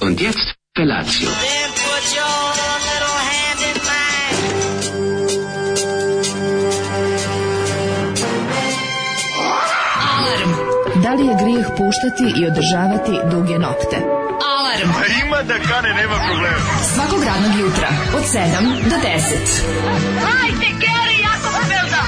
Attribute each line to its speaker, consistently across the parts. Speaker 1: Und jetzt Felatio.
Speaker 2: Then put your little hand in mine.
Speaker 3: Alarm!
Speaker 4: Da li je grijeh puštati i održavati duge nokte?
Speaker 3: Alarm!
Speaker 5: Ima da kane, nema problema.
Speaker 3: Svakog radnog jutra od 7 do 10.
Speaker 2: Hajde, Geri, jako se velda.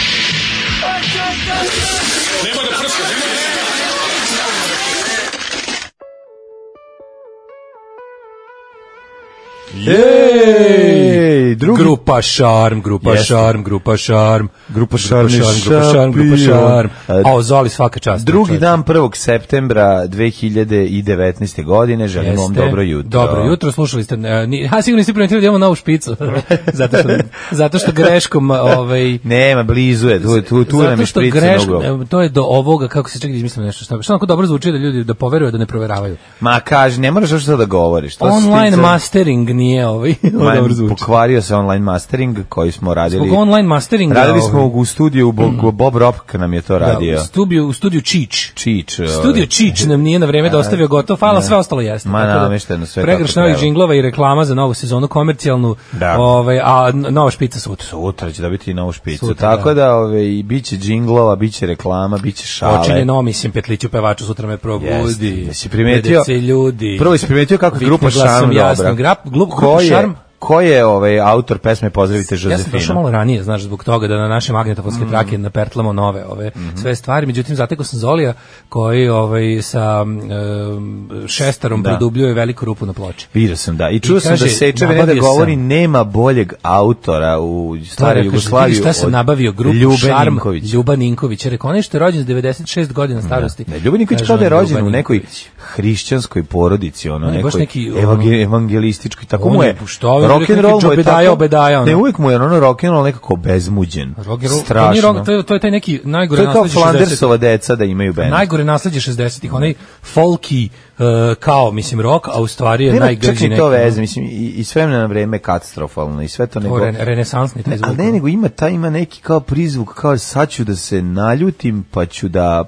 Speaker 6: Ej, drugi
Speaker 7: Grupa Šarm, Grupa
Speaker 6: Jeste.
Speaker 7: Šarm, Grupa Šarm.
Speaker 6: Grupa Šarm je
Speaker 7: Grupa Šarm, Grupa Šarm.
Speaker 6: šampion.
Speaker 7: A ozoli svaka čast.
Speaker 6: Drugi
Speaker 7: čoveče.
Speaker 6: dan 1. septembra 2019. godine, želim vam
Speaker 7: Jeste.
Speaker 6: dobro jutro.
Speaker 7: Dobro jutro, slušali ste. e, ni- Ha, sigurno niste primetili da imamo novu špicu. zato, što, zato što greškom... Ovaj,
Speaker 6: Nema, blizu je, tu, tu, tu nam
Speaker 7: zato
Speaker 6: je
Speaker 7: što
Speaker 6: šprica
Speaker 7: greš,
Speaker 6: na ugao.
Speaker 7: e, to je do ovoga, kako se čekaj da izmislim nešto, što, što onako dobro zvuči da ljudi da poveruju da ne proveravaju.
Speaker 6: Ma kaži, ne moraš što da govoriš. To si ti
Speaker 7: Online
Speaker 6: sad-
Speaker 7: mastering nije ovaj,
Speaker 6: Ma,
Speaker 7: dobro zvuči.
Speaker 6: Pokvario se online mastering koji smo radili.
Speaker 7: Zbog online masteringa...
Speaker 6: Radili smo
Speaker 7: ovaj,
Speaker 6: u studiju, Bob, Bob Ropk nam je to radio.
Speaker 7: Da, u studiju, u studiju Čič.
Speaker 6: Čič. ovaj.
Speaker 7: Studio Čič nam nije na vreme dostavio gotov fal, a sve ostalo jeste.
Speaker 6: Ma,
Speaker 7: Tako
Speaker 6: namešteno sve kako
Speaker 7: Pregršno ovih
Speaker 6: treba.
Speaker 7: džinglova i reklama za novu sezonu komercijalnu,
Speaker 6: Da.
Speaker 7: ovaj, a n- nova špica sutra.
Speaker 6: Sutra će dobiti i novu špicu.
Speaker 7: Sutra,
Speaker 6: Tako
Speaker 7: da.
Speaker 6: da, ove, i bit će džinglova, bit će reklama, bit će šale.
Speaker 7: Počinje no, mislim, petliću pevaču, sutra me probudi.
Speaker 6: Jeste, jesi primetio?
Speaker 7: Se ljudi.
Speaker 6: Prvo si primetio kako je
Speaker 7: Vikne
Speaker 6: grupa
Speaker 7: glasom
Speaker 6: Šarm dobra.
Speaker 7: jasno. Grap- glup- grupa
Speaker 6: Ko je-
Speaker 7: Šarm?
Speaker 6: Ko je ovaj autor pesme Pozdravite
Speaker 7: Ja sam došao
Speaker 6: Žozefina?
Speaker 7: malo ranije, znaš, zbog toga da na naše magnetofonske
Speaker 6: Mm.
Speaker 7: trake napertlamo nove ove
Speaker 6: Mhm.
Speaker 7: sve stvari. Međutim, zatekao sam Zolija koji ovaj, sa em, šestarom
Speaker 6: Da.
Speaker 7: produbljuje veliku rupu na ploči.
Speaker 6: Vidio sam, da. I čuo sam
Speaker 7: kaže,
Speaker 6: da Seča ne da
Speaker 7: nabavio
Speaker 6: govori
Speaker 7: sam-
Speaker 6: nema boljeg autora u stare
Speaker 7: Kaže,
Speaker 6: Jugoslaviju.
Speaker 7: da vidi šta sam
Speaker 6: od
Speaker 7: nabavio, grupu
Speaker 6: Ljube
Speaker 7: Šarm,
Speaker 6: Ninković.
Speaker 7: Ljuba Ninković. Jer rekao, onaj što je rođen s 96 godina starosti.
Speaker 6: Da. Ne, Ljuba Ninković
Speaker 7: Kaže
Speaker 6: kao da je
Speaker 7: on,
Speaker 6: rođen
Speaker 7: Ljuba
Speaker 6: u nekoj
Speaker 7: Ninković.
Speaker 6: hrišćanskoj porodici, ono,
Speaker 7: On je baš
Speaker 6: nekoj
Speaker 7: neki, ono,
Speaker 6: evangel- evangelističkoj, tako
Speaker 7: on
Speaker 6: mu
Speaker 7: je
Speaker 6: je,
Speaker 7: šta ovi rekli,
Speaker 6: rock'n'roll mu je
Speaker 7: Obedaja,
Speaker 6: tako,
Speaker 7: Obedaja, ono.
Speaker 6: ne, uvijek mu je ono rock'n'roll nekako bezmuđen,
Speaker 7: Rock and roll- To, nije
Speaker 6: strašno.
Speaker 7: rock, to, je, to je taj neki
Speaker 6: To
Speaker 7: najgore
Speaker 6: je kao
Speaker 7: nasledđe 60
Speaker 6: Flandersova deca da imaju band.
Speaker 7: Najgore nasledđe 60-ih, onaj folky e, kao, mislim, rock, a u stvari je
Speaker 6: Nema čak
Speaker 7: najgrđi
Speaker 6: ni
Speaker 7: neki.
Speaker 6: to veze, mislim, i, i s vremena na vreme je katastrofalno i sve to nego...
Speaker 7: O, re- renesansni taj
Speaker 6: Ne,
Speaker 7: zvuk.
Speaker 6: ali ne, nego ima, ta, ima neki kao prizvuk, kao sad ću da se naljutim, pa ću da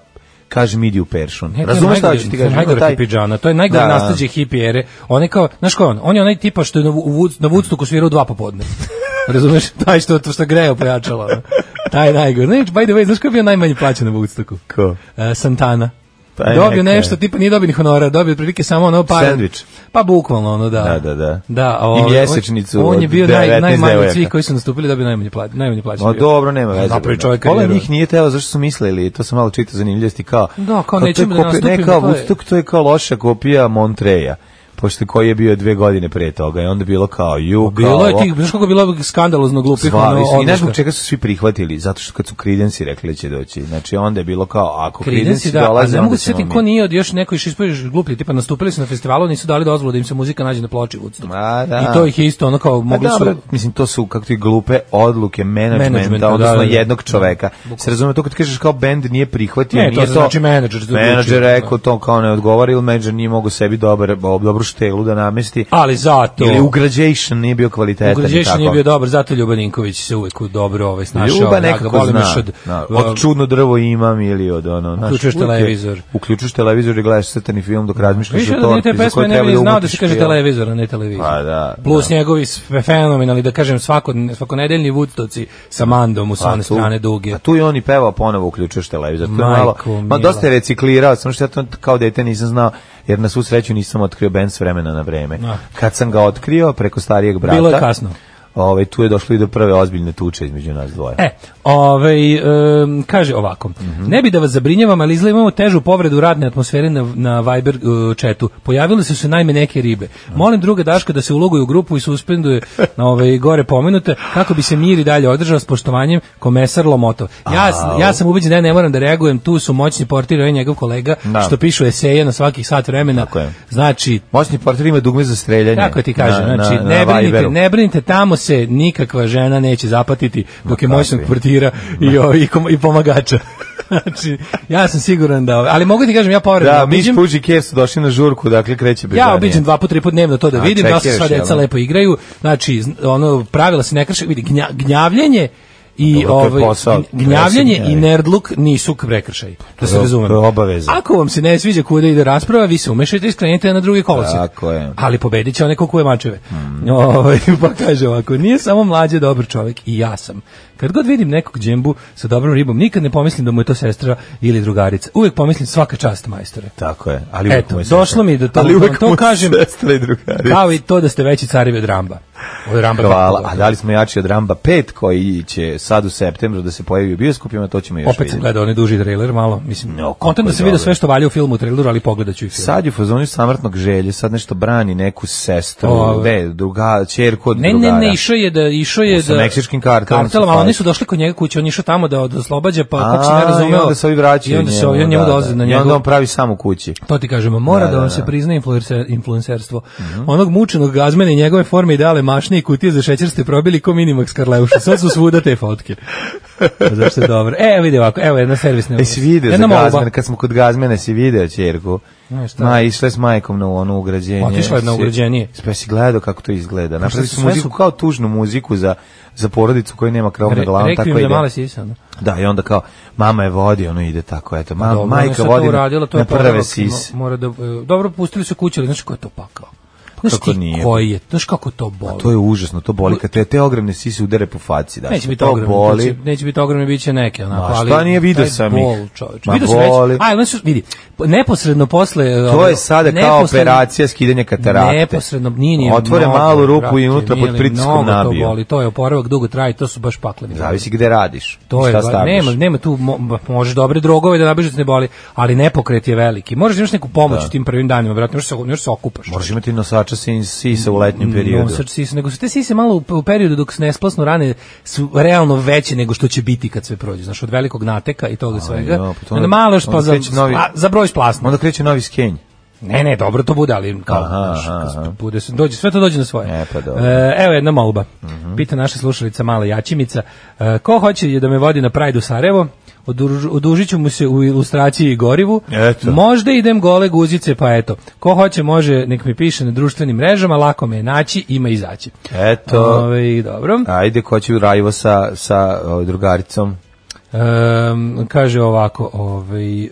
Speaker 6: kažem idi u peršun.
Speaker 7: Ne, to je
Speaker 6: Razumeš šta
Speaker 7: najgore-
Speaker 6: ću ti
Speaker 7: to je
Speaker 6: kažem?
Speaker 7: Najgore
Speaker 6: Taj-
Speaker 7: taj... pidžana, to je najgore
Speaker 6: Da,
Speaker 7: da,
Speaker 6: da.
Speaker 7: nastađe hippie ere. On je kao, znaš ko je on? On je onaj tipa što je na, Vu- u Wood, na Woodstocku svirao dva popodne. Razumeš? Taj što, to što greje pojačalo. ono. Taj najgore. Ne, by the way, znaš ko je bio najmanje plaćen na Woodstocku?
Speaker 6: Ko? Pa
Speaker 7: E, Santana.
Speaker 6: Taj
Speaker 7: dobio
Speaker 6: neki,
Speaker 7: nešto,
Speaker 6: ne.
Speaker 7: tipa nije dobio ni honora, dobio otprilike samo ono par...
Speaker 6: Sendvič.
Speaker 7: Pa bukvalno ono, da.
Speaker 6: Da, da, da.
Speaker 7: da
Speaker 6: I
Speaker 7: ovaj, on-
Speaker 6: mjesečnicu
Speaker 7: On,
Speaker 6: od
Speaker 7: je bio naj,
Speaker 6: 19
Speaker 7: najmanji od
Speaker 6: devojaka.
Speaker 7: svih koji su nastupili, dobio najmanje plaćen. Najmanje plaćen
Speaker 6: Ma
Speaker 7: bio.
Speaker 6: dobro, nema veze.
Speaker 7: Napravi
Speaker 6: Da.
Speaker 7: čovjek
Speaker 6: Pola
Speaker 7: karijeru.
Speaker 6: njih nije teo, zašto su mislili, to sam malo čitao zanimljivosti, kao...
Speaker 7: Da, kao
Speaker 6: to je
Speaker 7: nećemo da
Speaker 6: kopija- Ne,
Speaker 7: nastupimo,
Speaker 6: kao
Speaker 7: to je-
Speaker 6: Woodstock, to je kao loša kopija Montreja, pošto koji je bio dve godine pre toga i onda je bilo kao ju, kao
Speaker 7: Bilo je
Speaker 6: ovo.
Speaker 7: tih, znaš kako je bilo ovih skandalozno glupih
Speaker 6: Pa, Zvali
Speaker 7: ono,
Speaker 6: su, i ne
Speaker 7: odluka.
Speaker 6: zbog čega su svi prihvatili, zato što kad su Creedence rekli da će doći. Znači onda je bilo kao, ako Creedence
Speaker 7: Creedence, da, ali
Speaker 6: dolaze,
Speaker 7: ne
Speaker 6: onda
Speaker 7: mogu se
Speaker 6: ćemo
Speaker 7: sjetiti
Speaker 6: mi.
Speaker 7: ko nije od još neko iš ispojiš gluplji, tipa nastupili su na festivalu, nisu dali dozvolu da im se muzika nađe na ploči Woodstock.
Speaker 6: A, da.
Speaker 7: I to ih je isto ono kao
Speaker 6: Pa
Speaker 7: mogli su...
Speaker 6: dobro, mislim, to su kako ti glupe odluke menadžmenta,
Speaker 7: Menadžmenta,
Speaker 6: odnosno
Speaker 7: da, da, da.
Speaker 6: jednog čoveka. Se razume to kad kažeš kao bend nije prihvatio,
Speaker 7: Ne, to
Speaker 6: nije to...
Speaker 7: znači menadžer da. zaključio.
Speaker 6: Menadžer rekao to kao ne odgovara ili menadžer nije mogao sebi dobar, dobru štelu da namesti.
Speaker 7: Ali zato...
Speaker 6: Ili ugrađation nije bio kvalitetan. i
Speaker 7: Ugrađeš nije
Speaker 6: tako.
Speaker 7: bio dobar, zato Ljuba Ninković se uvek u dobro ovaj, snašao.
Speaker 6: Ljuba
Speaker 7: ja ga
Speaker 6: nekako
Speaker 7: volim
Speaker 6: zna.
Speaker 7: još Od, uh,
Speaker 6: Da, od čudno drvo imam ili od ono... znaš,
Speaker 7: Uključuješ
Speaker 6: uvijek je-
Speaker 7: televizor.
Speaker 6: Uključuješ televizor i gledaš crtani film dok razmišljaš
Speaker 7: Više
Speaker 6: o
Speaker 7: da nije
Speaker 6: torti
Speaker 7: te
Speaker 6: za
Speaker 7: pesme
Speaker 6: koju
Speaker 7: ne
Speaker 6: treba da
Speaker 7: bi znao da
Speaker 6: umutiš
Speaker 7: se kaže
Speaker 6: film.
Speaker 7: televizor, a ne televizor.
Speaker 6: Pa da,
Speaker 7: Plus
Speaker 6: da.
Speaker 7: njegovi sve fenomenalni, da kažem, svako, svakonedeljni Woodstocki sa mandom u sa one
Speaker 6: Pa tu-
Speaker 7: strane duge.
Speaker 6: A tu i on i pevao ponovo uključuješ televizor. To je malo,
Speaker 7: Majko
Speaker 6: ma
Speaker 7: mila.
Speaker 6: dosta je reciklirao, samo što ja to kao dete nisam znao, jer na svu sreću nisam otkrio band s vremena na vreme.
Speaker 7: Da.
Speaker 6: Kad sam ga otkrio preko starijeg brata,
Speaker 7: Bilo je kasno.
Speaker 6: Ovaj, tu je došlo i do prve ozbiljne tuče između nas dvoje.
Speaker 7: E, ovaj, em, kaže ovako,
Speaker 6: Mhm.
Speaker 7: ne bi da vas zabrinjavam, ali izgleda imamo težu povredu radne atmosfere na, na Viber uh, chatu. Pojavile su se najme neke ribe. Molim druga Daška da se uloguje u grupu i suspenduje na ovaj, gore pomenute, kako bi se mir i dalje održao s poštovanjem komesar Lomotov. Ja, s- ja sam ubeđen da ja ne moram da reagujem, tu su moćni portiri, on je njegov kolega,
Speaker 6: Da.
Speaker 7: što pišu eseje na svakih sat vremena.
Speaker 6: Tako je.
Speaker 7: Znači,
Speaker 6: Moćni portir ima dugme za streljanje.
Speaker 7: kako ti kažem,
Speaker 6: E, na- na-
Speaker 7: znači
Speaker 6: na
Speaker 7: ne brinite,
Speaker 6: Viberu.
Speaker 7: ne brinite, tamo se nikakva žena neće zapatiti dok je
Speaker 6: Ma
Speaker 7: moćnog
Speaker 6: kakvi.
Speaker 7: portira i o- i, kom- i pomagača. znači, ja sam siguran da, ali mogu ti kažem ja povredno
Speaker 6: Da, mi
Speaker 7: obiđem.
Speaker 6: Puđi Kev su došli na žurku, dakle kreće bežanje.
Speaker 7: Ja obiđem dva puta, tri puta dnevno to da
Speaker 6: A,
Speaker 7: vidim, da se
Speaker 6: čekiraš,
Speaker 7: sva
Speaker 6: jel
Speaker 7: deca
Speaker 6: da?
Speaker 7: lepo igraju. Znači, zn- ono pravila se ne krše, vidi gnja- gnjavljenje i
Speaker 6: Dobro, to je
Speaker 7: ovaj,
Speaker 6: posao, presudnja
Speaker 7: gnjavljanje i
Speaker 6: je.
Speaker 7: nerdluk nisu prekršaj. Da
Speaker 6: To
Speaker 7: se
Speaker 6: je-
Speaker 7: razumemo.
Speaker 6: to je obaveza.
Speaker 7: Ako vam se ne sviđa kuda ide rasprava, vi se umešajte i skrenite na drugi kolosek.
Speaker 6: Tako je.
Speaker 7: Ali pobedit će onaj ko kuje mačeve. Ovaj, pa kaže ovako, nije samo mlađe dobar čovjek, i ja sam. Kad god vidim nekog džembu sa dobrom ribom, nikad ne pomislim da mu je to sestra ili drugarica. Uvijek pomislim svaka čast majstore.
Speaker 6: Tako je. Ali uvek
Speaker 7: Eto,
Speaker 6: mu je sestra.
Speaker 7: došlo mi je do toga,
Speaker 6: Ali uvek
Speaker 7: to
Speaker 6: mu je
Speaker 7: kažem.
Speaker 6: Sestra i drugarica.
Speaker 7: Kao i to da ste veći carevi od Ramba. Od Ramba
Speaker 6: Hvala,
Speaker 7: Kapoga.
Speaker 6: a da li smo jači od Ramba 5 koji će sad u septembru da se pojavi u bioskopima, to ćemo da, još
Speaker 7: Opet sam
Speaker 6: vidjeti.
Speaker 7: gledao onaj duži trailer, malo, mislim,
Speaker 6: No,
Speaker 7: no,
Speaker 6: kako
Speaker 7: kontent da
Speaker 6: je
Speaker 7: sam vidio
Speaker 6: dobro.
Speaker 7: sve što valja u filmu u traileru, ali pogledat ću i film.
Speaker 6: Sad je u fazonu samrtnog želje, sad nešto brani neku sestru,
Speaker 7: O,
Speaker 6: ne, druga, čerku od
Speaker 7: Ne, ne,
Speaker 6: drugara.
Speaker 7: ne, išao je da išao je
Speaker 6: U sa
Speaker 7: da
Speaker 6: meksičkim kartelom
Speaker 7: Kartelom,
Speaker 6: se
Speaker 7: ali
Speaker 6: fali.
Speaker 7: oni su došli kod njega kuće, on je išao tamo da od- oslobađa, pa
Speaker 6: A,
Speaker 7: kako se ne razumeo.
Speaker 6: I onda se ovi vraćaju
Speaker 7: I onda se ovi
Speaker 6: njemu, da,
Speaker 7: njemu dolaze na
Speaker 6: I onda
Speaker 7: njegov
Speaker 6: on pravi sam u kući.
Speaker 7: To ti kažemo, mora da,
Speaker 6: da, Mhm.
Speaker 7: vam se prizna influencer, influencerstvo. Onog mučenog gazmena i njegove forme ideale mašne i kutije za šećer ste probili ko minimax Karleuša. Sad su svuda te fotke. Zašto je dobro. E, vidi ovako, evo jedna servisna.
Speaker 6: E, si video za
Speaker 7: jedna molba.
Speaker 6: Gazmena, kad smo kod Gazmena si video čerku.
Speaker 7: Ne, šta?
Speaker 6: Ma, išla je s majkom na ono ugrađenje.
Speaker 7: Otišla je na
Speaker 6: Si-
Speaker 7: ugrađenje. Pa
Speaker 6: Pa si gledao kako to izgleda. Napravili
Speaker 7: su
Speaker 6: su
Speaker 7: sve
Speaker 6: muziku
Speaker 7: su-
Speaker 6: kao tužnu muziku za, za porodicu koja nema krov na
Speaker 7: Re-
Speaker 6: glavom.
Speaker 7: Rekvijum
Speaker 6: tako
Speaker 7: za
Speaker 6: ide.
Speaker 7: male sise, ono.
Speaker 6: Da, i onda kao, mama je vodi, ono ide tako, eto, ma,
Speaker 7: Pa Dobro, ona je
Speaker 6: majka
Speaker 7: sad
Speaker 6: vodi
Speaker 7: to
Speaker 6: na-
Speaker 7: uradila, to je pa
Speaker 6: na prve
Speaker 7: popravak,
Speaker 6: sise. Pa
Speaker 7: mo- Mora da, e, dobro, pustili su kuću, ali znaš ko je to pakao? Znaš
Speaker 6: kako
Speaker 7: ti
Speaker 6: nije?
Speaker 7: koji je, znaš kako to boli?
Speaker 6: To je užasno, to boli, kad te, te ogromne sise udare po faci, da,
Speaker 7: Pa Neće biti
Speaker 6: to
Speaker 7: ogromno,
Speaker 6: boli.
Speaker 7: neće, neće biti ogromno, bit će neke, onako,
Speaker 6: Ma,
Speaker 7: ali...
Speaker 6: šta nije, vidio
Speaker 7: taj
Speaker 6: sam
Speaker 7: bol,
Speaker 6: ih.
Speaker 7: čoveč.
Speaker 6: Ma,
Speaker 7: Vidio sam već,
Speaker 6: boli.
Speaker 7: a, znaš, vidi, po- neposredno posle...
Speaker 6: To je sada kao operacija skidanja katarakte.
Speaker 7: Neposredno, nije nije.
Speaker 6: Otvore
Speaker 7: mnogo,
Speaker 6: malu rupu
Speaker 7: brate,
Speaker 6: i unutra
Speaker 7: mili,
Speaker 6: pod pritiskom
Speaker 7: mnogo
Speaker 6: nabiju.
Speaker 7: To boli, to je oporavak, dugo traje, to su baš pakleni.
Speaker 6: Zavisi gde radiš.
Speaker 7: To
Speaker 6: i
Speaker 7: je,
Speaker 6: šta
Speaker 7: ba-
Speaker 6: staviš.
Speaker 7: nema, nema tu, mo- ba- možeš dobre drogove da nabižeš da ne boli, ali nepokret je veliki. Moraš da imaš neku pomoć u tim prvim danima, brate, možeš da se, možeš se okupaš.
Speaker 6: Moraš imati nosača sin- sisa u letnjem periodu.
Speaker 7: Mm, Nosač sisa, nego su te sise malo u, u periodu dok se ne splasnu rane su realno veće nego što će biti kad sve prođe. Znaš, od velikog nateka i toga svega.
Speaker 6: ja, pa to
Speaker 7: onda
Speaker 6: onda-
Speaker 7: malo još
Speaker 6: onda
Speaker 7: pa za,
Speaker 6: kreće novi-
Speaker 7: a, za broj splasnu.
Speaker 6: Onda kreće novi skenj.
Speaker 7: Ne, ne, dobro to bude, ali kao,
Speaker 6: Aha,
Speaker 7: znaš,
Speaker 6: aha,
Speaker 7: kad
Speaker 6: aha.
Speaker 7: bude, se- dođe, sve to dođe na svoje.
Speaker 6: E, pa dobro. Mhm.
Speaker 7: E, evo jedna molba. Pita naša slušalica Mala Jačimica. E, ko hoće da me vodi na Prajdu u Sarajevo? Oduž, odužit ću mu se u ilustraciji i gorivu.
Speaker 6: Eto.
Speaker 7: Možda idem gole guzice, pa eto. Ko hoće može, nek mi piše na društvenim mrežama, lako me je naći, ima i izaći.
Speaker 6: Eto.
Speaker 7: Ovaj, dobro.
Speaker 6: Ajde, ko će u Rajvo sa, sa o, drugaricom?
Speaker 7: Ehm, kaže ovako, ovaj, e,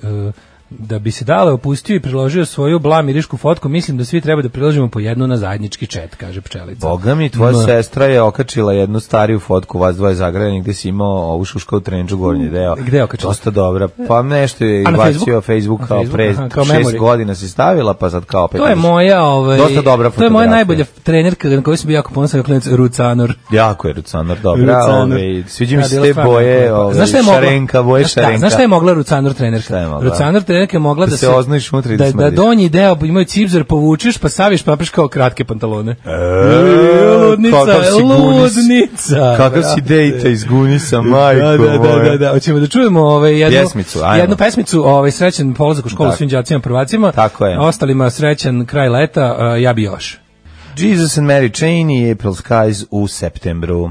Speaker 7: da bi se dale opustio i priložio svoju blamirišku fotku, mislim da svi treba da priložimo po jednu na zajednički čet, kaže pčelica.
Speaker 6: Boga mi, tvoja
Speaker 7: Ma.
Speaker 6: sestra je okačila jednu stariju fotku vas dvoje zagrajeni gde si imao ovu šuška u trenđu gornji deo.
Speaker 7: Mm, Gde je okačila?
Speaker 6: Dosta dobra. Pa nešto je
Speaker 7: A na
Speaker 6: bacio
Speaker 7: Facebook?
Speaker 6: Facebook
Speaker 7: Na
Speaker 6: kao
Speaker 7: Facebook,
Speaker 6: pre
Speaker 7: aha, kao
Speaker 6: šest
Speaker 7: memory.
Speaker 6: godina si stavila, pa sad kao opet.
Speaker 7: To je
Speaker 6: možeš-
Speaker 7: moja, ovaj,
Speaker 6: Dosta dobra
Speaker 7: to je moja
Speaker 6: fotografija.
Speaker 7: najbolja trenerka na koju sam bio jako ponosan, kao klinac Rucanor.
Speaker 6: Jako je Rucanor dobra.
Speaker 7: Rucanor.
Speaker 6: Ovaj, sviđa mi
Speaker 7: Da,
Speaker 6: se
Speaker 7: bila
Speaker 6: te
Speaker 7: stvarno
Speaker 6: boje,
Speaker 7: lepa.
Speaker 6: ovaj,
Speaker 7: Znaš šta je mogla?
Speaker 6: šarenka, boje
Speaker 7: Znaš šta-
Speaker 6: šarenka.
Speaker 7: Znaš šta je mogla Rucanor trenerka?
Speaker 6: Šta je mogla?
Speaker 7: Rucanor trenerka je mogla
Speaker 6: Da
Speaker 7: da,
Speaker 6: se oznojiš unutra i da
Speaker 7: da, da
Speaker 6: smrdiš.
Speaker 7: donji deo imaju cipzer, povučeš, pa saviš, pa napraviš kao kratke pantalone.
Speaker 6: E,
Speaker 7: E, ludnica,
Speaker 6: kakav si gunis.
Speaker 7: ludnica.
Speaker 6: Kakav si dejta iz Gunisa, majko
Speaker 7: Da, da, da,
Speaker 6: moja.
Speaker 7: da, da. Hoćemo da čujemo ovaj jednu
Speaker 6: Pjesmicu, ajmo.
Speaker 7: jednu pesmicu, ovaj srećan polazak u školu svim đacima prvacima.
Speaker 6: Tako je.
Speaker 7: Ostalima srećan kraj leta, a, ja bi još.
Speaker 6: Jesus and Mary Chain i April Skies u septembru.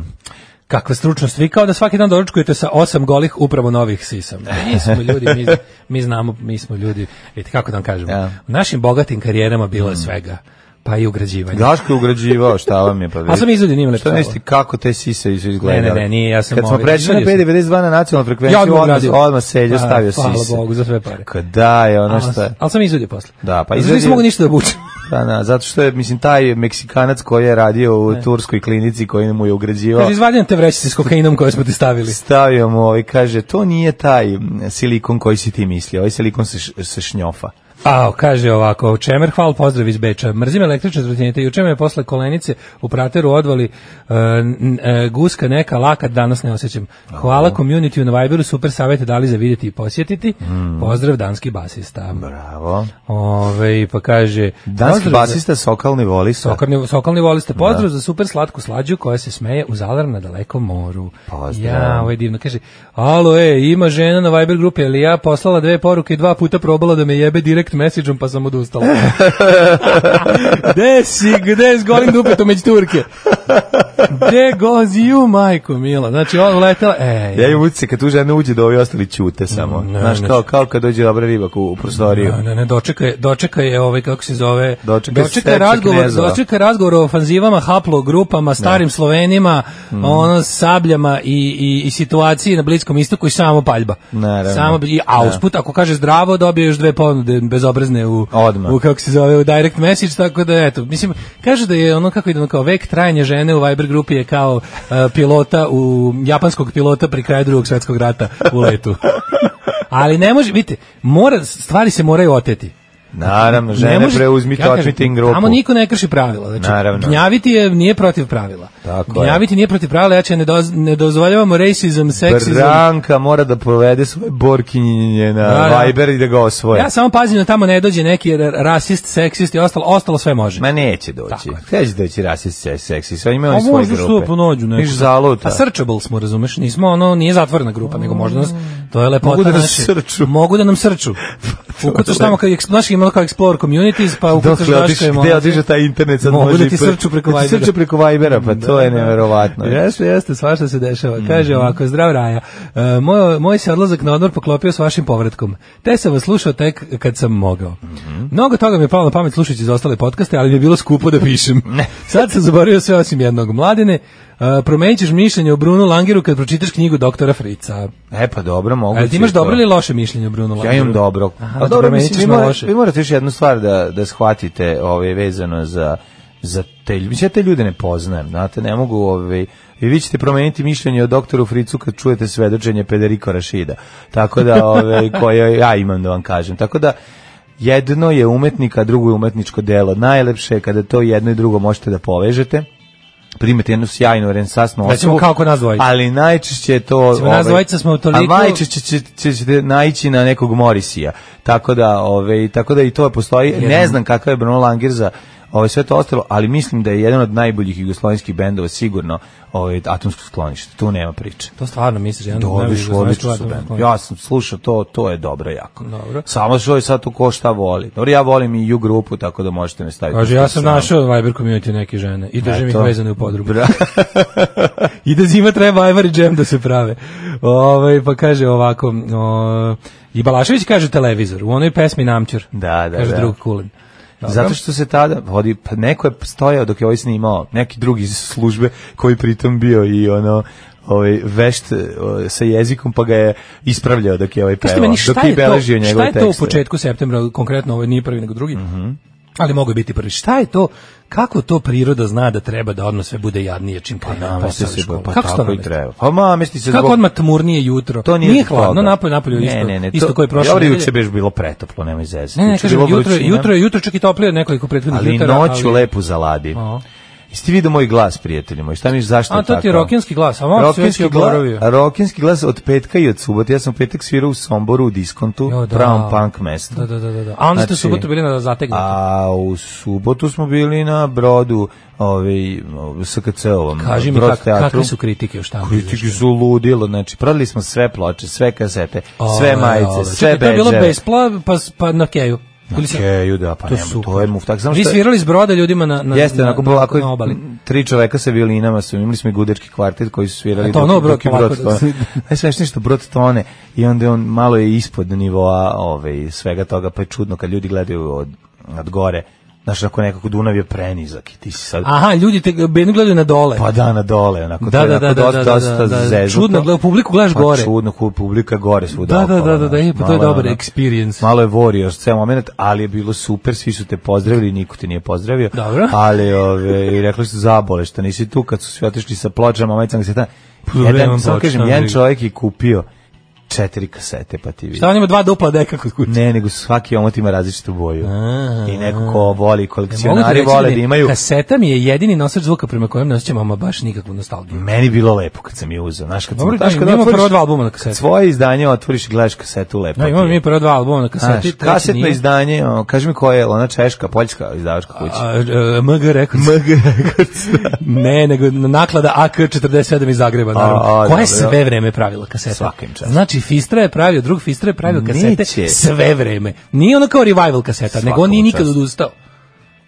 Speaker 7: Kakva stručnost, vi kao da svaki dan doručkujete sa osam golih upravo novih sisa. Mi smo ljudi, mi, mi znamo, mi smo ljudi, vidite kako da vam kažemo.
Speaker 6: Ja.
Speaker 7: U našim bogatim karijerama bilo je svega, pa i ugrađivanje.
Speaker 6: Daško je ugrađivao, šta vam je pa vidite.
Speaker 7: A sam izvodio, nije mi
Speaker 6: Šta
Speaker 7: lepo.
Speaker 6: misli kako te sise su izgledale?
Speaker 7: Ne, ne, ne, nije, ja sam
Speaker 6: Kad smo
Speaker 7: ovaj-
Speaker 6: prešli na
Speaker 7: izvadio sam.
Speaker 6: 592 na nacionalnu
Speaker 7: Ja
Speaker 6: frekvenciju,
Speaker 7: odmah
Speaker 6: odmah,
Speaker 7: uradio.
Speaker 6: odmah Seljo
Speaker 7: A,
Speaker 6: stavio sise.
Speaker 7: hvala Bogu za sve pare.
Speaker 6: Kad da je ono šta...
Speaker 7: Ali, ali sam izvodio posle.
Speaker 6: Da, pa
Speaker 7: Zato što
Speaker 6: izvadio-
Speaker 7: Nisam mogu ništa da bučem.
Speaker 6: Da, da, zato što je, mislim, taj Meksikanac koji je radio u turskoj klinici, koji mu je ugrađivao,
Speaker 7: Kaže, izvadio te vrećice s kokainom koje smo ti stavili.
Speaker 6: stavio mu ovaj, kaže, to nije taj mm, silikon koji si ti mislio, ovaj silikon se, š- se šnjofa.
Speaker 7: A, kaže ovako, Čemer, hval, pozdrav iz Beča. Mrzim električne trotinete, juče me je posle kolenice u prateru odvali e, n- e, guska neka lakat, danas ne osjećam. Hvala community na Viberu, super savete dali za vidjeti i posjetiti.
Speaker 6: Hmm.
Speaker 7: Pozdrav, danski basista.
Speaker 6: Bravo.
Speaker 7: Ove, pa kaže...
Speaker 6: Danski
Speaker 7: pozdrav
Speaker 6: basista Sokalni voli
Speaker 7: Za... Sokalni, sokalni voliste, pozdrav za super slatku slađu koja se smeje u zalar na dalekom moru.
Speaker 6: Pozdrav.
Speaker 7: Ja, ovo je divno. Kaže, alo, e, ima žena na Viber grupi, ali ja poslala dve poruke i dva puta probala da me jebe direkt message-om, pa sam odustala. gde si, gde s golim dupetom među Turke? Gde goes you, majko mila? Znači, on uletela, ej.
Speaker 6: Ja imam utice kad tu žena uđe da ovi ostali ćute samo.
Speaker 7: Ne,
Speaker 6: Znaš,
Speaker 7: ne.
Speaker 6: kao, kao kad dođe dobra riba u, u prostoriju.
Speaker 7: Da, Ne, ne, ne, dočeka je, dočeka je ovaj, kako se zove,
Speaker 6: Dočeka je
Speaker 7: je
Speaker 6: stečaj
Speaker 7: razgovor,
Speaker 6: knezova.
Speaker 7: dočeka je razgovor o ofanzivama, haplogrupama, starim Slovenima, ono, sabljama i, i, i situaciji na Bliskom istoku i samo paljba.
Speaker 6: Naravno.
Speaker 7: Samo, i, a
Speaker 6: Da.
Speaker 7: usput, ako kaže zdravo, dobije još dve ponude bezobrazne u,
Speaker 6: Odmah.
Speaker 7: u, kako se zove, u direct message, tako da, eto, mislim, kaže da je ono, kako ide, ono, kao vek trajanja žene u Viber grupi je kao e, pilota, u, japanskog pilota pri kraju drugog svetskog rata u letu. Ali ne može, vidite, mora, stvari se moraju oteti.
Speaker 6: Naravno,
Speaker 7: ne
Speaker 6: žene
Speaker 7: može,
Speaker 6: preuzmite,
Speaker 7: ja kažem,
Speaker 6: očmite im grupu.
Speaker 7: Tamo niko ne krši pravila. Znači,
Speaker 6: Naravno.
Speaker 7: Gnjaviti je, nije protiv pravila.
Speaker 6: Tako je.
Speaker 7: gnjaviti nije protiv pravila, ja će ne, doz, ne dozvoljavamo rasizam, seksizam.
Speaker 6: Branka mora da provede svoje borkinje na
Speaker 7: Naravno.
Speaker 6: Viber i da ga osvoje.
Speaker 7: Ja samo pazim da tamo ne dođe neki ra- rasist, seksist i ostalo, ostalo sve može.
Speaker 6: Ma neće doći.
Speaker 7: Tako je.
Speaker 6: Sve će doći rasist, se- seksi, sve imaju
Speaker 7: A
Speaker 6: oni svoje
Speaker 7: možda
Speaker 6: grupe.
Speaker 7: što po nođu neko.
Speaker 6: Niš zaluta.
Speaker 7: A searchable smo, razumeš? Nismo ono, nije zatvorena grupa, nego možda nas, to je lepota.
Speaker 6: Mogu da nas
Speaker 7: naše.
Speaker 6: srču.
Speaker 7: Mogu da nam srču. Ukucaš tamo, kao, eks- znaš imamo kao Explore Communities, pa ukucaš
Speaker 6: Dokle
Speaker 7: Daško
Speaker 6: otiš,
Speaker 7: je
Speaker 6: gde
Speaker 7: mlađe.
Speaker 6: otiže taj internet sad
Speaker 7: Mogu
Speaker 6: može
Speaker 7: da ti
Speaker 6: i pre-
Speaker 7: srču preko
Speaker 6: da ti
Speaker 7: Vibera. Da.
Speaker 6: Srču preko Vibera, pa to je neverovatno.
Speaker 7: Jeste, jeste, svašta se dešava. Kaže
Speaker 6: Mhm.
Speaker 7: ovako, zdrav Raja. E, moj, moj se odlazak na odmor poklopio s vašim povratkom. Te sam vas slušao tek kad sam mogao.
Speaker 6: Mhm.
Speaker 7: Mnogo toga mi je palo na pamet slušajući za ostale podcaste, ali mi je bilo skupo da pišem. Sad sam zaboravio sve osim jednog. Mladene, e, promenit ćeš mišljenje o Brunu Langeru kad pročitaš knjigu doktora Frica.
Speaker 6: E pa dobro, moguće.
Speaker 7: Ali ti imaš
Speaker 6: i to.
Speaker 7: dobro ili loše mišljenje o Brunu Langeru?
Speaker 6: Ja imam dobro.
Speaker 7: Aha, znači,
Speaker 6: A dobro,
Speaker 7: promenit
Speaker 6: mislim,
Speaker 7: ćeš
Speaker 6: vi,
Speaker 7: na
Speaker 6: mora,
Speaker 7: loše.
Speaker 6: vi morate još jednu stvar da, da shvatite ove, vezano za, za te ljude. Mislim, ja te ljude ne poznajem, znate, ne mogu... Ove, I vi ćete promeniti mišljenje o doktoru Fricu kad čujete svedočenje Pederiko Rašida. Tako da, ove, koje ja imam da vam kažem. Tako da, jedno je umetnik, a drugo je umetničko delo. Najlepše je kada to jedno i drugo možete da povežete. Primite jednu sjajnu rensansnu osobu.
Speaker 7: Da ćemo kako nas dvojica.
Speaker 6: Ali najčešće je to...
Speaker 7: Mislim, nas
Speaker 6: ovaj,
Speaker 7: dvojica smo toliko-
Speaker 6: A najčešće će, će, ćete naići na nekog Morisija. Tako da, ove, tako da i to postoji. Ne znam kakav je Bruno Langer za ove, sve to ostalo, ali mislim da je jedan od najboljih jugoslovenskih bendova sigurno ove, atomsko sklonište. Tu nema priče.
Speaker 7: To stvarno misliš, ja
Speaker 6: Dobiš odlično su bend. Ja sam slušao to, to je dobro jako.
Speaker 7: Dobro.
Speaker 6: Samo što je sad tu ko šta voli. Dobro, ja volim i ju grupu, tako da možete me staviti.
Speaker 7: Kaže,
Speaker 6: na
Speaker 7: ja
Speaker 6: tu
Speaker 7: sam
Speaker 6: stranu.
Speaker 7: našao Viber community neke žene i držim ih
Speaker 6: Eto.
Speaker 7: vezane u podrumu.
Speaker 6: Bra-
Speaker 7: I da zima treba ajvar i džem da se prave. Ovaj pa kaže ovako, o, i Balašević kaže televizor, u onoj pesmi Namćur.
Speaker 6: Da, da,
Speaker 7: kaže
Speaker 6: da.
Speaker 7: drug Kulin. Dobro.
Speaker 6: Zato što se tada vodi, pa neko je stojao dok je ovaj snimao, neki drugi iz službe koji pritom bio i ono ovaj vešt eh, sa jezikom pa ga je ispravljao dok je ovaj
Speaker 7: Kažete
Speaker 6: pevao,
Speaker 7: meni, šta
Speaker 6: dok je
Speaker 7: je to,
Speaker 6: beležio
Speaker 7: šta
Speaker 6: njegove
Speaker 7: je
Speaker 6: tekste. Mhm.
Speaker 7: to u početku septembra, konkretno ovo nije prvi nego drugi, ali mogu biti prvi. Šta je to, kako to priroda zna da treba da odmah sve bude jadnije čim
Speaker 6: Pa
Speaker 7: krene
Speaker 6: namesti
Speaker 7: posao i
Speaker 6: se,
Speaker 7: školu?
Speaker 6: pa
Speaker 7: Kako se to
Speaker 6: tako i
Speaker 7: namesti?
Speaker 6: treba. Pa namesti se
Speaker 7: Kako
Speaker 6: zbog...
Speaker 7: odmah tmurnije jutro?
Speaker 6: To nije,
Speaker 7: nije
Speaker 6: zbog toga.
Speaker 7: hladno, napolje, napolje,
Speaker 6: ne,
Speaker 7: isto,
Speaker 6: ne, ne,
Speaker 7: isto
Speaker 6: to-
Speaker 7: koji je prošlo.
Speaker 6: Dobro, juče bi bilo pretoplo, nemoj zezati.
Speaker 7: Ne, ne,
Speaker 6: Juče je
Speaker 7: kažem,
Speaker 6: bilo
Speaker 7: jutro,
Speaker 6: Znači, vrućina.
Speaker 7: jutro, jutro čak i toplije od nekoliko prethodnih
Speaker 6: ali
Speaker 7: jutara.
Speaker 6: noću lepu zaladi.
Speaker 7: Aha.
Speaker 6: Jeste vidio moj glas, prijatelji moji? Šta mi zašto
Speaker 7: A,
Speaker 6: je
Speaker 7: to ti je
Speaker 6: tako?
Speaker 7: rokinski glas, a malo se već i
Speaker 6: Rokinski glas,
Speaker 7: oboravio.
Speaker 6: rokinski glas od petka i od subote. Ja sam u petak svirao u Somboru u diskontu,
Speaker 7: Jo, da.
Speaker 6: pravom punk mestu.
Speaker 7: Da, da, da, da, da. A onda ste u
Speaker 6: Znači-
Speaker 7: subotu bili na zategnuti.
Speaker 6: A u subotu smo bili na brodu ovaj, SKC-ovom.
Speaker 7: Kaži mi
Speaker 6: Brod
Speaker 7: kak,
Speaker 6: teatru.
Speaker 7: kakve su kritike u štampu.
Speaker 6: Kritike su ludilo, znači prodali smo sve ploče, sve kasete, sve
Speaker 7: Ove, ove.
Speaker 6: majice, sve
Speaker 7: Čekaj, To je bilo
Speaker 6: bedževe.
Speaker 7: bespla, pa, s- pa na keju. Ili se-
Speaker 6: Keju, da, pa
Speaker 7: To
Speaker 6: to,
Speaker 7: je
Speaker 6: nema,
Speaker 7: super.
Speaker 6: to je muftak. Samo
Speaker 7: Vi
Speaker 6: što je-
Speaker 7: svirali iz broda ljudima na, na,
Speaker 6: Jeste,
Speaker 7: na,
Speaker 6: onako
Speaker 7: na,
Speaker 6: polako,
Speaker 7: Pa da,
Speaker 6: Mm.
Speaker 7: na obali.
Speaker 6: tri čoveka sa violinama su, imali smo i gudečki kvartet koji su svirali
Speaker 7: A to ono brod
Speaker 6: je
Speaker 7: polako da se-
Speaker 6: tone. Najsmešnije što brod tone i onda je on malo je ispod nivoa ove, svega toga, pa je čudno kad ljudi gledaju od, od gore. Znaš, onako nekako Dunav je prenizak i ti si sad...
Speaker 7: Aha, ljudi te bedno gledaju na dole.
Speaker 6: Pa da, na dole, onako.
Speaker 7: Da,
Speaker 6: to je
Speaker 7: da,
Speaker 6: onako
Speaker 7: da, da,
Speaker 6: dosta-
Speaker 7: da,
Speaker 6: dosta
Speaker 7: da, da.
Speaker 6: zeznuto.
Speaker 7: Čudno, gleda- publiku gledaš gore.
Speaker 6: Pa čudno, ku- publika gore svuda.
Speaker 7: Da, da,
Speaker 6: okolo,
Speaker 7: da, da, da,
Speaker 6: znaš,
Speaker 7: je, pa to je
Speaker 6: malo
Speaker 7: dobar
Speaker 6: ono-
Speaker 7: experience.
Speaker 6: Malo je warriors ceo moment, ali je bilo super, svi su te pozdravili, niko te nije pozdravio.
Speaker 7: Dobro.
Speaker 6: Ali ove, i rekli su zabole što nisi tu, kad su svi otišli sa pločama, majicama, kasetama.
Speaker 7: Problem
Speaker 6: Jedan,
Speaker 7: ploč,
Speaker 6: samo kažem,
Speaker 7: šta
Speaker 6: jedan
Speaker 7: briga.
Speaker 6: čovjek je kupio četiri kasete, pa ti vidi.
Speaker 7: Šta on ima dva dupla deka kod kuće?
Speaker 6: Ne, nego svaki omot ima različitu boju.
Speaker 7: A.
Speaker 6: I neko ko voli,
Speaker 7: Mogu ti
Speaker 6: kolekcionari
Speaker 7: reći
Speaker 6: vole
Speaker 7: mi-
Speaker 6: da imaju.
Speaker 7: Kaseta mi je jedini nosač zvuka prema kojem ne osjećam ama baš nikakvu nostalgiju.
Speaker 6: Meni je bilo lepo kad sam je uzeo. Znaš, kad
Speaker 7: Dobro,
Speaker 6: sam,
Speaker 7: da,
Speaker 6: znaš, kad
Speaker 7: imamo
Speaker 6: otvoriš-
Speaker 7: prva dva albuma na kaseti.
Speaker 6: Svoje izdanje otvoriš i gledaš kasetu lepo.
Speaker 7: Da,
Speaker 6: ti
Speaker 7: imamo
Speaker 6: je.
Speaker 7: mi prva dva albuma na kaseti.
Speaker 6: Znaš,
Speaker 7: treći
Speaker 6: kasetno
Speaker 7: nije.
Speaker 6: izdanje, o, kaži mi koja je, ona češka, poljska izdavačka kuća.
Speaker 7: A, e, MG Records.
Speaker 6: MG Records, da.
Speaker 7: Ne, nego naklada AK47 iz Zagreba, naravno.
Speaker 6: A, a,
Speaker 7: Koja je
Speaker 6: dobro.
Speaker 7: sve vreme pravila kasete?
Speaker 6: Svakim čast.
Speaker 7: Znači, Fistra je pravio, drug Fistra je pravio kasete
Speaker 6: Neće.
Speaker 7: sve vreme. Nije ono kao revival kaseta, nego on
Speaker 6: Svakom
Speaker 7: nije nikad
Speaker 6: čast.
Speaker 7: odustao.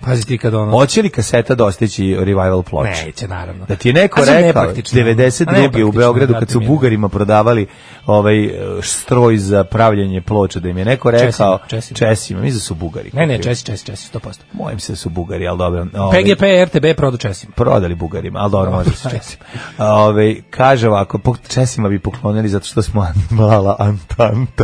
Speaker 7: Pazi ti kad ono...
Speaker 6: Hoće li kaseta dostići revival ploče?
Speaker 7: Neće, naravno.
Speaker 6: Da ti je neko
Speaker 7: A sad
Speaker 6: rekao
Speaker 7: nepraktično. A
Speaker 6: 92.
Speaker 7: nepraktično, da,
Speaker 6: u Beogradu kad
Speaker 7: brate
Speaker 6: su
Speaker 7: mili.
Speaker 6: Bugarima prodavali ovaj eh, stroj za pravljanje ploča da im je neko rekao
Speaker 7: Česima, Česima.
Speaker 6: Česima, mislim da su Bugari.
Speaker 7: Ne, ne,
Speaker 6: kupili.
Speaker 7: Česi, Česi, Česi, 100%.
Speaker 6: Mojim se da su Bugari, ali dobro. ovaj,
Speaker 7: PGP, RTB, produ Česima.
Speaker 6: prodali Bugarima, ali dobro, može se
Speaker 7: ajde.
Speaker 6: Česima. Ove, kaže ovako, pok- Česima bi poklonili zato što smo an- mala antanta,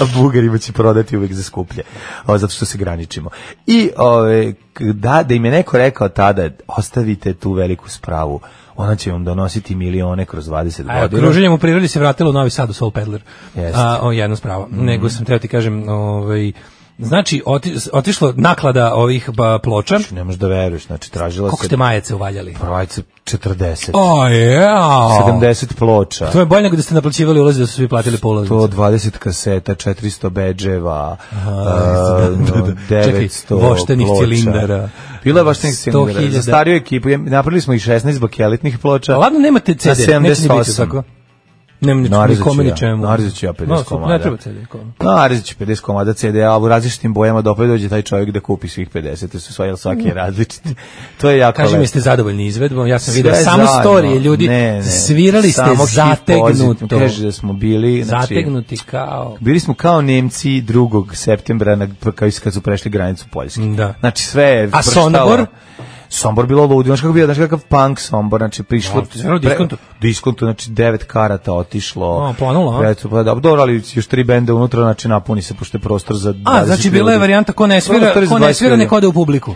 Speaker 6: a Bugarima će prodati uvek za skuplje, o, zato što se graničimo. I ove, k- da, da im je neko rekao tada, ostavite tu veliku spravu, ona će vam donositi milione kroz 20
Speaker 7: A,
Speaker 6: godina.
Speaker 7: kruženjem u prirodi se vratilo u Novi Sad u Soul Peddler.
Speaker 6: Jeste. Mhm.
Speaker 7: A, o, jedna sprava. Nego sam teo ti kažem, ovaj, znači, oti, otišlo naklada ovih ba, ploča.
Speaker 6: Ne možeš da veruješ, znači tražila
Speaker 7: Koliko
Speaker 6: se
Speaker 7: ste majace uvaljali?
Speaker 6: pravajca 40,
Speaker 7: O, jao!
Speaker 6: 70 ploča.
Speaker 7: To je bolje nego da ste naplaćivali ulazi, da su svi platili po ulaznicu.
Speaker 6: to 20 kaseta, 400 bedževa,
Speaker 7: da, da, da.
Speaker 6: eh,
Speaker 7: Čekaj,
Speaker 6: 900
Speaker 7: voštenih
Speaker 6: ploča.
Speaker 7: cilindara.
Speaker 6: Bilo je voštenih
Speaker 7: 100
Speaker 6: cilindara. Za
Speaker 7: hiljada.
Speaker 6: stariju ekipu je- napravili smo i 16 bakelitnih ploča.
Speaker 7: Pa ladno nemate CD,
Speaker 6: Na
Speaker 7: neće ni biti
Speaker 6: 78.
Speaker 7: tako. Nema ni, ni
Speaker 6: Narezu ću
Speaker 7: kome,
Speaker 6: ja.
Speaker 7: ni čemu.
Speaker 6: Narezu ću ja 50
Speaker 7: No, super,
Speaker 6: komada.
Speaker 7: Ne treba CD kome.
Speaker 6: Narezić 50 komada CD-a, u različitim bojama dopred dođe taj čovjek da kupi svih 50, jer su sva, jel svaki je
Speaker 7: Mm.
Speaker 6: različiti. To je jako
Speaker 7: Kaži
Speaker 6: lepo.
Speaker 7: mi ste zadovoljni izvedbom, ja sam
Speaker 6: Sve
Speaker 7: video da samo
Speaker 6: zajedno.
Speaker 7: storije, ljudi,
Speaker 6: Ne, ne.
Speaker 7: svirali ste
Speaker 6: Samo hit
Speaker 7: zategnuto.
Speaker 6: pozitivno. Kaže da smo bili, znači,
Speaker 7: Zategnuti kao...
Speaker 6: Bili smo kao Nemci 2. septembra na, pa kao kad su prešli granicu Poljske.
Speaker 7: Da.
Speaker 6: Znači sve je
Speaker 7: A
Speaker 6: vrštalo-
Speaker 7: Sombor?
Speaker 6: Sombor bilo ludo, znaš kako bio, znaš kakav punk Sombor, znači prišlo...
Speaker 7: No, stvarno diskontu.
Speaker 6: diskontu, znači devet karata otišlo.
Speaker 7: A, planulo, a?
Speaker 6: Eto, pa da, dobro, ali još tri bende unutra, znači napuni se, pošto je prostor za...
Speaker 7: A,
Speaker 6: 20
Speaker 7: znači bila je
Speaker 6: ljudi.
Speaker 7: varijanta ko ne svira,
Speaker 6: Prostor je za
Speaker 7: ko ne
Speaker 6: 20
Speaker 7: svira
Speaker 6: ljudi.
Speaker 7: neko ode u publiku.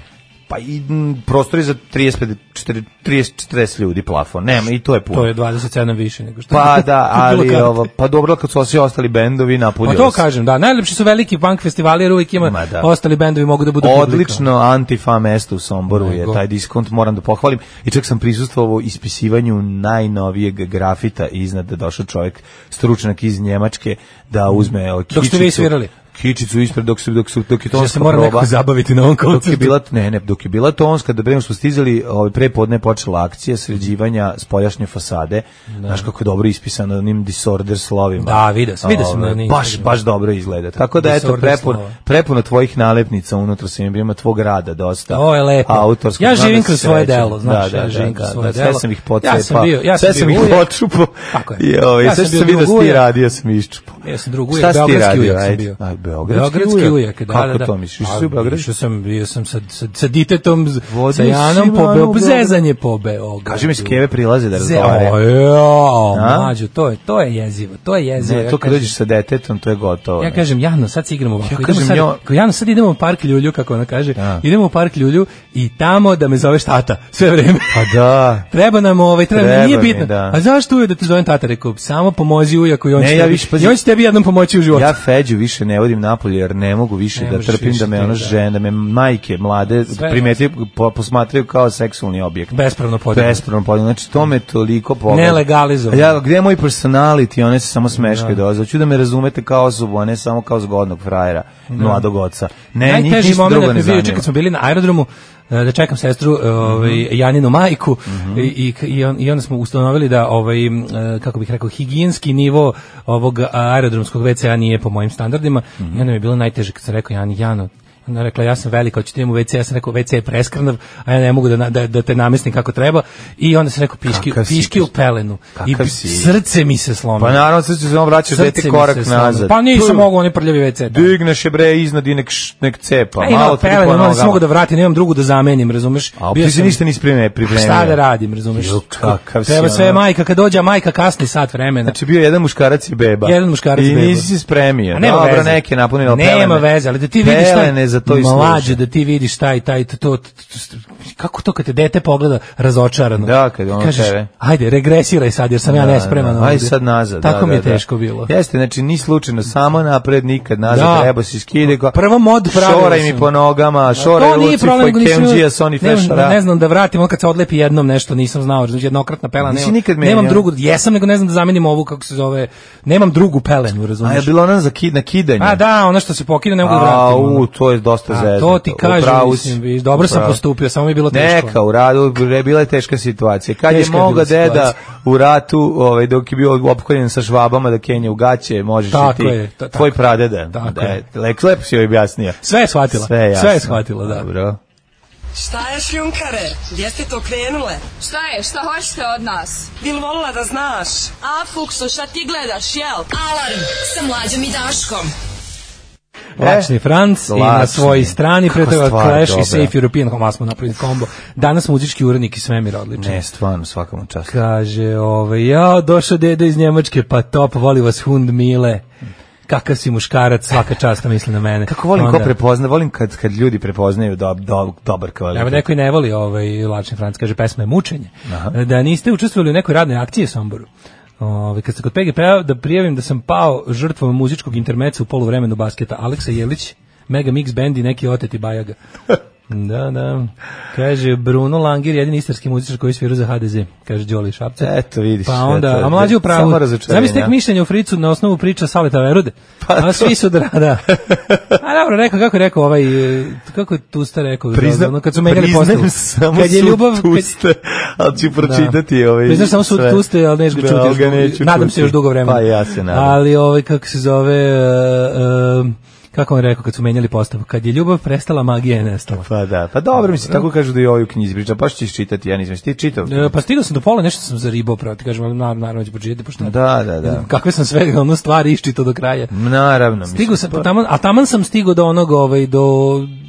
Speaker 6: Pa i m, prostor je za 35, 40, 30, 40 ljudi plafon, nema, i to je puno.
Speaker 7: To je 27 više nego što.
Speaker 6: Pa da,
Speaker 7: Bilo
Speaker 6: ali
Speaker 7: kad.
Speaker 6: ovo, pa dobro, kad su svi ostali bendovi
Speaker 7: Pa
Speaker 6: napunili
Speaker 7: to kažem, da, najlepši su veliki punk festivali, jer uvijek ima,
Speaker 6: Ma da.
Speaker 7: ostali bendovi mogu da budu publika.
Speaker 6: Odlično antifa mesto u Somboru je
Speaker 7: Nego.
Speaker 6: taj diskont, moram da pohvalim. I čak sam prisustvovao ispisivanju najnovijeg grafita iznad da je došao čovjek, stručnjak iz Njemačke, da uzme o, kičicu.
Speaker 7: Dok ste vi svirali?
Speaker 6: Kičicu ispred dok, su, dok, su, dok je
Speaker 7: Ja
Speaker 6: tonska
Speaker 7: Znači da se moram
Speaker 6: proba.
Speaker 7: nekako zabaviti na ovom
Speaker 6: Dok je
Speaker 7: koncertu.
Speaker 6: bila, ne, ne, dok je bila tonska, da bremo smo stizali, ovaj, pre podne je počela akcija sređivanja spoljašnje fasade. Znaš kako je dobro ispisano onim disorder slovima.
Speaker 7: Da, vidio sam, vidio sam
Speaker 6: Ovaj,
Speaker 7: na Instagramu.
Speaker 6: Baš, baš dobro izgleda. Tako da, eto,
Speaker 7: Disorder
Speaker 6: prepuno,
Speaker 7: slova.
Speaker 6: prepuno tvojih nalepnica unutra sam im ima tvog rada dosta.
Speaker 7: O, je lepo.
Speaker 6: Autorskog,
Speaker 7: Ja
Speaker 6: znam da
Speaker 7: živim
Speaker 6: se
Speaker 7: kroz svoje
Speaker 6: srećem.
Speaker 7: delo, znaš,
Speaker 6: da,
Speaker 7: ja
Speaker 6: da,
Speaker 7: živim
Speaker 6: da,
Speaker 7: kroz
Speaker 6: da,
Speaker 7: svoje
Speaker 6: da,
Speaker 7: delo.
Speaker 6: Sve sam ih
Speaker 7: Ja sam
Speaker 6: pocepao.
Speaker 7: bio- ja sam
Speaker 6: sve sam
Speaker 7: bio
Speaker 6: ih
Speaker 7: ujak.
Speaker 6: počupao.
Speaker 7: Tako je.
Speaker 6: I, ovaj,
Speaker 7: Ja
Speaker 6: sve
Speaker 7: sam
Speaker 6: što sam
Speaker 7: bio
Speaker 6: vidio da
Speaker 7: drug
Speaker 6: si ti
Speaker 7: ujak.
Speaker 6: radio sam iščupao.
Speaker 7: E, Ja sam drug ujak,
Speaker 6: Šta si ti
Speaker 7: beogradski
Speaker 6: radio,
Speaker 7: ujak sam
Speaker 6: ajde?
Speaker 7: bio.
Speaker 6: Aj, beogradski ujak.
Speaker 7: da,
Speaker 6: Kako to misliš? Išao si u
Speaker 7: Pa,
Speaker 6: Beograd?
Speaker 7: Išao sam, bio sam sa, sa, sa ditetom, z-
Speaker 6: Vodio
Speaker 7: sa
Speaker 6: si
Speaker 7: Janom, po
Speaker 6: Ivana u
Speaker 7: Beogradu.
Speaker 6: Beograd?
Speaker 7: Zezanje po Beogradu.
Speaker 6: Kaži mi s keve prilaze da
Speaker 7: Ze-
Speaker 6: razgovare.
Speaker 7: O, jao,
Speaker 6: A?
Speaker 7: mlađo, to je, to je jezivo, to je jezivo.
Speaker 6: Ne,
Speaker 7: Ja
Speaker 6: to kad
Speaker 7: kažem-
Speaker 6: dođeš sa detetom, to je gotovo.
Speaker 7: Ja
Speaker 6: ne.
Speaker 7: kažem, Jano, sad se igramo ovako.
Speaker 6: Ja kažem,
Speaker 7: Ja kažem, sad,
Speaker 6: jo-
Speaker 7: kao, Jano, sad idemo u park Ljulju, kako ona kaže.
Speaker 6: Da.
Speaker 7: Idemo u park Ljulju i tamo da me zoveš tata, sve vreme.
Speaker 6: Pa da.
Speaker 7: Treba nam ovaj, treba,
Speaker 6: Treba
Speaker 7: nije
Speaker 6: mi,
Speaker 7: bitno.
Speaker 6: da.
Speaker 7: A zašto uvijek da te zovem tata? Rekao, samo pomozi ujaku i on,
Speaker 6: Ne,
Speaker 7: će,
Speaker 6: ja
Speaker 7: tebi,
Speaker 6: više, pazi-
Speaker 7: i on će tebi jednom pomoći u životu.
Speaker 6: Ja Feđu više ne vodim napolje jer ne mogu više
Speaker 7: Ne
Speaker 6: da
Speaker 7: možeš
Speaker 6: trpim
Speaker 7: više
Speaker 6: da me
Speaker 7: ti,
Speaker 6: ono
Speaker 7: da.
Speaker 6: žene, da me majke mlade
Speaker 7: Sve
Speaker 6: primetio, po, posmatraju kao seksualni objekt.
Speaker 7: Bespravno podignut.
Speaker 6: Bespravno podignut. Znači to me toliko pogleda.
Speaker 7: Nelegalizovan.
Speaker 6: Ja, gde je moj personality? One se samo smeškaju da. Hoću da me razumete kao osobu, a ne samo kao zgodnog frajera, mladog oca. Ne, njih
Speaker 7: Da. Najteži
Speaker 6: ništa
Speaker 7: moment
Speaker 6: drugo
Speaker 7: da
Speaker 6: ne
Speaker 7: mi bio juče
Speaker 6: zanima.
Speaker 7: kad smo bili na aerodromu e, da čekam sestru ovaj
Speaker 6: Mhm.
Speaker 7: Janinu majku i i i, on, i onda smo ustanovili da ovaj m, e, kako bih rekao higijenski nivo ovog aerodromskog WC-a nije po mojim standardima
Speaker 6: Mhm.
Speaker 7: i onda mi je bilo najteže kad sam rekao Jani Jano Ona je rekla, ja sam velika, hoćete imam u WC, ja sam rekao, WC je preskrnav, a ja ne mogu da, na- da, da te namestim kako treba. I onda sam rekao, piški,
Speaker 6: Kakav si
Speaker 7: piški
Speaker 6: ti?
Speaker 7: u pelenu. I
Speaker 6: Kakav si?
Speaker 7: srce mi se slomilo.
Speaker 6: Pa naravno, sad ću se vam vraćaš
Speaker 7: Srce
Speaker 6: dete
Speaker 7: mi
Speaker 6: korak
Speaker 7: se slomilo.
Speaker 6: nazad.
Speaker 7: Pa nisam
Speaker 6: Tu.
Speaker 7: mogao, oni prljavi WC. da.
Speaker 6: Digneš je bre iznad i nek, š- nek cepa.
Speaker 7: Pa
Speaker 6: malo
Speaker 7: imam
Speaker 6: tri
Speaker 7: pelenu,
Speaker 6: po
Speaker 7: malo se
Speaker 6: nogama.
Speaker 7: mogu da vratim, nemam drugu da zamenim, razumeš?
Speaker 6: A
Speaker 7: Bio
Speaker 6: ti se
Speaker 7: sam-
Speaker 6: ništa nisi prime, pripremio.
Speaker 7: Šta da radim, razumeš?
Speaker 6: Jo, kakav si,
Speaker 7: Treba sve
Speaker 6: ono.
Speaker 7: majka, kad dođe a majka kasni sat vremena.
Speaker 6: Znači bio je jedan muškarac i beba.
Speaker 7: Jedan muškarac i
Speaker 6: I
Speaker 7: beba.
Speaker 6: nisi se spremio.
Speaker 7: A Pa nema
Speaker 6: Dobro,
Speaker 7: veze.
Speaker 6: neke napunila pelene.
Speaker 7: Nema veze, ali da ti vidiš taj
Speaker 6: Pelene za to i služe.
Speaker 7: mlađe, da ti vidiš taj taj to, to, to, to- kako to kad te dete pogleda razočarano.
Speaker 6: Da, kad ono
Speaker 7: kažeš,
Speaker 6: tebe. Da,
Speaker 7: ajde, regresiraj sad jer sam ja Pa, nespreman.
Speaker 6: Aj
Speaker 7: ovdje.
Speaker 6: sad nazad.
Speaker 7: Tako
Speaker 6: da,
Speaker 7: mi je
Speaker 6: da, da.
Speaker 7: teško bilo.
Speaker 6: Jeste, znači ni slučajno, samo napred, nikad nazad,
Speaker 7: Da.
Speaker 6: treba si skide. Ko...
Speaker 7: Prvo mod pravila
Speaker 6: Šoraj
Speaker 7: sam.
Speaker 6: mi po nogama, šoraj
Speaker 7: To nije
Speaker 6: Luci,
Speaker 7: problem,
Speaker 6: foj
Speaker 7: nego nisam,
Speaker 6: Kenđija, pa Sony
Speaker 7: ne,
Speaker 6: Fešara.
Speaker 7: ne znam da vratim, on kad se odlepi jednom nešto, nisam znao, znači jednokratna pelena,
Speaker 6: Nisi
Speaker 7: nemam,
Speaker 6: nikad menjao?
Speaker 7: nemam drugu, jesam, nego ne znam da zamenim ovu, kako se zove, nemam drugu pelenu,
Speaker 6: A je
Speaker 7: razumiješ?
Speaker 6: bilo ona za kid, na kidanje.
Speaker 7: A da, ono što se pokine, ne mogu da
Speaker 6: A,
Speaker 7: vratim. ono.
Speaker 6: u, to je dosta
Speaker 7: A,
Speaker 6: zezno.
Speaker 7: to ti kažem, mislim, viš, dobro sam postupio, samo mi je bilo teško.
Speaker 6: Neka, u radu je bila je teška situacija. Kad
Speaker 7: Teška
Speaker 6: je
Speaker 7: je
Speaker 6: moga
Speaker 7: bila
Speaker 6: deda
Speaker 7: situacija.
Speaker 6: u ratu, ovaj, dok je bio opkoljen sa švabama da Kenja u gaće, možeš
Speaker 7: Tako
Speaker 6: i ti.
Speaker 7: je, ta-
Speaker 6: tvoj pradeda.
Speaker 7: Tako
Speaker 6: da,
Speaker 7: je.
Speaker 6: je. Lek, lepo si joj objasnio.
Speaker 7: Sve je shvatila,
Speaker 6: Sve je, jasno.
Speaker 7: sve je shvatila, da.
Speaker 6: Dobro.
Speaker 1: Šta je šljunkare? Gdje ste to krenule?
Speaker 8: Šta je? Šta hoćete od nas?
Speaker 1: Bil volila da znaš?
Speaker 8: A, Fuksu, šta ti gledaš, jel?
Speaker 3: Alarm sa mlađom i Daškom.
Speaker 7: Lačni Franc i na
Speaker 6: E, lačni.
Speaker 7: svojoj strani pre
Speaker 6: Kakva
Speaker 7: toga
Speaker 6: stvar
Speaker 7: Clash
Speaker 6: dobra.
Speaker 7: i Safe European Home smo napravili kombo. Danas muzički urednik i svemir odličan.
Speaker 6: Ne, stvarno, svakam čast.
Speaker 7: Kaže, ovaj, ja, došao deda iz Njemačke, pa top, voli vas hund mile. Kakav si muškarac, svaka časta misli na mene.
Speaker 6: Kako volim
Speaker 7: Onda-
Speaker 6: ko prepozna, volim kad, kad ljudi prepoznaju do, do, dobar kvalitet.
Speaker 7: Evo neko i ne voli ovaj Lačni Franc, kaže pesma je mučenje. Da niste učestvovali u nekoj radnoj akciji u Somboru. Ove, kad ste kod PGP-a, da prijavim da sam pao žrtvom muzičkog intermeca u poluvremenu basketa Aleksa Jelić, Mega Mix Band i neki oteti bajaga. Da, da. Kaže Bruno Langir, jedini istarski muzičar koji svira za HDZ, kaže Đoli Šapce.
Speaker 6: Eto, vidiš,
Speaker 7: Pa onda,
Speaker 6: eto,
Speaker 7: a mlađi u pravu.
Speaker 6: samo razočarenja.
Speaker 7: Zamisli tek mišljenje o Fricu na osnovu priča Saleta Verude.
Speaker 6: Pa
Speaker 7: a svi su da, da. A dobro, rekao, kako je rekao ovaj, e, kako je Tusta rekao?
Speaker 6: Prizna,
Speaker 7: ono, kad su menjali
Speaker 6: priznajem
Speaker 7: postavu.
Speaker 6: samo
Speaker 7: Kad je ljubav...
Speaker 6: sud
Speaker 7: kad-
Speaker 6: tuste, ali ću pročitati
Speaker 7: da.
Speaker 6: ovaj...
Speaker 7: Priznajem samo sud
Speaker 6: sve.
Speaker 7: tuste, ali neš ga
Speaker 6: Da,
Speaker 7: čuti.
Speaker 6: ali
Speaker 7: još
Speaker 6: ga
Speaker 7: dugo-
Speaker 6: neću
Speaker 7: nadam
Speaker 6: čuti.
Speaker 7: se još dugo vremena.
Speaker 6: Pa ja se nadam.
Speaker 7: Ali ovaj, kako se zove... e, e, kako on rekao kad su menjali postavu? Kad je ljubav prestala, magija je nestala.
Speaker 6: Pa da, pa dobro, mislim, tako kažu da i ovaj u knjizi priča, baš ćeš čitati, ja nisam, jesi ti čitao?
Speaker 7: E, pa stigao sam do pola, nešto sam zaribao, pravo ti kažem, ali nar- naravno ću početi, pošto
Speaker 6: Da, da, da.
Speaker 7: kakve sam sve ono stvari iščitao do kraja.
Speaker 6: Naravno, mislim. pa-
Speaker 7: Stigao sam, taman, a taman sam stigao do onog, ovaj, do,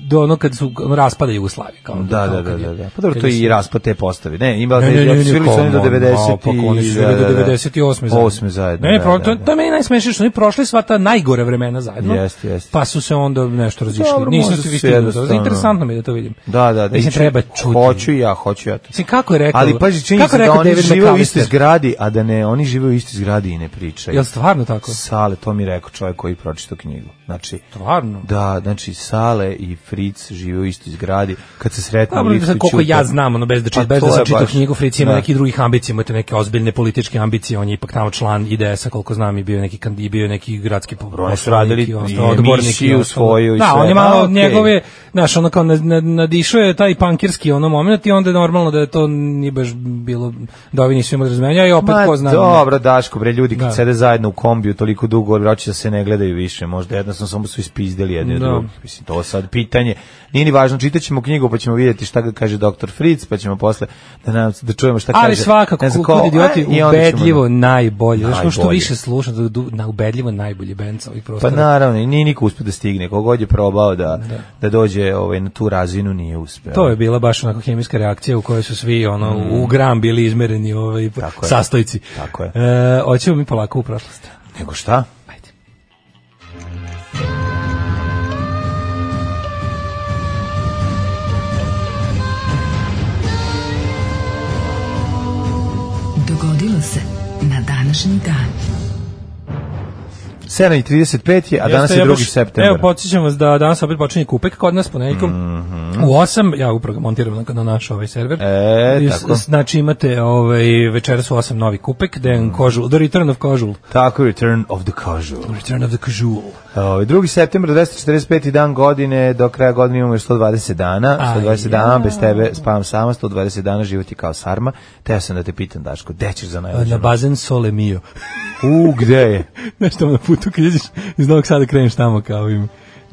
Speaker 7: do onog kad su ono, raspada Jugoslavije. Kao,
Speaker 6: Da,
Speaker 7: kao
Speaker 6: da, da,
Speaker 7: kad je-
Speaker 6: da, da. Pa dobro,
Speaker 7: kad
Speaker 6: to
Speaker 7: je
Speaker 6: je i raspad te postave. Ne, ima
Speaker 7: Ne, ne, ne, ne,
Speaker 6: svirali su oni do da,
Speaker 7: come on,
Speaker 6: 90
Speaker 7: naopak, oni su bili do 98. zajedno.
Speaker 6: 8 zajedno.
Speaker 7: Ne,
Speaker 6: da,
Speaker 7: pro,
Speaker 6: da,
Speaker 7: to,
Speaker 6: da.
Speaker 7: to je meni najsmešnije što oni prošli sva ta najgore vremena zajedno.
Speaker 6: Jeste, jeste.
Speaker 7: Pa su se onda nešto razišli.
Speaker 6: Dobro,
Speaker 7: Nisam
Speaker 6: možda
Speaker 7: se
Speaker 6: su
Speaker 7: vidjeli do toga.
Speaker 6: jednostavno.
Speaker 7: Interesantno mi je da to vidim.
Speaker 6: Da, da, da.
Speaker 7: Mislim,
Speaker 6: i ču-
Speaker 7: treba čuti.
Speaker 6: Hoću i ja, hoću ja to.
Speaker 7: Mislim, kako je rekao?
Speaker 6: Ali pazi, čini
Speaker 7: kako
Speaker 6: se
Speaker 7: je
Speaker 6: da
Speaker 7: rekao
Speaker 6: oni
Speaker 7: David
Speaker 6: žive u istoj
Speaker 7: McAllister?
Speaker 6: zgradi, a da ne, oni žive u istoj zgradi i ne pričaju.
Speaker 7: Jel stvarno tako?
Speaker 6: Sale, to mi je rekao čovjek koji pročitao knjigu. Znači,
Speaker 7: Stvarno.
Speaker 6: da, znači, Sale i Fritz žive u istoj zgradi. Kad se sretnu u
Speaker 7: Dobro,
Speaker 6: liftu
Speaker 7: sad koliko
Speaker 6: ćute.
Speaker 7: ja znam, ono bez da čit,
Speaker 6: Pa
Speaker 7: bez
Speaker 6: to
Speaker 7: da sam
Speaker 6: je
Speaker 7: čitao
Speaker 6: baš-
Speaker 7: knjigu Fritz ima
Speaker 6: da.
Speaker 7: nekih drugih ambicija, ima te neke ozbiljne političke ambicije, on je ipak tamo član IDS-a, koliko znam, i bio je neki kandi, bio je neki gradski po-
Speaker 6: Oni su
Speaker 7: poslanik
Speaker 6: radili
Speaker 7: i ostalo,
Speaker 6: i
Speaker 7: odbornik i
Speaker 6: emisiju
Speaker 7: ostalo.
Speaker 6: svoju i
Speaker 7: Da,
Speaker 6: sve.
Speaker 7: on je malo
Speaker 6: A, okej.
Speaker 7: njegove, znaš, ono kao na- na- nadišao je taj pankirski ono moment i onda je normalno da je to nije baš bilo, da ovi nisu imali razmenja i opet
Speaker 6: Ma,
Speaker 7: ko zna.
Speaker 6: dobro, Daško, bre, ljudi kad
Speaker 7: Da.
Speaker 6: sede zajedno u kombiju toliko dugo, vraća da se ne gledaju više, možda jednostavno samo su ispizdeli jedni od
Speaker 7: Da.
Speaker 6: drugih. Mislim, to sad pitanje. Nije ni važno, čitat ćemo knjigu, pa ćemo vidjeti šta ga kaže doktor Fritz, pa ćemo posle da, nam, da čujemo šta kaže.
Speaker 7: Ali svakako,
Speaker 6: ne znam
Speaker 7: kud
Speaker 6: ko,
Speaker 7: idioti,
Speaker 6: a, i onda ćemo
Speaker 7: ubedljivo
Speaker 6: da-
Speaker 7: najbolje. Znaš, ono što
Speaker 6: Najbolje.
Speaker 7: više slušam, da- da- na ubedljivo najbolji band sa ovih
Speaker 6: Pa
Speaker 7: prostora.
Speaker 6: naravno, i nije niko uspio da stigne. Kogod je probao da, da. dođe ovaj, na tu razinu, nije uspeo.
Speaker 7: Da. To je bila baš onako hemijska reakcija u kojoj su svi ono u gram bili izmereni ovaj
Speaker 6: Mm. Tako je.
Speaker 7: sastojci.
Speaker 6: Tako je.
Speaker 7: E, hoćemo mi polako u prošlost.
Speaker 6: Nego šta?
Speaker 7: Ajde.
Speaker 4: Dogodilo se na današnji dan.
Speaker 6: 7.35 je, a danas
Speaker 7: Jeste,
Speaker 6: je
Speaker 7: ja
Speaker 6: 2.
Speaker 7: baš-
Speaker 6: september.
Speaker 7: Evo, podsjećam vas da danas opet počinje kupek kod nas ponedjeljkom. U 8, ja upravo ga montiram na, na naš ovaj server.
Speaker 6: Mhm. E,
Speaker 7: I s-
Speaker 6: tako.
Speaker 7: Znači imate ovaj, večeras u 8 novi kupek, Dejan
Speaker 6: Mhm.
Speaker 7: Kožul, The Return of Kožul.
Speaker 6: Tako, Return of the Casual.
Speaker 7: Return of the Kožul.
Speaker 6: Ovaj 2. septembar 245. dan godine, do kraja godine imamo još 120 dana,
Speaker 7: Aj,
Speaker 6: 120 dana bez tebe spavam sama, 120 dana život je kao sarma. Teo sam da te pitam Daško, gde ćeš za najluđu
Speaker 7: Na
Speaker 6: noć?
Speaker 7: bazen Sole Mio.
Speaker 6: U, gde je?
Speaker 7: Znaš tamo na putu kad ideš iz Novog Sada kreneš tamo kao im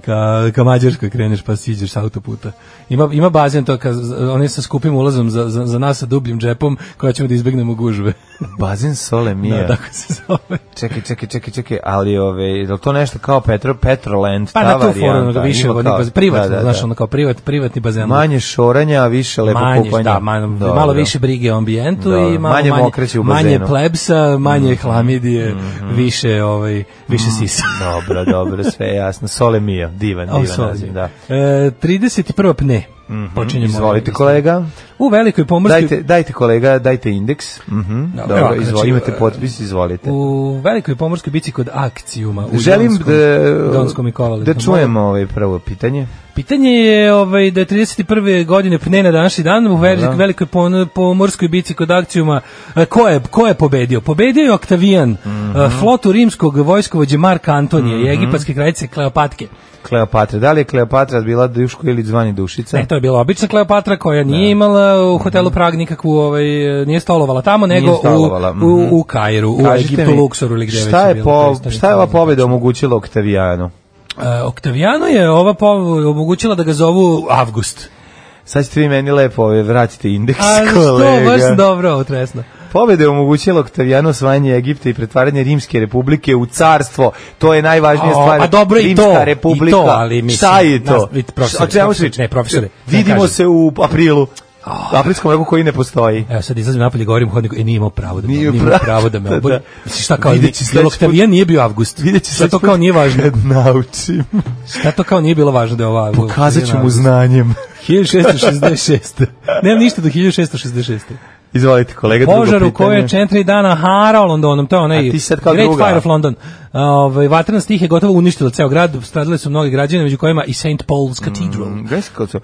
Speaker 7: ka, ka Mađarskoj kreneš pa siđeš s autoputa. Ima, ima bazen to, ka, oni sa skupim ulazom za, za, za nas sa dubljim džepom koja ćemo da izbegnemo gužve.
Speaker 6: Bazen Sole Mija.
Speaker 7: Da, tako se zove.
Speaker 6: Čekaj, čekaj, čekaj, čekaj, ali ove, je li to nešto kao Petro, Petroland,
Speaker 7: Pa
Speaker 6: ta
Speaker 7: na to
Speaker 6: varijanta?
Speaker 7: foru ono, više
Speaker 6: Ima
Speaker 7: vodnih
Speaker 6: kao-
Speaker 7: bazen, privatno,
Speaker 6: da, da,
Speaker 7: znaš,
Speaker 6: da.
Speaker 7: ono kao privat, privatni bazen.
Speaker 6: Manje šoranja, a više lepo
Speaker 7: manje,
Speaker 6: kupanje.
Speaker 7: da, manje,
Speaker 6: Dobro.
Speaker 7: malo više brige o ambijentu
Speaker 6: Dobro.
Speaker 7: i malo
Speaker 6: Manje mokraće u
Speaker 7: manje
Speaker 6: bazenu. Mhm,
Speaker 7: plebsa, manje hlamidije, više ovaj više sisa.
Speaker 6: Dobro, dobro, sve je jasno. Sole Mija, divan,
Speaker 7: Oh,
Speaker 6: divan
Speaker 7: sorry.
Speaker 6: naziv, da. Mhm,
Speaker 7: E, 31. pne. Počinjemo. ovaj
Speaker 6: Izvolite
Speaker 7: da.
Speaker 6: kolega.
Speaker 7: U velikoj pomorskoj
Speaker 6: Dajte, dajte kolega, dajte indeks. Mhm.
Speaker 7: Dobro,
Speaker 6: Dobro,
Speaker 7: ovako,
Speaker 6: izvolite,
Speaker 7: znači,
Speaker 6: imate
Speaker 7: e,
Speaker 6: potpis, izvolite.
Speaker 7: u velikoj pomorskoj bici kod Akcijuma u
Speaker 6: Želim
Speaker 7: Donskom,
Speaker 6: da
Speaker 7: Donskom i
Speaker 6: da
Speaker 7: Kovalnikom.
Speaker 6: čujemo ovaj prvo pitanje.
Speaker 7: Pitanje je ovaj, da je 31. godine pne na današnji dan u ver-
Speaker 6: Da.
Speaker 7: velikoj pon- pomorskoj bici kod akcijuma. e, Ko je, ko je pobedio? Pobedio je Oktavijan, e,
Speaker 6: Mhm.
Speaker 7: flotu rimskog vojskovođe Marka Antonija i egipatske kraljice Kleopatke.
Speaker 6: Kleopatra, da li je Kleopatra bila Duško ili zvani Dušica?
Speaker 7: Ne, E, to je bila obična Kleopatra koja nije
Speaker 6: Da.
Speaker 7: imala
Speaker 6: Mhm.
Speaker 7: u hotelu Prag nikakvu, ovaj, e, nije stolovala tamo, nego
Speaker 6: stolovala,
Speaker 7: u, u,
Speaker 6: mhm.
Speaker 7: u Kairu, u
Speaker 6: Kažite
Speaker 7: Egiptu,
Speaker 6: mi,
Speaker 7: Luksoru ili gde
Speaker 6: šta
Speaker 7: već
Speaker 6: je,
Speaker 7: bila
Speaker 6: po,
Speaker 7: predstavnica
Speaker 6: šta je ova
Speaker 7: Albanije.
Speaker 6: pobeda omogućila Oktavijanu?
Speaker 7: E, Oktavijanu je ova po- omogućila da ga zovu Avgust.
Speaker 6: Sad ćete vi meni lepo ove, vratiti indeks,
Speaker 7: Ali što,
Speaker 6: kolega.
Speaker 7: baš si dobro ovo tresno.
Speaker 6: Pobede je omogućila Oktavijanu osvajanje Egipta i pretvaranje Rimske republike u carstvo. To je najvažnija
Speaker 7: A,
Speaker 6: stvar.
Speaker 7: a dobro i
Speaker 6: Rimska
Speaker 7: to, i
Speaker 6: republika.
Speaker 7: to, ali mislim,
Speaker 6: Šta je
Speaker 7: nas-
Speaker 6: to?
Speaker 7: vidite, profesore,
Speaker 6: Šta- o čemu
Speaker 7: profesore,
Speaker 6: si-
Speaker 7: ne, profesore, ne
Speaker 6: Vidimo
Speaker 7: kažem. Ah.
Speaker 6: se u aprilu. Aprilskom roku koji ne postoji.
Speaker 7: Evo sad izlazim napolje, govorim u hodniku, e nije imao pravo da me,
Speaker 6: Nije
Speaker 7: nije imao
Speaker 6: pravo.
Speaker 7: pravo da me obori.
Speaker 6: Da.
Speaker 7: Mislim, šta kao,
Speaker 6: Vidjet će
Speaker 7: jel
Speaker 6: sledeći put.
Speaker 7: Oktavijan nije bio avgust?
Speaker 6: Vidjet će
Speaker 7: Šta to
Speaker 6: sledeći
Speaker 7: kao
Speaker 6: put
Speaker 7: nije važno?
Speaker 6: Kad naučim,
Speaker 7: Šta to kao nije bilo važno da je ova...
Speaker 6: pokazat ću mu
Speaker 7: Avgust?
Speaker 6: znanjem.
Speaker 7: 1666. Nemam ništa do 1666.
Speaker 6: Izvolite, kolega, drugo
Speaker 7: Požar u kojoj
Speaker 6: pitanje.
Speaker 7: je 4 dana harao Londonom, to je onaj
Speaker 6: A ti sad kao
Speaker 7: Great
Speaker 6: druga.
Speaker 7: Fire of London. Ovaj vatrena stih je gotovo uništila ceo grad, stradale su mnoge građane, među kojima i St. Paul's Cathedral.
Speaker 6: Mm, Gledajte kako to...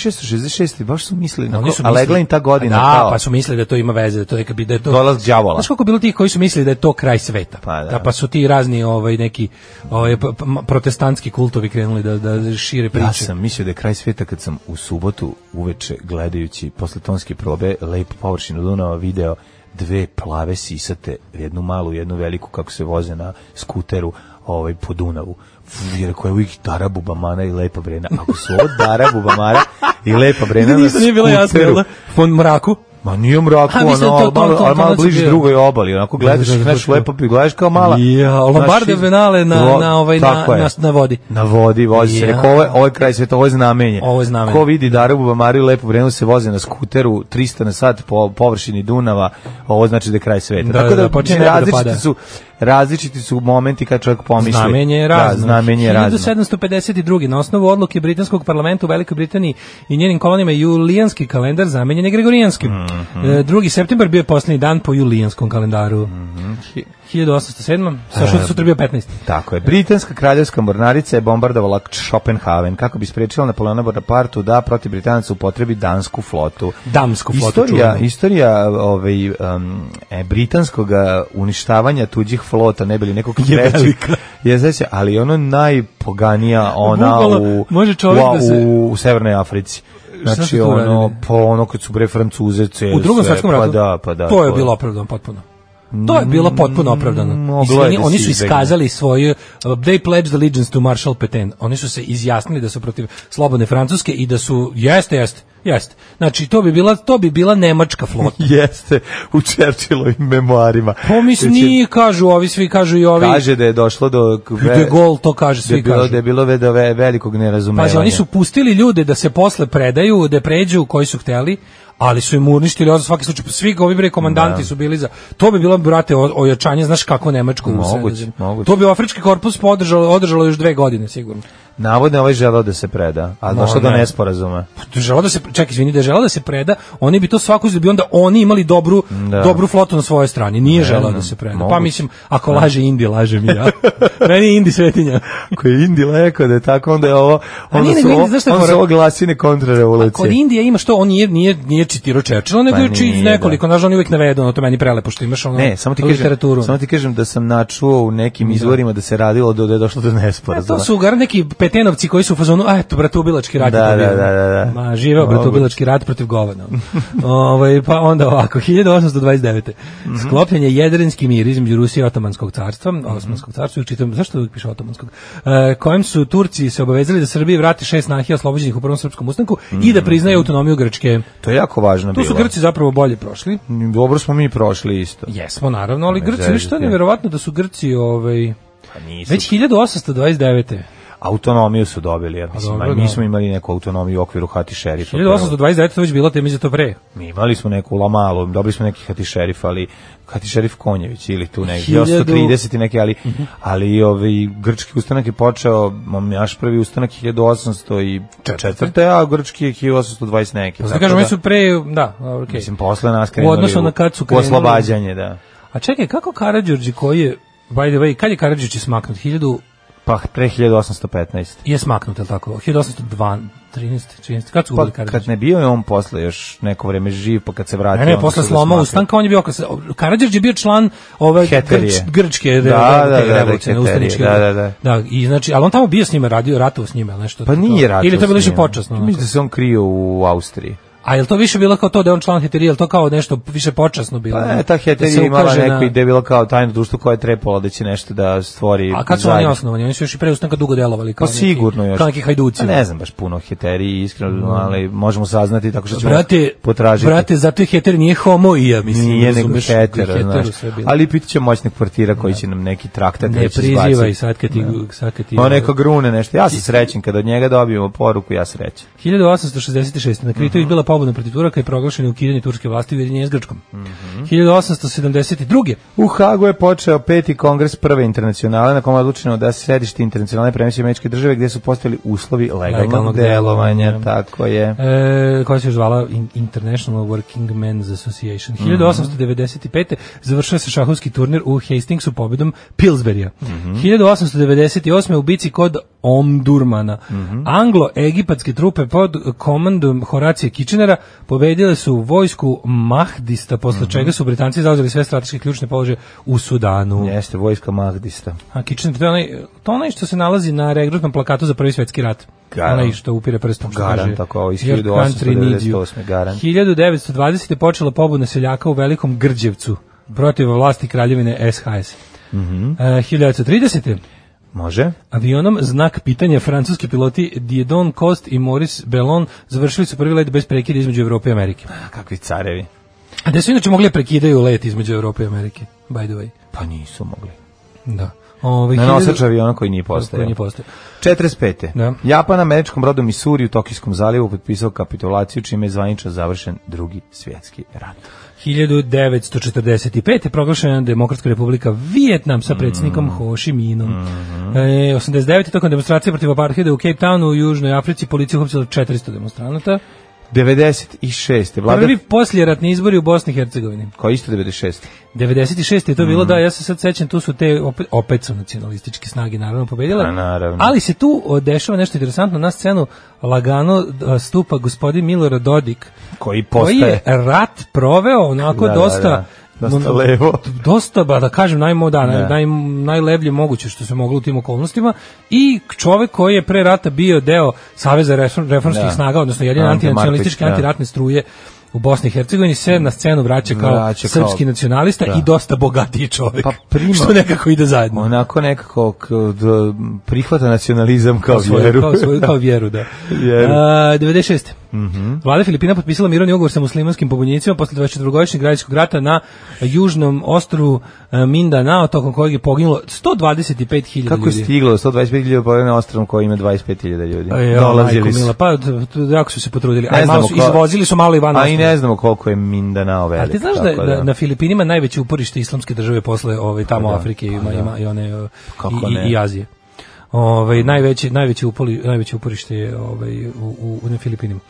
Speaker 6: 1666. baš su mislili, na
Speaker 7: Oni
Speaker 6: ko,
Speaker 7: su
Speaker 6: a
Speaker 7: mislili-
Speaker 6: legla im ta godina.
Speaker 7: Da,
Speaker 6: kao,
Speaker 7: pa su mislili da to ima veze, da to je kad bi da je to
Speaker 6: Dolaz đavola.
Speaker 7: Znaš koliko je bilo tih koji su mislili da je to kraj sveta.
Speaker 6: Pa da.
Speaker 7: pa su ti razni ovaj neki ovaj p- p- m- protestantski kultovi krenuli da da šire priče.
Speaker 6: Ja sam mislio da je kraj sveta kad sam u subotu uveče gledajući posle tonske probe lepu površinu Dunava video dve plave sisate, jednu malu, jednu veliku kako se voze na skuteru ovaj po Dunavu. Fu, je rekao, evo ih Dara Bubamara i Lepa Brena. Ako su ovo Dara Bubamara i Lepa Brena na
Speaker 7: Ništa nije bilo jasno, jel
Speaker 6: skuteru,
Speaker 7: da? Po mraku.
Speaker 6: Ma nije u mraku,
Speaker 7: A, mislim da
Speaker 6: ono,
Speaker 7: to- to-
Speaker 6: malo,
Speaker 7: to-
Speaker 6: ali malo
Speaker 7: tonac je
Speaker 6: bliže
Speaker 7: bio.
Speaker 6: drugoj obali, onako gledaš,
Speaker 7: Da, da, da,
Speaker 6: znaš,
Speaker 7: da.
Speaker 6: lepo pi, gledaš kao mala.
Speaker 7: Ja, Lombardo
Speaker 6: znaš,
Speaker 7: Venale na-
Speaker 6: lo-
Speaker 7: na ovaj- na-
Speaker 6: Znači, tako je.
Speaker 7: na- na vodi.
Speaker 6: Na vodi, vozi se,
Speaker 7: Ja.
Speaker 6: rekao, ovo je, ovo je kraj sveta, ovo je znamenje.
Speaker 7: Ovo je znamenje.
Speaker 6: Ko vidi Darabu Bamariju lepo vremenu se voze na skuteru 300 na sat po površini Dunava, ovo znači da je kraj sveta.
Speaker 7: Da,
Speaker 6: Tako
Speaker 7: da,
Speaker 6: da,
Speaker 7: da, počinje
Speaker 6: mislim,
Speaker 7: nebo da
Speaker 6: različiti
Speaker 7: pada.
Speaker 6: su različiti su momenti kad čovjek pomisli.
Speaker 7: Znamenje je razno.
Speaker 6: Da, znamenje je razno.
Speaker 7: 1752. Na osnovu odluke Britanskog parlamenta u Velikoj Britaniji i njenim kolonima julijanski kalendar zamenjen je gregorijanskim. Mm
Speaker 6: Mhm.
Speaker 7: 2. septembar bio je posljednji dan po julijanskom kalendaru.
Speaker 6: Mhm.
Speaker 7: 1807.
Speaker 6: E.
Speaker 7: Sa što sutra bio 15.
Speaker 6: Tako je. Britanska kraljevska mornarica je bombardovala Schopenhaven kako bi sprečila Napoleona Bonapartu da protiv Britanaca upotrebi dansku flotu.
Speaker 7: Damsku flotu
Speaker 6: Istorija,
Speaker 7: čuvenu.
Speaker 6: istorija ovaj, um, e, britanskog uništavanja tuđih flota, ne bili nekog
Speaker 7: Je
Speaker 6: trećeg,
Speaker 7: velika.
Speaker 6: je znači, ali ono najpoganija ona
Speaker 7: Bukvalno,
Speaker 6: u,
Speaker 7: može čovjek
Speaker 6: u,
Speaker 7: da se-
Speaker 6: u, u Severnoj Africi.
Speaker 7: Šta su
Speaker 6: Znači
Speaker 7: tu
Speaker 6: ono,
Speaker 7: radili?
Speaker 6: po ono kad su bre Francuze, cele
Speaker 7: U drugom
Speaker 6: sve,
Speaker 7: svjetskom
Speaker 6: pa
Speaker 7: ratu.
Speaker 6: da, pa da,
Speaker 7: to je bilo opravdano potpuno. To je bilo potpuno opravdano.
Speaker 6: moglo je
Speaker 7: Izvini,
Speaker 6: da
Speaker 7: oni
Speaker 6: se
Speaker 7: su
Speaker 6: izbegne.
Speaker 7: iskazali svoju they pledged allegiance to Marshal Petain. Oni su se izjasnili da su protiv slobodne Francuske i da su jeste, jeste, jeste. Znači to bi bila to bi bila nemačka flota.
Speaker 6: Jeste, u Čerčilovim memoarima.
Speaker 7: Pa mislim,
Speaker 6: Znači,
Speaker 7: nije, kažu ovi, svi kažu i ovi.
Speaker 6: Kaže da je došlo do
Speaker 7: De Gaulle to kaže,
Speaker 6: da je
Speaker 7: svi
Speaker 6: bilo,
Speaker 7: kažu.
Speaker 6: da je bilo ve- do ve- velikog nerazumevanja.
Speaker 7: Pazi, oni su pustili ljude da se posle predaju, da pređu koji su hteli, ali su im uništili ovo za svaki slučaj. Svi ovi bre komandanti
Speaker 6: Da.
Speaker 7: su bili za... To bi bilo, brate, o- ojačanje, znaš kako Nemačko u
Speaker 6: Moguće,
Speaker 7: Sredozemlju.
Speaker 6: moguće.
Speaker 7: To bi Afrički korpus podržalo, održalo još dve godine, sigurno.
Speaker 6: Navodno je ovaj želeo da se preda, a
Speaker 7: Ma,
Speaker 6: došlo do
Speaker 7: ne.
Speaker 6: nesporazuma.
Speaker 7: Da žele da se, čekaj, izvini, da je želeo da se preda, oni bi to svako uzeli, da bi onda oni imali dobru,
Speaker 6: Da.
Speaker 7: dobru flotu na svojoj strani. Nije želeo
Speaker 6: znam,
Speaker 7: da se preda.
Speaker 6: moguće. Da.
Speaker 7: Pa mislim, ako laže Indi, lažem i ja. Meni je Indi svetinja.
Speaker 6: Ako je Indi rekao da je tako, onda je ovo, onda
Speaker 7: nije
Speaker 6: su
Speaker 7: nego
Speaker 6: ovo,
Speaker 7: Indi, znaš šta je
Speaker 6: onda su
Speaker 7: fora?
Speaker 6: ovo glasine
Speaker 7: Kod
Speaker 6: kontrarevolucije.
Speaker 7: Indije ima što, on nije, nije, nije čitirao Churchilla, nego
Speaker 6: Pa
Speaker 7: je čit
Speaker 6: nije,
Speaker 7: nekoliko,
Speaker 6: da.
Speaker 7: znaš, on je uvijek navedu, ono to meni prelepo što imaš ono
Speaker 6: Ne, samo ti,
Speaker 7: literaturu.
Speaker 6: kažem, samo ti kažem da sam načuo u nekim izvorima da se radilo do, da je došlo do
Speaker 7: A
Speaker 6: nesporazuma.
Speaker 7: to su gar neki petenovci koji su u fazonu, a eto, bratubilački rat. je
Speaker 6: Da,
Speaker 7: to bio.
Speaker 6: da, da, da, da.
Speaker 7: Ma, živeo
Speaker 6: Moguće.
Speaker 7: bratubilački rat protiv govana. ovaj, pa onda ovako, 1829.
Speaker 6: Mhm.
Speaker 7: Sklopljen je jedrenski mir između Rusije i Otomanskog carstva, Osmanskog carstva, uvijek čitam, zašto uvijek piše Otomanskog, e, kojem su Turci se obavezali da Srbiji vrati šest nahija oslobođenih u prvom srpskom ustanku i da priznaju autonomiju Grčke.
Speaker 6: To je jako važno
Speaker 7: Tu
Speaker 6: Mhm. bilo.
Speaker 7: su Grci zapravo bolje prošli.
Speaker 6: Dobro smo mi prošli isto.
Speaker 7: Jesmo naravno, ali
Speaker 6: Ne
Speaker 7: Grci,
Speaker 6: zezati.
Speaker 7: viš to je nevjerovatno da su Grci ovaj
Speaker 6: Pa nisu.
Speaker 7: već 1829.
Speaker 6: Autonomiju su dobili, ja mislim.
Speaker 7: dobro,
Speaker 6: a
Speaker 7: da.
Speaker 6: Mi smo imali neku autonomiju u okviru Hati šerifa.
Speaker 7: 1829 to je već bilo tema za to pre.
Speaker 6: Mi imali smo neku lamalu, dobili smo neki hati šerif, ali hati šerif Konjević ili tu neki,
Speaker 7: Hiljadu- Mhm.
Speaker 6: 1830 i neki, ali, ali ovaj, grčki ustanak je počeo, mom, naš prvi ustanak 1804. a grčki je 1820 neki.
Speaker 7: Zato
Speaker 6: tako
Speaker 7: kažem, oni su pre, da, okej.
Speaker 6: Mislim, posle nas
Speaker 7: U
Speaker 6: krenuli
Speaker 7: odnosu na kad su
Speaker 6: u
Speaker 7: krenuli.
Speaker 6: oslobađanje, da.
Speaker 7: A čekaj, kako Karadžorđe koji je, by the way, kad je Karadžorđe smaknut? 1000
Speaker 6: Pa pre 1815.
Speaker 7: je smaknut, je li tako? 1812, 13, 14, kad su
Speaker 6: Pa
Speaker 7: ubili
Speaker 6: kad
Speaker 7: Karadžorđe?
Speaker 6: ne bio je on posle još neko vreme živ, pa kad se vratio...
Speaker 7: Ne, ne,
Speaker 6: onda
Speaker 7: posle
Speaker 6: su ga
Speaker 7: sloma
Speaker 6: smakli.
Speaker 7: ustanka on je bio Karadžorđe je bio član ove
Speaker 6: Heterije.
Speaker 7: grč, grčke
Speaker 6: Da, da, da, da,
Speaker 7: revolucije,
Speaker 6: Heterije,
Speaker 7: ustaničke.
Speaker 6: da, da, da.
Speaker 7: Da, i znači, ali on tamo bio s njima, radio, ratovao s njima, ili nešto.
Speaker 6: Pa nije
Speaker 7: tako?
Speaker 6: ratio
Speaker 7: Ili to je bilo
Speaker 6: s
Speaker 7: više
Speaker 6: njim.
Speaker 7: počasno. onako?
Speaker 6: Mislim da se on krio u Austriji.
Speaker 7: A je li to više bilo kao to da je on član heterije, je li to kao nešto više počasno bilo?
Speaker 6: Pa
Speaker 7: Da
Speaker 6: ne, ta
Speaker 7: se
Speaker 6: heterija je imala
Speaker 7: ukaže
Speaker 6: neku
Speaker 7: na-
Speaker 6: ideju, bila kao tajno društvo koje je trepalo da će nešto da stvori
Speaker 7: A kad su oni
Speaker 6: zajednički.
Speaker 7: osnovani? Oni su još i pre ustanka dugo delovali. Kao
Speaker 6: Pa sigurno
Speaker 7: neki,
Speaker 6: još.
Speaker 7: Kao neki hajduci. Mm.
Speaker 6: A Ne znam baš puno o heteriji, iskreno, ali možemo saznati tako što ćemo
Speaker 7: Brate,
Speaker 6: potražiti.
Speaker 7: brate, zato je heter nije homo i ja mislim.
Speaker 6: nije nego
Speaker 7: razumeš,
Speaker 6: hetero,
Speaker 7: heteru
Speaker 6: znaš.
Speaker 7: sve bilo.
Speaker 6: Ali pitat će moćnik kvartira koji će nam neki traktat
Speaker 7: da. ne
Speaker 6: reći
Speaker 7: prizivaj sad kad ti...
Speaker 6: Da.
Speaker 7: Sad kad ti
Speaker 6: Ma neka grune nešto. Ja sam srećen kada od njega dobijemo poruku, ja srećen.
Speaker 7: 1866. na Kritović
Speaker 6: Mhm.
Speaker 7: bila pobuna protiv Turaka i proglašeno je ukidanje turske vlasti u jedinjenju s Grčkom.
Speaker 6: Mhm.
Speaker 7: 1872.
Speaker 6: U Hagu je počeo peti kongres prve internacionale na kom je odlučeno da se sedište internacionalne premisije američke države gde su postali uslovi legalnog,
Speaker 7: Legalnog
Speaker 6: delovanja.
Speaker 7: delovanja.
Speaker 6: Tako je.
Speaker 7: E, koja se još zvala In- International Working Men's Association. 1895. završio se šahovski turnir u Hastingsu pobedom Pillsberija. 1898. u bici kod Omdurmana. Anglo-egipatske trupe pod komandom Horacije Kitchenera pobedile su vojsku Mahdista, posle čega su Britanci zauzeli sve strateške ključne položaje u Sudanu.
Speaker 6: Jeste, vojska Mahdista.
Speaker 7: A Kitchener, to je onaj, to je onaj što se nalazi na regrutnom plakatu za prvi svetski rat.
Speaker 6: Garant.
Speaker 7: Onaj što upire prstom. što
Speaker 6: Garant,
Speaker 7: kaže,
Speaker 6: tako, ovo iz
Speaker 7: "Your country needs you."
Speaker 6: 1898 garant.
Speaker 7: 1920. je počela pobuna seljaka u Velikom Grđevcu protiv vlasti kraljevine SHS. Mm
Speaker 6: Mhm.
Speaker 7: 1930.
Speaker 6: Može?
Speaker 7: Avionom znak pitanja francuski piloti Diedon Cost i Maurice Bellon završili su prvi let bez prekida između Evrope i Amerike.
Speaker 6: A kakvi carevi?
Speaker 7: A da su inače mogli da prekidaju let između Evrope i Amerike, by the way.
Speaker 6: Pa nisu mogli.
Speaker 7: Da. Ove,
Speaker 6: Na nosač
Speaker 7: 1000
Speaker 6: aviona koji nije postao.
Speaker 7: koji nije postojao.
Speaker 6: 45.
Speaker 7: Da.
Speaker 6: Japan američkom brodu Missouri u Tokijskom zalivu potpisao kapitulaciju čime je zvanično završen drugi svjetski rat.
Speaker 7: 1945. je proglašena Demokratska republika Vijetnam sa
Speaker 6: Mm.
Speaker 7: predsjednikom Ho Chi Minhom.
Speaker 6: Mm-hmm.
Speaker 7: E, 89. tokom demonstracije protiv apartheida u Cape Townu u Južnoj Africi policija uhapsila 400 demonstranata.
Speaker 6: 96. Vlada
Speaker 7: Prvi posljeratni izbori u Bosni i Hercegovini.
Speaker 6: koji isto 96.
Speaker 7: 96. je to
Speaker 6: Mm-hmm.
Speaker 7: bilo, da, ja se sad sećam, tu su te, opet, opet su nacionalističke snage naravno pobedile.
Speaker 6: A, naravno.
Speaker 7: Ali se tu o, dešava nešto interesantno, na scenu lagano a, stupa gospodin Milorad Dodik,
Speaker 6: Koji
Speaker 7: koji je
Speaker 6: postaje
Speaker 7: rat proveo onako
Speaker 6: Da, da,
Speaker 7: dosta...
Speaker 6: da. Dosta levo.
Speaker 7: Dosta, ba, da kažem, najmo, da, naj,
Speaker 6: Da.
Speaker 7: naj, najlevlje moguće što se moglo u tim okolnostima. I čovek koji je pre rata bio deo Saveza reform, reformskih
Speaker 6: Da.
Speaker 7: snaga, odnosno jedine
Speaker 6: Ante
Speaker 7: antinacionalističke,
Speaker 6: Marković, da.
Speaker 7: antiratne struje u Bosni i Hercegovini se na scenu vraća kao
Speaker 6: Vraća kao-
Speaker 7: srpski nacionalista
Speaker 6: Da.
Speaker 7: i dosta bogatiji čovek.
Speaker 6: Pa prima-
Speaker 7: Što nekako ide zajedno.
Speaker 6: onako nekako k- d- prihvata nacionalizam kao,
Speaker 7: kao svoju,
Speaker 6: vjeru.
Speaker 7: Kao, svoju, kao vjeru, da.
Speaker 6: Vjeru. Mhm.
Speaker 7: A, 96. Vlada Filipina potpisala mirovni ugovor sa muslimanskim pobunjenicima posle 24-godišnjeg građanskog rata na južnom ostrovu e, Mindanao, tokom kojeg je poginulo 125.000 ljudi.
Speaker 6: Kako je stiglo 125.000 pojede na ostrovom koji ima 25.000 ljudi?
Speaker 7: E, jo,
Speaker 6: Dolazili
Speaker 7: majko
Speaker 6: su.
Speaker 7: mila, pa t- t- jako su se potrudili.
Speaker 6: Ne
Speaker 7: A malo
Speaker 6: znamo
Speaker 7: su,
Speaker 6: ko-
Speaker 7: izvozili su malo i van
Speaker 6: A i
Speaker 7: ostrva.
Speaker 6: ne znamo koliko je Mindanao velik.
Speaker 7: Ali ti znaš da,
Speaker 6: tako
Speaker 7: da na Filipinima najveće uporište islamske države posle ove tamo Afrike ima, ima i one e,
Speaker 6: Da, pa Kako
Speaker 7: i,
Speaker 6: ne?
Speaker 7: i, i Azije. Ovaj najveće najveće upoli najveće uporište je ovaj u, u, u na Filipinima.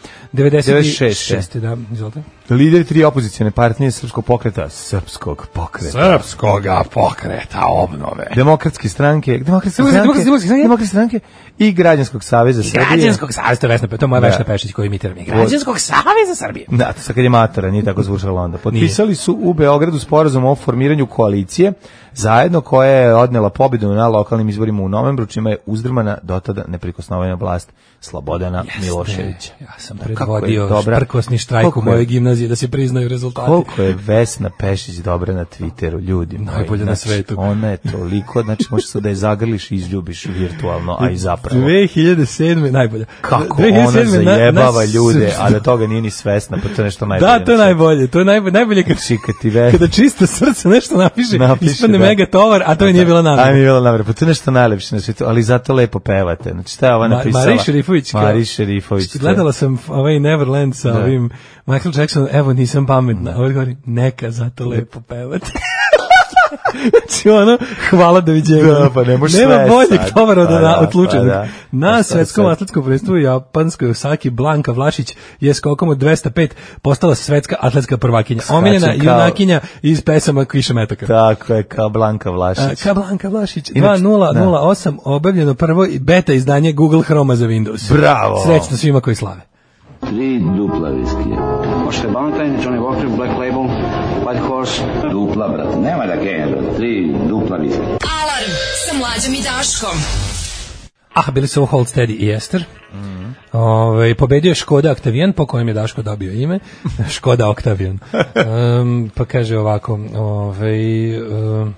Speaker 7: 96. da, izvolite.
Speaker 6: Lider tri opozicijone partije Srpskog pokreta, Srpskog pokreta.
Speaker 9: Srpskoga pokreta obnove.
Speaker 6: Demokratske stranke, demokratske
Speaker 7: Demokratske-
Speaker 6: stranke,
Speaker 7: demokratske stranke?
Speaker 6: demokratske stranke i Građanskog saveza Srbije.
Speaker 7: Građanskog saveza, to je Vesna, Pe- to je moja
Speaker 6: Da.
Speaker 7: Vesna Pešić koju imitira mi. Građanskog saveza Srbije.
Speaker 6: Da, to sa kad je matara, nije tako zvučalo onda. Potpisali su u Beogradu sporazum o formiranju koalicije, zajedno koja je odnela pobjedu na lokalnim izborima u novembru, čime je uzdrmana dotada neprikosnovena vlast Slobodana Miloševića.
Speaker 7: Ja sam
Speaker 6: kako je
Speaker 7: predvodio
Speaker 6: dobra-
Speaker 7: prkosni štrajk
Speaker 6: koliko
Speaker 7: u
Speaker 6: je-
Speaker 7: mojoj gimnaziji da se priznaju rezultati.
Speaker 6: Koliko je Vesna Pešić dobra na Twitteru, ljudi moji.
Speaker 7: Najbolja na
Speaker 6: Znači,
Speaker 7: svetu.
Speaker 6: Ona je toliko, znači možeš sad da je zagrliš i izljubiš virtualno, a i zapravo.
Speaker 7: 2007. najbolje.
Speaker 6: Kako
Speaker 7: 2007.
Speaker 6: ona
Speaker 7: na- na-
Speaker 6: zajebava ljude, a da toga nije ni svesna, pa to je nešto najbolje.
Speaker 7: Da, to je
Speaker 6: na svetu.
Speaker 7: najbolje. To je najbolje, najbolje kad
Speaker 6: Čika ti ve.
Speaker 7: kada čisto srce nešto napiše,
Speaker 6: Napiše,
Speaker 7: ispadne
Speaker 6: da.
Speaker 7: mega tovar, a to je nije bila
Speaker 6: A mi
Speaker 7: namjera.
Speaker 6: je bilo namjer, pa to je nešto najlepše na svetu, ali zato lepo pevate. Znači, šta je ova
Speaker 7: Ma-
Speaker 6: napisala?
Speaker 7: Marija Šerifović, kao-
Speaker 6: Marija Šerifović. to je-
Speaker 7: Gledala sam ovaj Neverland sa
Speaker 6: Da.
Speaker 7: ovim Michael Jackson, evo nisam pametna. Ovo govori, neka zato lepo pevati. znači ono, hvala doviđenja.
Speaker 6: Da, pa ne može
Speaker 7: Nema
Speaker 6: sve
Speaker 7: boljeg
Speaker 6: sad.
Speaker 7: tovara od,
Speaker 6: Pa da,
Speaker 7: da, od Lučanog.
Speaker 6: pa da. Pa
Speaker 7: Na
Speaker 6: šta
Speaker 7: svetskom
Speaker 6: sad?
Speaker 7: atletskom predstavu u Japanskoj Osaki Blanka Vlašić je skokom od 205 postala svetska atletska prvakinja. Omiljena
Speaker 6: Skačem kao-
Speaker 7: junakinja iz pesama Kiša Metaka.
Speaker 6: Tako je, kao Blanka
Speaker 7: A,
Speaker 6: Vlašić.
Speaker 7: Ka Blanka Vlašić,
Speaker 6: Inače, da.
Speaker 7: 2008, obavljeno prvo i beta izdanje Google Chroma za Windows.
Speaker 6: Bravo!
Speaker 7: Srećno svima koji slave.
Speaker 10: Tri dupla viskija. Možete Valentine, Johnny Walker, Black Label, White Horse. Dupla, brate. Nema da kenja, brate. Tri dupla viskija.
Speaker 3: Alarm sa mlađom i Daškom.
Speaker 7: Ah, bili su ovo Holstead i Ester.
Speaker 6: Mhm.
Speaker 7: Ovaj pobedio je Škoda Octavian po kojem je Daško dobio ime, Škoda Octavian. Em, pa kaže ovako, ovaj em,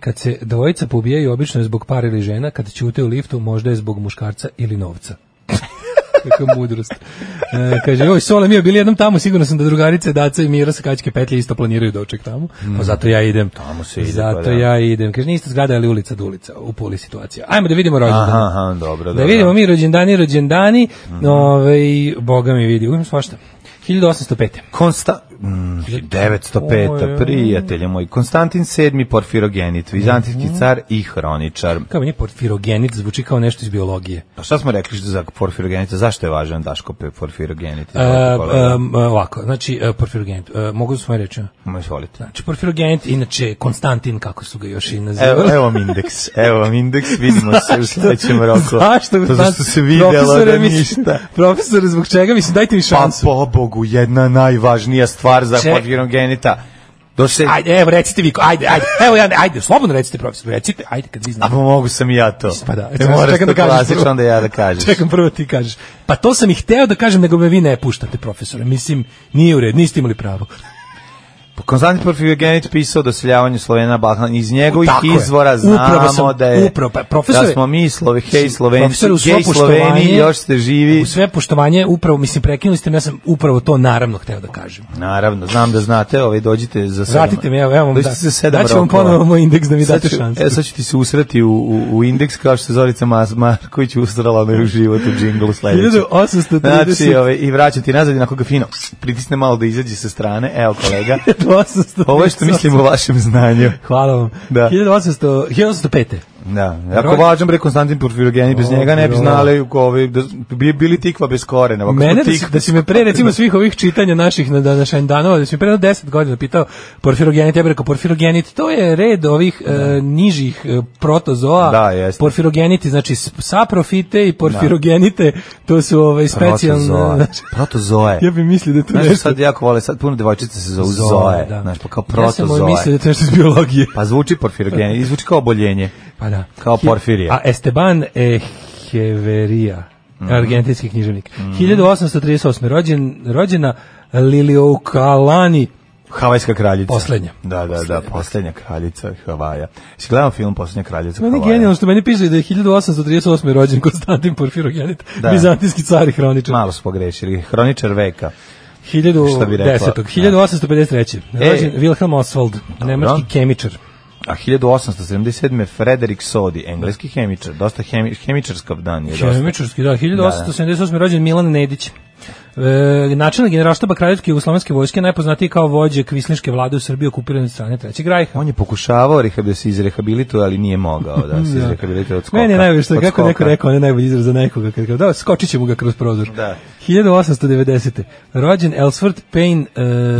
Speaker 7: kad se dvojica pobijaju obično je zbog par ili žena, kad ćute u liftu možda je zbog muškarca ili novca. Kakva mudrost. E, kaže, joj, Sole, mi je bili jednom tamo, sigurno sam da drugarice Daca i Mira sa Kačke petlje isto planiraju doček tamo, pa zato ja idem. Tamo
Speaker 6: Mhm. se ide,
Speaker 7: Zato
Speaker 6: pa da.
Speaker 7: ja idem. Kaže, niste zgrada, ali ulica do ulica, u poli situacija. Ajmo da vidimo rođendan.
Speaker 6: Aha, aha, dobro,
Speaker 7: Da
Speaker 6: dobro.
Speaker 7: vidimo mi rođendani, rođendani,
Speaker 6: Mhm.
Speaker 7: ovaj, boga mi vidi, uvijek svašta. 1805.
Speaker 6: Konsta... Mm, 905.
Speaker 7: Oj.
Speaker 6: prijatelje moj. Konstantin VII. Porfirogenit,
Speaker 7: Mhm.
Speaker 6: vizantijski car i hroničar.
Speaker 7: Kao meni porfirogenit zvuči kao nešto iz biologije.
Speaker 6: A šta smo rekli za Porfirogenita? Zašto je važan Daško pe- Porfirogenit?
Speaker 7: E,
Speaker 6: Izvolite, kolega.
Speaker 7: em, ovako, znači, e, porfirogenit, e, mogu da svoje reći?
Speaker 6: Ma, Izvolite.
Speaker 7: Znači, porfirogenit, inače, Konstantin, kako su ga još i nazivali.
Speaker 6: Evo, evo vam indeks, evo vam indeks, vidimo se u sledećem roku.
Speaker 7: Zašto?
Speaker 6: To zato što se vidjelo
Speaker 7: Profesore,
Speaker 6: da
Speaker 7: mislim-
Speaker 6: ništa.
Speaker 7: Profesore, zbog čega? Mislim, dajte mi
Speaker 6: Pa
Speaker 7: šansu.
Speaker 6: pobogu, jedna najvažnija stvar za
Speaker 7: Če-
Speaker 6: Porfirogenita. Do se...
Speaker 7: Ajde, evo, recite vi, ko- ajde, ajde, evo, ja, ajde, slobodno recite, profesor, recite, ajde, kad vi
Speaker 6: A
Speaker 7: znate.
Speaker 6: pa mogu sam i ja to.
Speaker 7: Pa da,
Speaker 6: ne
Speaker 7: čekam
Speaker 6: moraš
Speaker 7: da
Speaker 6: to
Speaker 7: kažeš
Speaker 6: klasično,
Speaker 7: prvo.
Speaker 6: onda ja da kažeš.
Speaker 7: Čekam prvo ti kažeš. Pa to sam i hteo da kažem, nego me vi ne puštate, profesore. Mislim, nije u redu, niste imali pravo.
Speaker 6: Konstantin Porfirogenit pisao o doseljavanju Slovena na Balkan. Iz njegovih
Speaker 7: Tako je.
Speaker 6: izvora znamo
Speaker 7: Upravo sam-
Speaker 6: da je
Speaker 7: upravo, pa, profesore-
Speaker 6: da smo mi Slovi, hej Slovenci,
Speaker 7: Profesore, uz svo
Speaker 6: hej Sloveni,
Speaker 7: poštovanje-
Speaker 6: još ste živi.
Speaker 7: U sve poštovanje, upravo, mislim, prekinuli ste me, ja sam upravo to naravno hteo da kažem.
Speaker 6: Naravno, znam da znate, ovaj dođite za sedam.
Speaker 7: Vratite mi, evo, evo, vam
Speaker 6: dođite
Speaker 7: da-
Speaker 6: za sedam
Speaker 7: daću vam
Speaker 6: rokova.
Speaker 7: ponovo moj indeks da mi
Speaker 6: Sad
Speaker 7: date
Speaker 6: ću-
Speaker 7: šansu.
Speaker 6: E, sad ću ti se usrati u, u, u indeks kao što se Zorica Mas- Marković usrala me u život u džinglu sledeću.
Speaker 7: 1830.
Speaker 6: Znači, ovaj, i vraćam ti nazad i onako ga fino pritisne malo da izađe sa strane. Evo, kolega,
Speaker 7: 1800.
Speaker 6: ovo je što mislim o vašem znanju.
Speaker 7: Hvala vam.
Speaker 6: Da.
Speaker 7: 1800, 1805.
Speaker 6: Da, jako
Speaker 7: Rođen-
Speaker 6: važan bre Konstantin Porfirogeni, bez
Speaker 7: ovaj- O,
Speaker 6: njega ne bi
Speaker 7: bro.
Speaker 6: znali u kovi, da bi bili tikva bez korena. Ovako
Speaker 7: Mene
Speaker 6: smo
Speaker 7: da si,
Speaker 6: tik-
Speaker 7: da si me pre recimo svih ovih čitanja naših na današnjem danova, da si me pre jedno 10 godina pitao porfirogenit, ja bih rekao porfirogenit, to je red ovih e, nižih e, protozoa.
Speaker 6: Da, jeste.
Speaker 7: Porfirogeniti, znači s- saprofite i porfirogenite, to su ovaj
Speaker 6: Protozoa.
Speaker 7: specijalne...
Speaker 6: Da. Protozoe.
Speaker 7: ja bih mislio da je to
Speaker 6: Znaš,
Speaker 7: nešto... Da,
Speaker 6: sad jako vole, sad puno devojčica se zovu Zoe, znaš, pa kao
Speaker 7: Ja sam ovaj
Speaker 6: protozoe.
Speaker 7: mislio da je to nešto iz biologije.
Speaker 6: Pa zvuči porfirogeni, izvuči kao oboljenje.
Speaker 7: Pa da.
Speaker 6: Kao
Speaker 7: Hi-
Speaker 6: Porfirije.
Speaker 7: A Esteban Echeverija,
Speaker 6: Mhm.
Speaker 7: argentinski književnik. 1838. Rođen, rođena Lilioukalani.
Speaker 6: Havajska kraljica.
Speaker 7: Poslednja.
Speaker 6: Da, da, da, poslednja kraljica Havaja. Si gledamo film Poslednja kraljica
Speaker 7: Pa Meni je
Speaker 6: Havaja?
Speaker 7: genijalno što meni piše da je 1838. rođen Konstantin Porfirogenit,
Speaker 6: Da.
Speaker 7: bizantijski car i hroničar.
Speaker 6: Malo smo pogrešili. Hroničar veka.
Speaker 7: 1000
Speaker 6: Šta bi rekla? Da.
Speaker 7: 10., 1853.
Speaker 6: E.
Speaker 7: Rođen Wilhelm Oswald, nemački kemičar.
Speaker 6: A 1877. je Frederik Sodi, engleski hemičar. Dosta hemi, hemičarskav dan je. dosta.
Speaker 7: Kemičarski, da. 1878. rođen Milan Nedić. E, načelnik generalštaba Kraljevske Jugoslovenske vojske najpoznatiji kao vođe kvisliške vlade u Srbiji okupirane od strane Trećeg rajha.
Speaker 6: On je pokušavao reha- da se izrehabilituje, ali nije mogao da se izrehabilituje od skoka.
Speaker 7: Meni je najbolje što je,
Speaker 6: Od
Speaker 7: kako je neko
Speaker 6: skoka.
Speaker 7: rekao, on je najbolji izraz za nekoga. Kad kaže, da, skočit ćemo ga kroz prozor.
Speaker 6: Da.
Speaker 7: 1890. Rođen Elsworth Payne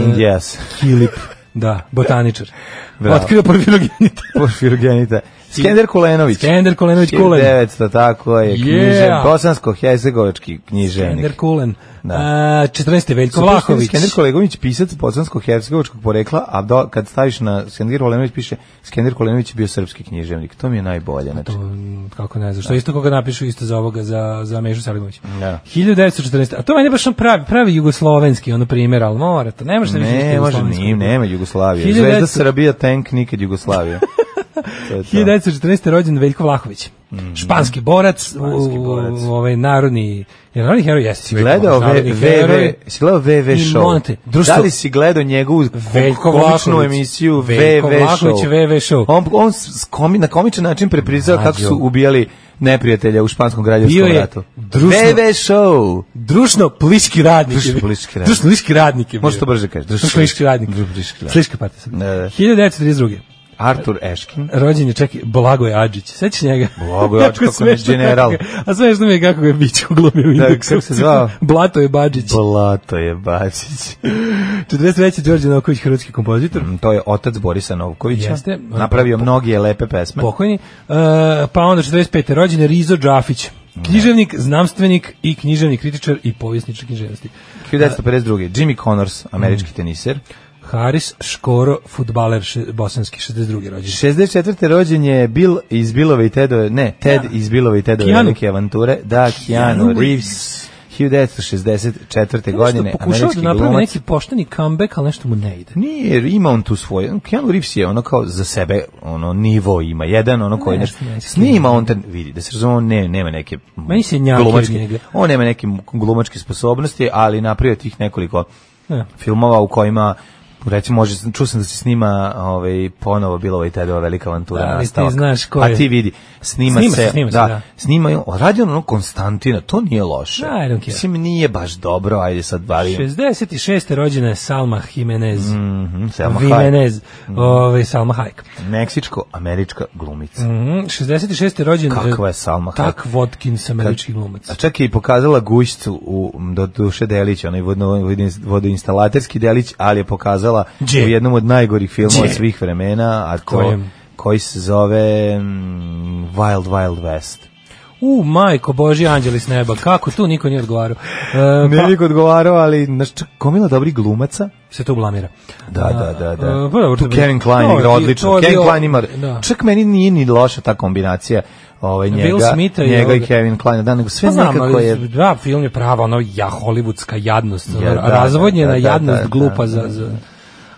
Speaker 7: e,
Speaker 6: Indijas.
Speaker 7: Kilip. Da, botaničar.
Speaker 6: Bravo.
Speaker 7: Otkrio porfirogenita.
Speaker 6: Porfirgenita. Skender Kulenović.
Speaker 7: Skender Kulenović Kulen.
Speaker 6: 1900, tako je. Knjižen,
Speaker 7: Yeah.
Speaker 6: bosansko-hercegovački književnik.
Speaker 7: Skender Kulen.
Speaker 6: Da.
Speaker 7: A, 14. E, Veljko
Speaker 6: Super,
Speaker 7: Vlahović.
Speaker 6: Skender Kulenović, pisac bosansko-hercegovačkog porekla, a do, kad staviš na Skender Kulenović, piše Skender Kulenović je bio srpski književnik. To mi je najbolje. Znači.
Speaker 7: Mm, kako ne znaš, što isto koga napišu isto za ovoga, za, za Mežu Selimović.
Speaker 6: Da.
Speaker 7: 1914. A to meni je baš on pravi, pravi jugoslovenski, ono primjer, ali mora to, ne može da više
Speaker 6: Ne, može, nije, nema Jugoslavije. Zvezda
Speaker 7: 1900
Speaker 6: Srbija, tank, nikad Jugoslavije. To je to.
Speaker 7: 1914. rođen Veljko Vlahović. Španski borac,
Speaker 6: Mhm. Španski
Speaker 7: u-
Speaker 6: borac.
Speaker 7: u- ovaj narodni, je narodni heroj jeste. Veljko
Speaker 6: gledao
Speaker 7: Vlahović,
Speaker 6: v,
Speaker 7: narodni
Speaker 6: VV,
Speaker 7: heroj.
Speaker 6: si gledao VV
Speaker 7: I
Speaker 6: show?
Speaker 7: Monte. Društvo-
Speaker 6: Da li si gledao njegovu
Speaker 7: Veljko
Speaker 6: komičnu
Speaker 7: Vlahović.
Speaker 6: emisiju
Speaker 7: Veljko
Speaker 6: VV
Speaker 7: Vlahović,
Speaker 6: show?
Speaker 7: VV show.
Speaker 6: On, on s komi, na komičan način preprizao
Speaker 7: Mlađo.
Speaker 6: kako su ubijali neprijatelja u španskom
Speaker 7: Bio
Speaker 6: građanskom
Speaker 7: je
Speaker 6: ratu.
Speaker 7: društvo-
Speaker 6: VV show!
Speaker 7: Drušno pliški radnik. je bio.
Speaker 6: Drušno-pliški radnik.
Speaker 7: Drušno pliški radnik. je bio.
Speaker 6: Možeš to brže kažeš.
Speaker 7: Drušno-pliški radnik.
Speaker 6: Drušno-pliški radnik.
Speaker 7: Pliška partija. sam.
Speaker 6: Da, da.
Speaker 7: 1932.
Speaker 6: Artur Eškin.
Speaker 7: Rođen je čekaj Blagoje Adžić. Sećaš njega?
Speaker 6: Blagoje Adžić,
Speaker 7: Jako
Speaker 6: kako ne,
Speaker 7: smešno
Speaker 6: general.
Speaker 7: kako ga- A smešno mi je kako ga je Bić uglomio u
Speaker 6: Da,
Speaker 7: indeksu.
Speaker 6: kako se zvao?
Speaker 7: Blato je Badžić.
Speaker 6: Blato je Bačić. Mm,
Speaker 7: 43. Đorđe Noković, hrvatski kompozitor.
Speaker 6: To je otac Borisa Novkovića.
Speaker 7: Jeste.
Speaker 6: Napravio mnogi lepe pesme.
Speaker 7: Pokojni. E, pa onda 45. rođen je Rizo Džafić. Književnik, znanstvenik i književni kritičar i povjesničar književnosti. Mm.
Speaker 6: 1952. Jimmy Connors, američki teniser.
Speaker 7: Haris Škoro, futbaler še, bosanski, 62. rođen.
Speaker 6: 64. rođen je Bill iz Bilove i Tedove, ne, Ted iz Bilove i Tedove
Speaker 7: Keanu.
Speaker 6: velike avanture, da, Keanu Reeves, 1964. godine,
Speaker 7: Nešto pokušao
Speaker 6: američki
Speaker 7: da napravi
Speaker 6: glumac.
Speaker 7: neki pošteni comeback, ali nešto mu ne ide.
Speaker 6: Nije, ima on tu svoj. Keanu Reeves je ono kao za sebe, ono nivo ima. Jedan ono koji
Speaker 7: Ne,
Speaker 6: nešto
Speaker 7: ne, ne,
Speaker 6: snima on ten vidi, da se razume, on ne, nema neke mm,
Speaker 7: Meni se njakio
Speaker 6: glumačke-
Speaker 7: njega.
Speaker 6: On nema neke mm, glumačke sposobnosti, ali napravio je tih nekoliko
Speaker 7: Ne.
Speaker 6: filmova u kojima recimo može čuo sam da se snima ovaj ponovo bila ovaj tada velika avantura
Speaker 7: Da, ali ti
Speaker 6: nastavak.
Speaker 7: znaš ko je.
Speaker 6: A ti vidi, snima,
Speaker 7: Snima se, snima se,
Speaker 6: da,
Speaker 7: da.
Speaker 6: snima on, radi on ono Konstantina, to nije loše.
Speaker 7: Da, I don't care.
Speaker 6: Mislim nije baš dobro, ajde sad bavim.
Speaker 7: 66. rođena je Salma Jimenez.
Speaker 6: Mhm, Selma Hayek. Mm.
Speaker 7: Jimenez, ovaj, Salma Hayek.
Speaker 6: Meksičko-američka glumica.
Speaker 7: Mhm, 66. rođen
Speaker 6: Mm-hmm. Kakva
Speaker 7: eh,
Speaker 6: je Salma Hayek? Znači-
Speaker 7: Tak Watkins, američki glumac.
Speaker 6: A čak je i pokazala gušcu u do duše delić, onaj vodno, vodin- vodoinstalaterski delić, ali je pokazala
Speaker 7: Gdje?
Speaker 6: u jednom od najgorih filmova
Speaker 7: Gdje?
Speaker 6: svih vremena, a ko,
Speaker 7: Kojem?
Speaker 6: koji se zove mm, Wild Wild West.
Speaker 7: U, majko, Boži, anđeli s neba, kako tu niko nije odgovarao. E,
Speaker 6: Ne
Speaker 7: pa,
Speaker 6: bih odgovarao, ali znaš, čak gomila dobrih glumaca.
Speaker 7: se tu blamira.
Speaker 6: Da, da, da, da.
Speaker 7: E, pa dobro,
Speaker 6: tu
Speaker 7: to bi-
Speaker 6: Kevin Klein
Speaker 7: to je
Speaker 6: igra
Speaker 7: bio-
Speaker 6: odlično.
Speaker 7: to je
Speaker 6: Kevin
Speaker 7: bio-
Speaker 6: Klein ima,
Speaker 7: da.
Speaker 6: čak meni nije ni loša ta kombinacija ovaj, njega,
Speaker 7: Smitha i
Speaker 6: njega i
Speaker 7: ovoga.
Speaker 6: Kevin Klein. Da, nego sve
Speaker 7: Pa znam,
Speaker 6: nekako
Speaker 7: ali
Speaker 6: je...
Speaker 7: Da, film je prava, ono, ja, hollywoodska jadnost, ono,
Speaker 6: Ja, da,
Speaker 7: razvodnjena
Speaker 6: da, da,
Speaker 7: jadnost
Speaker 6: da, da,
Speaker 7: glupa
Speaker 6: da,
Speaker 7: za...
Speaker 6: da.
Speaker 7: za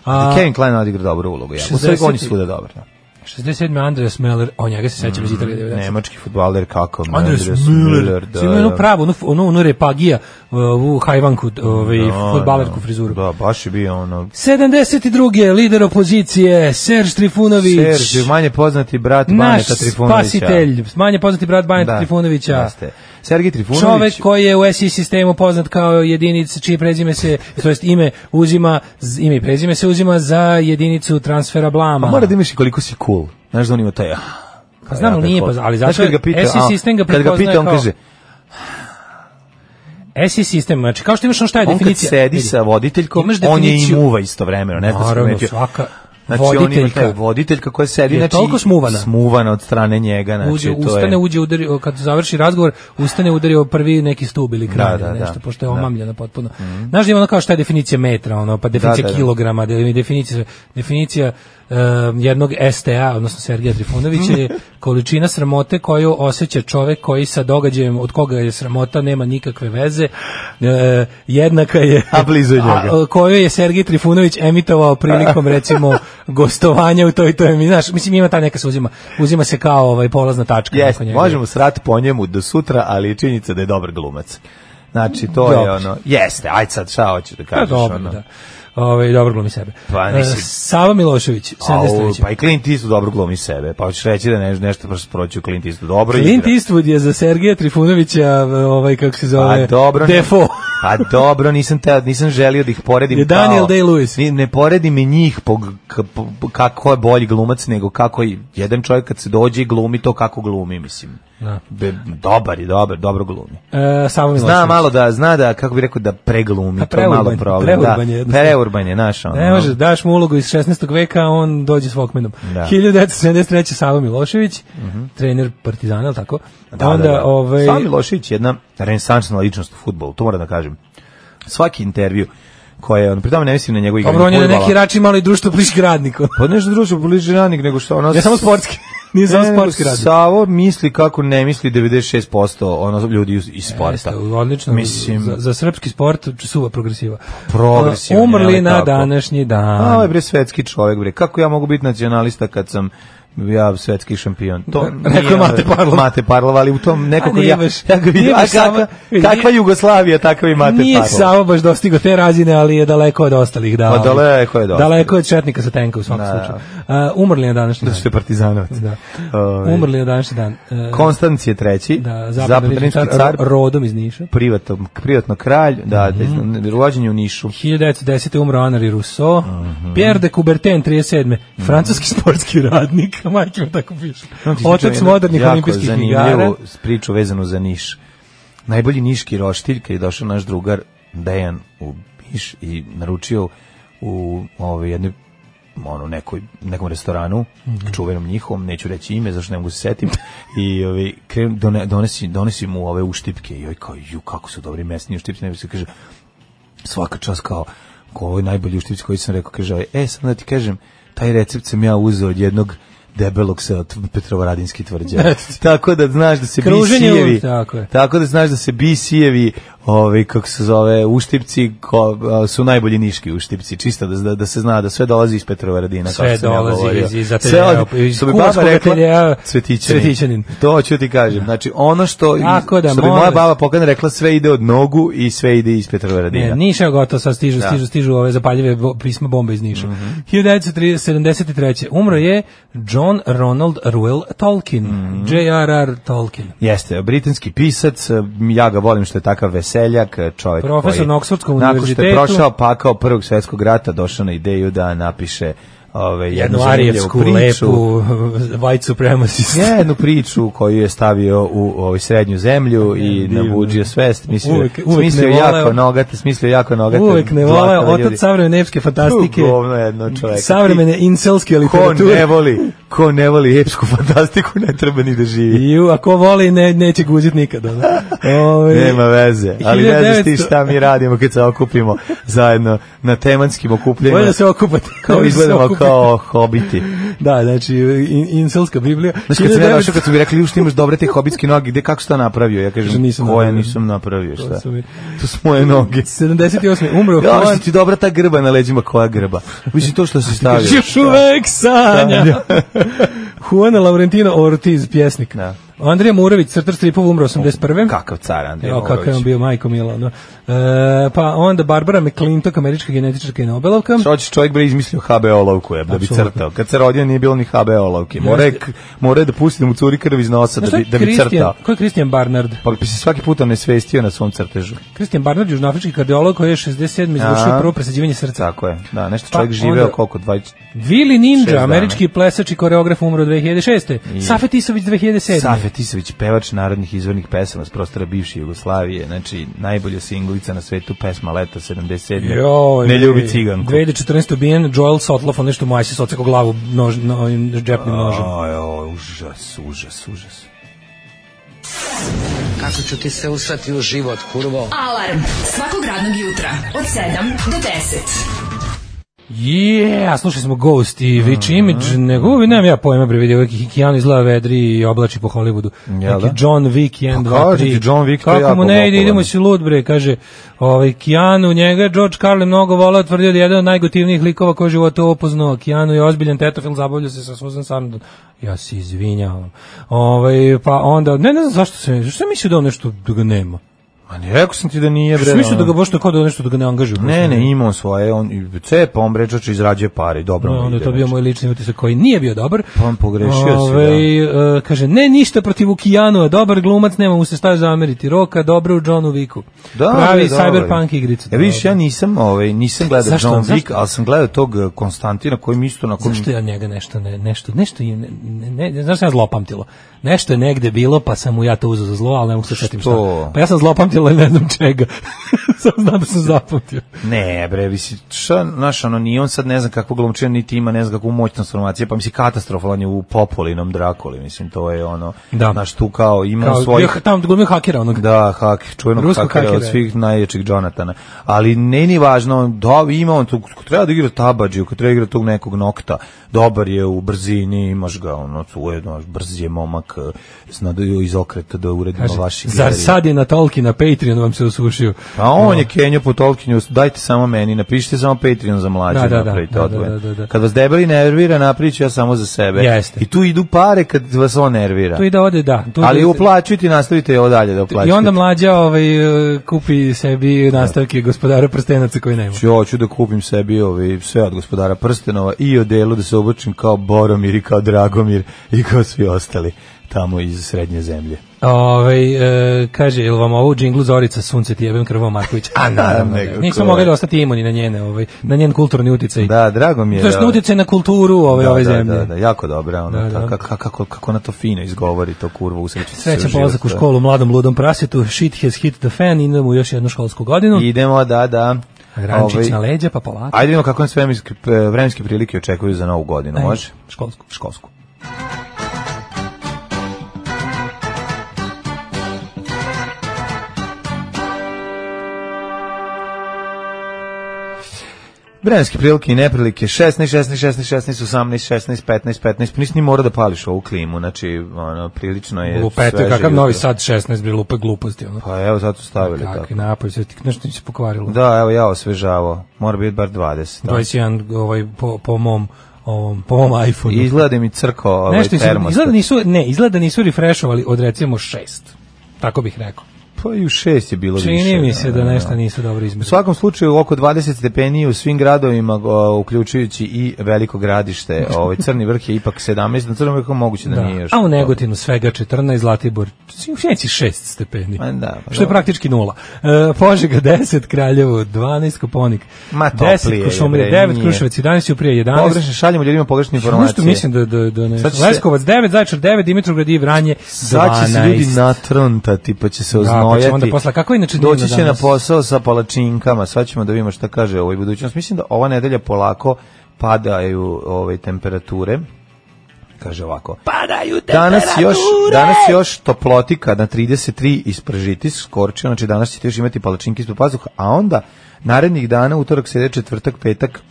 Speaker 6: A,
Speaker 7: a,
Speaker 6: Da Kevin Klein odigra dobru ulogu. Ja. U svoj
Speaker 7: 60
Speaker 6: on je svuda dobar. Da.
Speaker 7: 67. Andreas Miller, o njega se sećam
Speaker 6: Mm,
Speaker 7: iz Italije 90.
Speaker 6: Nemački futbaler kako?
Speaker 7: Andres Müller, da,
Speaker 6: da,
Speaker 7: ima onu
Speaker 6: da.
Speaker 7: pravu, onu, onu, onu repagija, uh, ovu hajvanku, ovaj,
Speaker 6: Da,
Speaker 7: fudbalerku
Speaker 6: da.
Speaker 7: frizuru.
Speaker 6: Da, baš je bio ono...
Speaker 7: 72. lider opozicije, Serž Trifunović.
Speaker 6: Serđe, manje poznati brat
Speaker 7: naš
Speaker 6: Baneta Trifunovića.
Speaker 7: spasitelj, manje poznati brat Baneta
Speaker 6: Da,
Speaker 7: Trifunovića.
Speaker 6: Jeste. Sergij Trifunović.
Speaker 7: Čovek koji je u SI sistemu poznat kao jedinica čije prezime se, to jest ime uzima, z- ime i prezime se uzima za jedinicu transfera blama.
Speaker 6: A mora da imaš i koliko si cool. Znaš da on ima taj... ah,
Speaker 7: Pa znam, ali
Speaker 6: jako
Speaker 7: nije,
Speaker 6: cool.
Speaker 7: pa, ali
Speaker 6: da, Znaš
Speaker 7: zato
Speaker 6: kad ga pita,
Speaker 7: SI
Speaker 6: a,
Speaker 7: sistem ga
Speaker 6: kad ga
Speaker 7: prepoznaje
Speaker 6: pita, on
Speaker 7: kao-
Speaker 6: kaže,
Speaker 7: SI sistem, znači kao što imaš ono šta
Speaker 6: on
Speaker 7: je
Speaker 6: kad
Speaker 7: definicija.
Speaker 6: sedi
Speaker 7: vidi,
Speaker 6: sa voditeljkom,
Speaker 7: imaš
Speaker 6: on je i
Speaker 7: definiciju-
Speaker 6: muva istovremeno. Ne znam,
Speaker 7: Naravno,
Speaker 6: sam
Speaker 7: svaka
Speaker 6: Znači, on ima
Speaker 7: voditeljka.
Speaker 6: taj voditeljka koja sedi,
Speaker 7: Je
Speaker 6: znači,
Speaker 7: toliko smuvana.
Speaker 6: smuvana od strane njega, znači,
Speaker 7: uđe,
Speaker 6: to
Speaker 7: ustane,
Speaker 6: je...
Speaker 7: uđe, udari, o, kad završi razgovor, ustane, udari o prvi neki stub ili kraj,
Speaker 6: Da,
Speaker 7: da,
Speaker 6: da,
Speaker 7: nešto,
Speaker 6: da.
Speaker 7: pošto je
Speaker 6: Da.
Speaker 7: omamljena potpuno. Znaš da ima ono kao šta je definicija metra, ono, pa definicija
Speaker 6: da, da.
Speaker 7: kilograma, de- definicija, definicija e, jednog STA, odnosno Sergeja Trifunovića, je količina sramote koju osjeća čovek koji sa događajem od koga je sramota nema nikakve veze, e, jednaka je...
Speaker 6: A blizu je njega.
Speaker 7: A, e, koju je Sergij Trifunović emitovao prilikom recimo gostovanja u toj toj mi znaš mislim ima ta neka se uzima uzima se kao ovaj polazna tačka
Speaker 6: Jeste,
Speaker 7: nakon njega.
Speaker 6: možemo srati po njemu do sutra, ali je činjenica da je dobar glumac. Znači, to je
Speaker 7: Dobro.
Speaker 6: ono... Jeste, aj sad, šta hoćeš da
Speaker 7: Pa
Speaker 6: kažeš?
Speaker 7: dobro,
Speaker 6: ono.
Speaker 7: da. Ovaj dobro glumi sebe.
Speaker 6: Pa, mislim-
Speaker 7: E, Sava Milošević,
Speaker 6: Au,
Speaker 7: 73.
Speaker 6: pa i Clint Eastwood dobro glumi sebe. Pa hoćeš reći da ne, nešto prosto proći u Clint Eastwood. Dobro
Speaker 7: Clint
Speaker 6: igra.
Speaker 7: Eastwood je za Sergeja Trifunovića, ovaj kako se
Speaker 6: Pa
Speaker 7: zove,
Speaker 6: dobro. ne-
Speaker 7: Defo.
Speaker 6: Pa dobro, nisam te, nisam želio da ih poredim
Speaker 7: Je Daniel
Speaker 6: kao-
Speaker 7: Day-Lewis.
Speaker 6: Ni- Ne poredim i njih po, g- k- po- po- kako je bolji glumac nego kako i jedan čovjek kad se dođe i glumi to kako glumi, mislim.
Speaker 7: Da.
Speaker 6: Be- dobar je, dobar, dobro glumi.
Speaker 7: E, Sava Milošević.
Speaker 6: Zna malo da zna da kako bi rekao da preglumi,
Speaker 7: Pa
Speaker 6: to je malo
Speaker 7: preurban,
Speaker 6: problem. da.
Speaker 7: preurban je jednostavno.
Speaker 6: Preurban je naš ono.
Speaker 7: Ne može, daš mu ulogu iz 16. veka, a on dođe s Walkmanom.
Speaker 6: Da. Mhm.
Speaker 7: 1973. Sava Milošević, trener Partizana, je li tako?
Speaker 6: Da,
Speaker 7: Onda,
Speaker 6: da, da.
Speaker 7: Ovaj,
Speaker 6: Sami Milošević je jedna renesansna ličnost u fudbalu, to moram da kažem. Svaki intervju koje on, pri tome ne mislim na njegovu igru.
Speaker 7: Dobro, on je na neki račin malo i društvo pliški radnik. ono.
Speaker 6: Pa nešto druže bliži ranik nego što ono...
Speaker 7: Ne samo sportski. Nije samo
Speaker 6: Ne,
Speaker 7: sportski radnik.
Speaker 6: Savo misli kako ne misli 96% ono ljudi iz- iz sporta.
Speaker 7: E, Jeste, odlično.
Speaker 6: Mislim,
Speaker 7: za, za srpski sport suva progresiva.
Speaker 6: Progresivan,
Speaker 7: Umrli
Speaker 6: jel'
Speaker 7: na
Speaker 6: tako?
Speaker 7: današnji
Speaker 6: a ovo je
Speaker 7: dan.
Speaker 6: bre svetski čovjek bre. Kako ja mogu biti nacionalista kad sam ja svetski šampion. To
Speaker 7: Da, Rekao je
Speaker 6: nije- e,
Speaker 7: Mate Parlov.
Speaker 6: Mate Parlov, ali u tom nekog
Speaker 7: nije
Speaker 6: ja,
Speaker 7: baš-
Speaker 6: ja ga
Speaker 7: nije
Speaker 6: vidim, a
Speaker 7: baš samo-
Speaker 6: kakva,
Speaker 7: vidi,
Speaker 6: kakva
Speaker 7: nije-
Speaker 6: Jugoslavija, takav i Mate
Speaker 7: Nije
Speaker 6: Parlov.
Speaker 7: Savo baš dostigo te razine, ali je daleko od ostalih. Da,
Speaker 6: Pa
Speaker 7: ali-
Speaker 6: daleko je od ostalih.
Speaker 7: Daleko je od četnika sa tenka u svakom
Speaker 6: Da.
Speaker 7: slučaju. Uh, umrli na današnji
Speaker 6: Da
Speaker 7: dan.
Speaker 6: što je partizanovac.
Speaker 7: Da.
Speaker 6: Ovaj,
Speaker 7: Umrli na današnji dan. Uh,
Speaker 6: Konstanc je treći,
Speaker 7: da, zapadni
Speaker 6: zapadrinski
Speaker 7: rimski
Speaker 6: car,
Speaker 7: car, ro- rodom iz Niša.
Speaker 6: privatno, privatno kralj, da,
Speaker 7: Mhm.
Speaker 6: da, rođen je u Nišu.
Speaker 7: 1910. umro Henri Rousseau,
Speaker 6: Mhm.
Speaker 7: Pierre de Coubertin 37. Francuski sportski radnik, majke mi tako piše. Otac modernih olimpijskih igara.
Speaker 6: Jako zanimljivu priču vezanu za Niš. Najbolji niški roštilj, kad je došao naš drugar Dejan u Niš i naručio u ovaj, jednoj ono nekoj nekom restoranu
Speaker 7: Mhm.
Speaker 6: čuvenom njihovom neću reći ime zašto ne mogu se setim i ovaj krem done, donesi donesi mu ove uštipke i oj kao ju kako su dobri mesni uštipci ne bi se kaže svaka čast kao ko ovo je najbolji uštivić koji sam rekao, kaže ovaj, e, sam da ti kažem, taj recept sam ja uzeo od jednog debelog sa t- Petrovaradinski tvrđe. tako da znaš da se
Speaker 7: Kruženje
Speaker 6: bisijevi,
Speaker 7: ulica, tako je.
Speaker 6: tako da znaš da se bisijevi, ovaj, kako se zove, uštipci ko, a, su najbolji niški uštipci, čisto da, da, da se zna da sve dolazi iz Petrovaradina. kao što
Speaker 7: Sve
Speaker 6: sam ja
Speaker 7: dolazi
Speaker 6: govorio.
Speaker 7: iz- iz
Speaker 6: Sve od-
Speaker 7: ateljea, iz
Speaker 6: što bi
Speaker 7: kuvarskog
Speaker 6: baba rekla,
Speaker 7: ateljea
Speaker 6: Cvetićanin.
Speaker 7: Cvetićanin.
Speaker 6: To ću ti kažem. Znači, ono što,
Speaker 7: Tako da,
Speaker 6: što bi
Speaker 7: molim
Speaker 6: moja
Speaker 7: vas.
Speaker 6: baba pokana rekla, sve ide od nogu i sve ide iz Petrovaradina.
Speaker 7: Ne, Niš je gotovo, sad stižu,
Speaker 6: Da.
Speaker 7: stižu, stižu ove zapaljive bo, pisma bombe iz Niša.
Speaker 6: Mhm.
Speaker 7: 1973. Umro je John Ronald Ruel Tolkien,
Speaker 6: Mhm.
Speaker 7: J.R.R. Tolkien.
Speaker 6: Jeste, britanski pisac, ja ga volim što je takav veseljak, čovjek
Speaker 7: Profesor
Speaker 6: koji,
Speaker 7: na Oksfordskom
Speaker 6: Nakon što je
Speaker 7: univerzitetu.
Speaker 6: prošao pakao Prvog svjetskog rata, došao na ideju da napiše ove, jednu
Speaker 7: Jednu
Speaker 6: zanimljivu
Speaker 7: arijevsku,
Speaker 6: priču.
Speaker 7: lepu, white supremacist.
Speaker 6: Jednu priču koju je stavio u ovaj srednju zemlju i
Speaker 7: divno.
Speaker 6: nabuđio svest, mislio,
Speaker 7: Uvek- uvek
Speaker 6: smislio
Speaker 7: ne voleo.
Speaker 6: jako nogate, smislio jako nogate.
Speaker 7: Uvek ne vole,
Speaker 6: dlakave ljudi.
Speaker 7: otac savremene epske fantastike,
Speaker 6: Tu govno jedno čoveka.
Speaker 7: savremene inselske
Speaker 6: Ko ne
Speaker 7: literature.
Speaker 6: voli, ko ne voli epsku fantastiku, ne treba ni da živi.
Speaker 7: Ju, a ko voli, ne, neće guzit Ovaj, nikada. Ove,
Speaker 6: Nema veze, ali ne znaš ti
Speaker 7: 1900
Speaker 6: šta mi radimo kad se okupimo zajedno na temanskim okupljenjima.
Speaker 7: Bolje da se okupate.
Speaker 6: kao
Speaker 7: Da se
Speaker 6: izgledamo
Speaker 7: okupate.
Speaker 6: kao hobiti.
Speaker 7: Da, znači, in, inselska Biblija.
Speaker 6: Znaš, kad sam ja
Speaker 7: 1900
Speaker 6: došao, kad su mi rekli, "Ju, što imaš dobre te hobitske noge, gde, kako si to napravio? Ja
Speaker 7: Kaže,
Speaker 6: kažem,
Speaker 7: "Nisam
Speaker 6: koje
Speaker 7: napravio."
Speaker 6: nisam napravio,
Speaker 7: To
Speaker 6: šta?
Speaker 7: su mi-
Speaker 6: To su moje noge.
Speaker 7: 78. umro
Speaker 6: Ja, što
Speaker 7: Juan.
Speaker 6: ti je dobra ta grba na leđima, koja grba? Mislim, to što si stavio.
Speaker 7: Još uvek sanja. Juan Laurentino Ortiz, pjesnik.
Speaker 6: Da.
Speaker 7: Andrija Murović, crtar stripova, umro 81.
Speaker 6: Kakav car, Andrej
Speaker 7: Jo, kakav je on
Speaker 6: Morović.
Speaker 7: bio, majko Milo. No. E, pa onda Barbara McClintock, američka genetička i Nobelovka.
Speaker 6: Hoćeš čovjek bre izmislio HBO lovku, je, da bi
Speaker 7: Apsolutno.
Speaker 6: crtao. Kad se rodio nije bilo ni HBO lovke. Mora je, k- mora je da pusti da mu curi krv iz nosa da bi, da bi
Speaker 7: Christian-
Speaker 6: crtao.
Speaker 7: Ko je Christian Barnard?
Speaker 6: Pa bi se svaki puta ne svestio na svom crtežu.
Speaker 7: Christian Barnard, južnoafrički kardiolog koji je 67. izvršio
Speaker 6: A.
Speaker 7: prvo presađivanje srca.
Speaker 6: Tako je. Da, nešto
Speaker 7: Pa
Speaker 6: čovjek živeo
Speaker 7: onda-
Speaker 6: koliko 20
Speaker 7: Vili Ninja,
Speaker 6: dana.
Speaker 7: američki plesač i koreograf umro 2006. Safet Isović 2007.
Speaker 6: Safet Isović, pevač narodnih izvornih pesama s prostora bivše Jugoslavije, znači najbolja singlica na svetu, pesma Leta 77.
Speaker 7: Joj,
Speaker 6: ne
Speaker 7: ej.
Speaker 6: ljubi ciganku.
Speaker 7: 2014. ubijen Joel Sotloff, on nešto maje se soceko glavu nož, no, ovim džepnim nožem.
Speaker 6: Aj, aj, užas, užas, užas.
Speaker 2: Kako ću ti se usrati u život, kurvo?
Speaker 3: Alarm svakog radnog jutra od 7 do 10.
Speaker 7: Yeah, slušali smo Ghost
Speaker 6: Mhm.
Speaker 7: i Witch Image, nego uvi, nemam ja pojma bre vidio, neki Keanu izgleda vedri i oblači po Hollywoodu.
Speaker 6: Jel
Speaker 7: neki
Speaker 6: da?
Speaker 7: John Wick 1,
Speaker 6: Pa
Speaker 7: 2,
Speaker 6: kažem
Speaker 7: 3.
Speaker 6: ti, John Wick to je
Speaker 7: Kako mu
Speaker 6: jako
Speaker 7: ne ide,
Speaker 6: popularno.
Speaker 7: idemo si lud bre, kaže ovaj, Keanu, njega je George Carlin mnogo volao, tvrdio da je jedan od najgotivnijih likova koji je u životu opoznao. Keanu je ozbiljan tetofil, zabavlja se sa Susan Sarandon. Ja se izvinjavam. Ovaj, pa onda, ne, ne znam zašto se, što sam mislio da on nešto da ga nema.
Speaker 6: A ne rekao sam ti da nije
Speaker 7: Što
Speaker 6: bre.
Speaker 7: sam mislio da
Speaker 6: ono.
Speaker 7: ga baš tako da nešto da ga ne angažuju.
Speaker 6: Ne, ne, imao svoje, on i cepa, on bre čoče izrađuje pare, dobro.
Speaker 7: No,
Speaker 6: mu
Speaker 7: Pa Da, onda je
Speaker 6: ide,
Speaker 7: to bio
Speaker 6: znači.
Speaker 7: moj lični utisak koji nije bio dobar.
Speaker 6: Pa on pogrešio si,
Speaker 7: da. kaže, ne ništa protiv Ukijanova, dobar glumac, nema mu se šta zameriti. Roka, dobro u Johnu Viku.
Speaker 6: Da,
Speaker 7: Pravi
Speaker 6: je, dobro je.
Speaker 7: cyberpunk igrica. da,
Speaker 6: E vidiš, ja nisam, ovaj, nisam gledao
Speaker 7: Zašto on,
Speaker 6: John Wick,
Speaker 7: zašto?
Speaker 6: ali sam gledao tog eh, Konstantina koji isto na kom...
Speaker 7: Zašto ja njega nešto, ne, nešto, nešto, je- ne, ne, ne, ne znaš šta ja zlopamtilo? Nešto je negde bilo, pa sam mu ja to uzeo za zlo, ali ne mogu se setim šta.
Speaker 6: Što?
Speaker 7: Pa ja sam zlopamtila i ne znam čega. Samo znam da sam zapamtio.
Speaker 6: Ne, bre, mislim, šta, znaš, ono, ni on sad ne znam kakvu glumčinu, niti ima, ne znam kakvu moć transformacije, pa mislim, katastrofalan je u Popolinom Drakoli, mislim, to je ono,
Speaker 7: Da.
Speaker 6: znaš, tu kao, ima
Speaker 7: Kao,
Speaker 6: svojih...
Speaker 7: bio- tamo glumio hakera onog.
Speaker 6: Da, hak, čuvenog
Speaker 7: Ruskog
Speaker 6: hakera od
Speaker 7: hakera.
Speaker 6: svih najjačih Jonatana. Ali ne ni važno, da, ima on tu, ko treba da igra tabađu, ko treba da igra tog nekog nokta, dobar je u brzini, imaš ga, ono, ujedno, brz je momak, eh, zna da iz okreta da uredimo
Speaker 7: Kaže,
Speaker 6: vaši
Speaker 7: Zar
Speaker 6: galerije.
Speaker 7: sad je na Tolkien, na Patreon vam se osušio.
Speaker 6: Pa on je Kenjo po Tolkienu, dajte samo meni, napišite samo Patreon za mlađe,
Speaker 7: Da, da, da,
Speaker 6: napravite
Speaker 7: da, da,
Speaker 6: odvojen.
Speaker 7: da, da, da.
Speaker 6: Kad vas debeli nervira, napravit ću ja samo za sebe.
Speaker 7: Jeste.
Speaker 6: I tu idu pare kad vas on nervira.
Speaker 7: Tu i da ode, da. Tu
Speaker 6: Ali
Speaker 7: da-
Speaker 6: uplaćujte i nastavite ovo dalje da uplaćujete.
Speaker 7: I onda mlađa ovaj, e, kupi sebi nastavke gospodara prstenaca koji nema.
Speaker 6: Ću, Ja ću da kupim sebi ovaj, sve od gospodara Prstenova i odelu da se obučim kao Boromir i kao Dragomir i kao svi ostali tamo iz srednje zemlje.
Speaker 7: Ovaj e, kaže, jel vam ovo u džinglu Zorica sunce ti jebem krvom Marković? A naravno,
Speaker 6: nego
Speaker 7: da. nismo
Speaker 6: ko
Speaker 7: mogli
Speaker 6: je.
Speaker 7: da ostati imuni na njene, ovaj, na njen kulturni uticaj.
Speaker 6: Da, drago mi je.
Speaker 7: To jest
Speaker 6: da-
Speaker 7: na uticaj na kulturu ove,
Speaker 6: da,
Speaker 7: ove
Speaker 6: da,
Speaker 7: zemlje.
Speaker 6: Da, da, jako dobra. Ono,
Speaker 7: Da,
Speaker 6: ta-
Speaker 7: da.
Speaker 6: ka- ka- kako, kako ona to fino izgovori, to kurvo usrećite. se
Speaker 7: Srećan
Speaker 6: u život,
Speaker 7: polazak u
Speaker 6: da.
Speaker 7: školu mladom ludom prasjetu, shit has hit the fan, idemo u još jednu školsku godinu.
Speaker 6: Idemo, da, da.
Speaker 7: Rančić
Speaker 6: Ovaj,
Speaker 7: na leđa, pa polako.
Speaker 6: Ajde vidimo kako nas vremenske, vremenske prilike očekuju za novu godinu,
Speaker 7: Ajde,
Speaker 6: može?
Speaker 7: Školsku.
Speaker 6: Školsku. Vremenske prilike i neprilike 16, 16, 16, 16, 18, 16, 15, 15, pa nisi ni morao da pališ ovu klimu, znači ono, prilično je
Speaker 7: Lupeto,
Speaker 6: sveže
Speaker 7: kakav
Speaker 6: jutro.
Speaker 7: novi sad 16, bre, lupa gluposti, ono.
Speaker 6: Pa evo, zato su stavili tako.
Speaker 7: Kakve napolje, sve ti nešto mi se pokvarilo.
Speaker 6: Da, evo ja osvežavao, mora biti bar 20. da.
Speaker 7: 21 ovaj, po, po mom ovom, po mom iPhone.
Speaker 6: I Izgleda mi crko ovaj,
Speaker 7: Nešto su,
Speaker 6: termostat.
Speaker 7: izgleda nisu, ne, izgleda da nisu refreshovali od recimo 6. Tako bih rekao.
Speaker 6: Pa i u šest je bilo više.
Speaker 7: Čini mi se da
Speaker 6: da.
Speaker 7: nešto nisu dobro
Speaker 6: U
Speaker 7: izmerili.
Speaker 6: svakom slučaju oko 20 stepeni u svim gradovima, o, uključujući i veliko gradište, ovaj crni vrh je ipak 17, na crnom vrhu moguće da,
Speaker 7: Da.
Speaker 6: nije još.
Speaker 7: A u Negotinu svega 14, Zlatibor, u Sjenici 6 da stepeni.
Speaker 6: Ma da, pa
Speaker 7: što je
Speaker 6: dobro.
Speaker 7: praktički nula. E, Požega 10, Kraljevo 12, Koponik
Speaker 6: Ma, toplije
Speaker 7: 10,
Speaker 6: je,
Speaker 7: Košumlija
Speaker 6: bre,
Speaker 7: 9,
Speaker 6: nije.
Speaker 7: Kruševac 11, Uprije 11.
Speaker 6: Pogrešno šaljemo ljudima pogrešne informacije.
Speaker 7: Nešto mislim da, da, da ne.
Speaker 6: Sad će se-
Speaker 7: Leskovac 9, Zajčar 9, Dimitrovgrad i Vranje 12.
Speaker 6: Sad će se ljudi natrontati, pa će se oznojati.
Speaker 7: pa ćemo onda posla- kako je inače divno
Speaker 6: Doći će na
Speaker 7: danas?
Speaker 6: posao sa palačinkama, sad ćemo da vidimo šta kaže ovoj budućnost. Mislim da ova nedelja polako padaju ove temperature. Kaže ovako.
Speaker 7: Padaju
Speaker 6: Danas još, danas još toplotika na 33 ispržiti skorčio, znači danas ćete još imati palačinke ispod pazuha, a onda narednih dana, utorak, sreda, četvrtak, petak,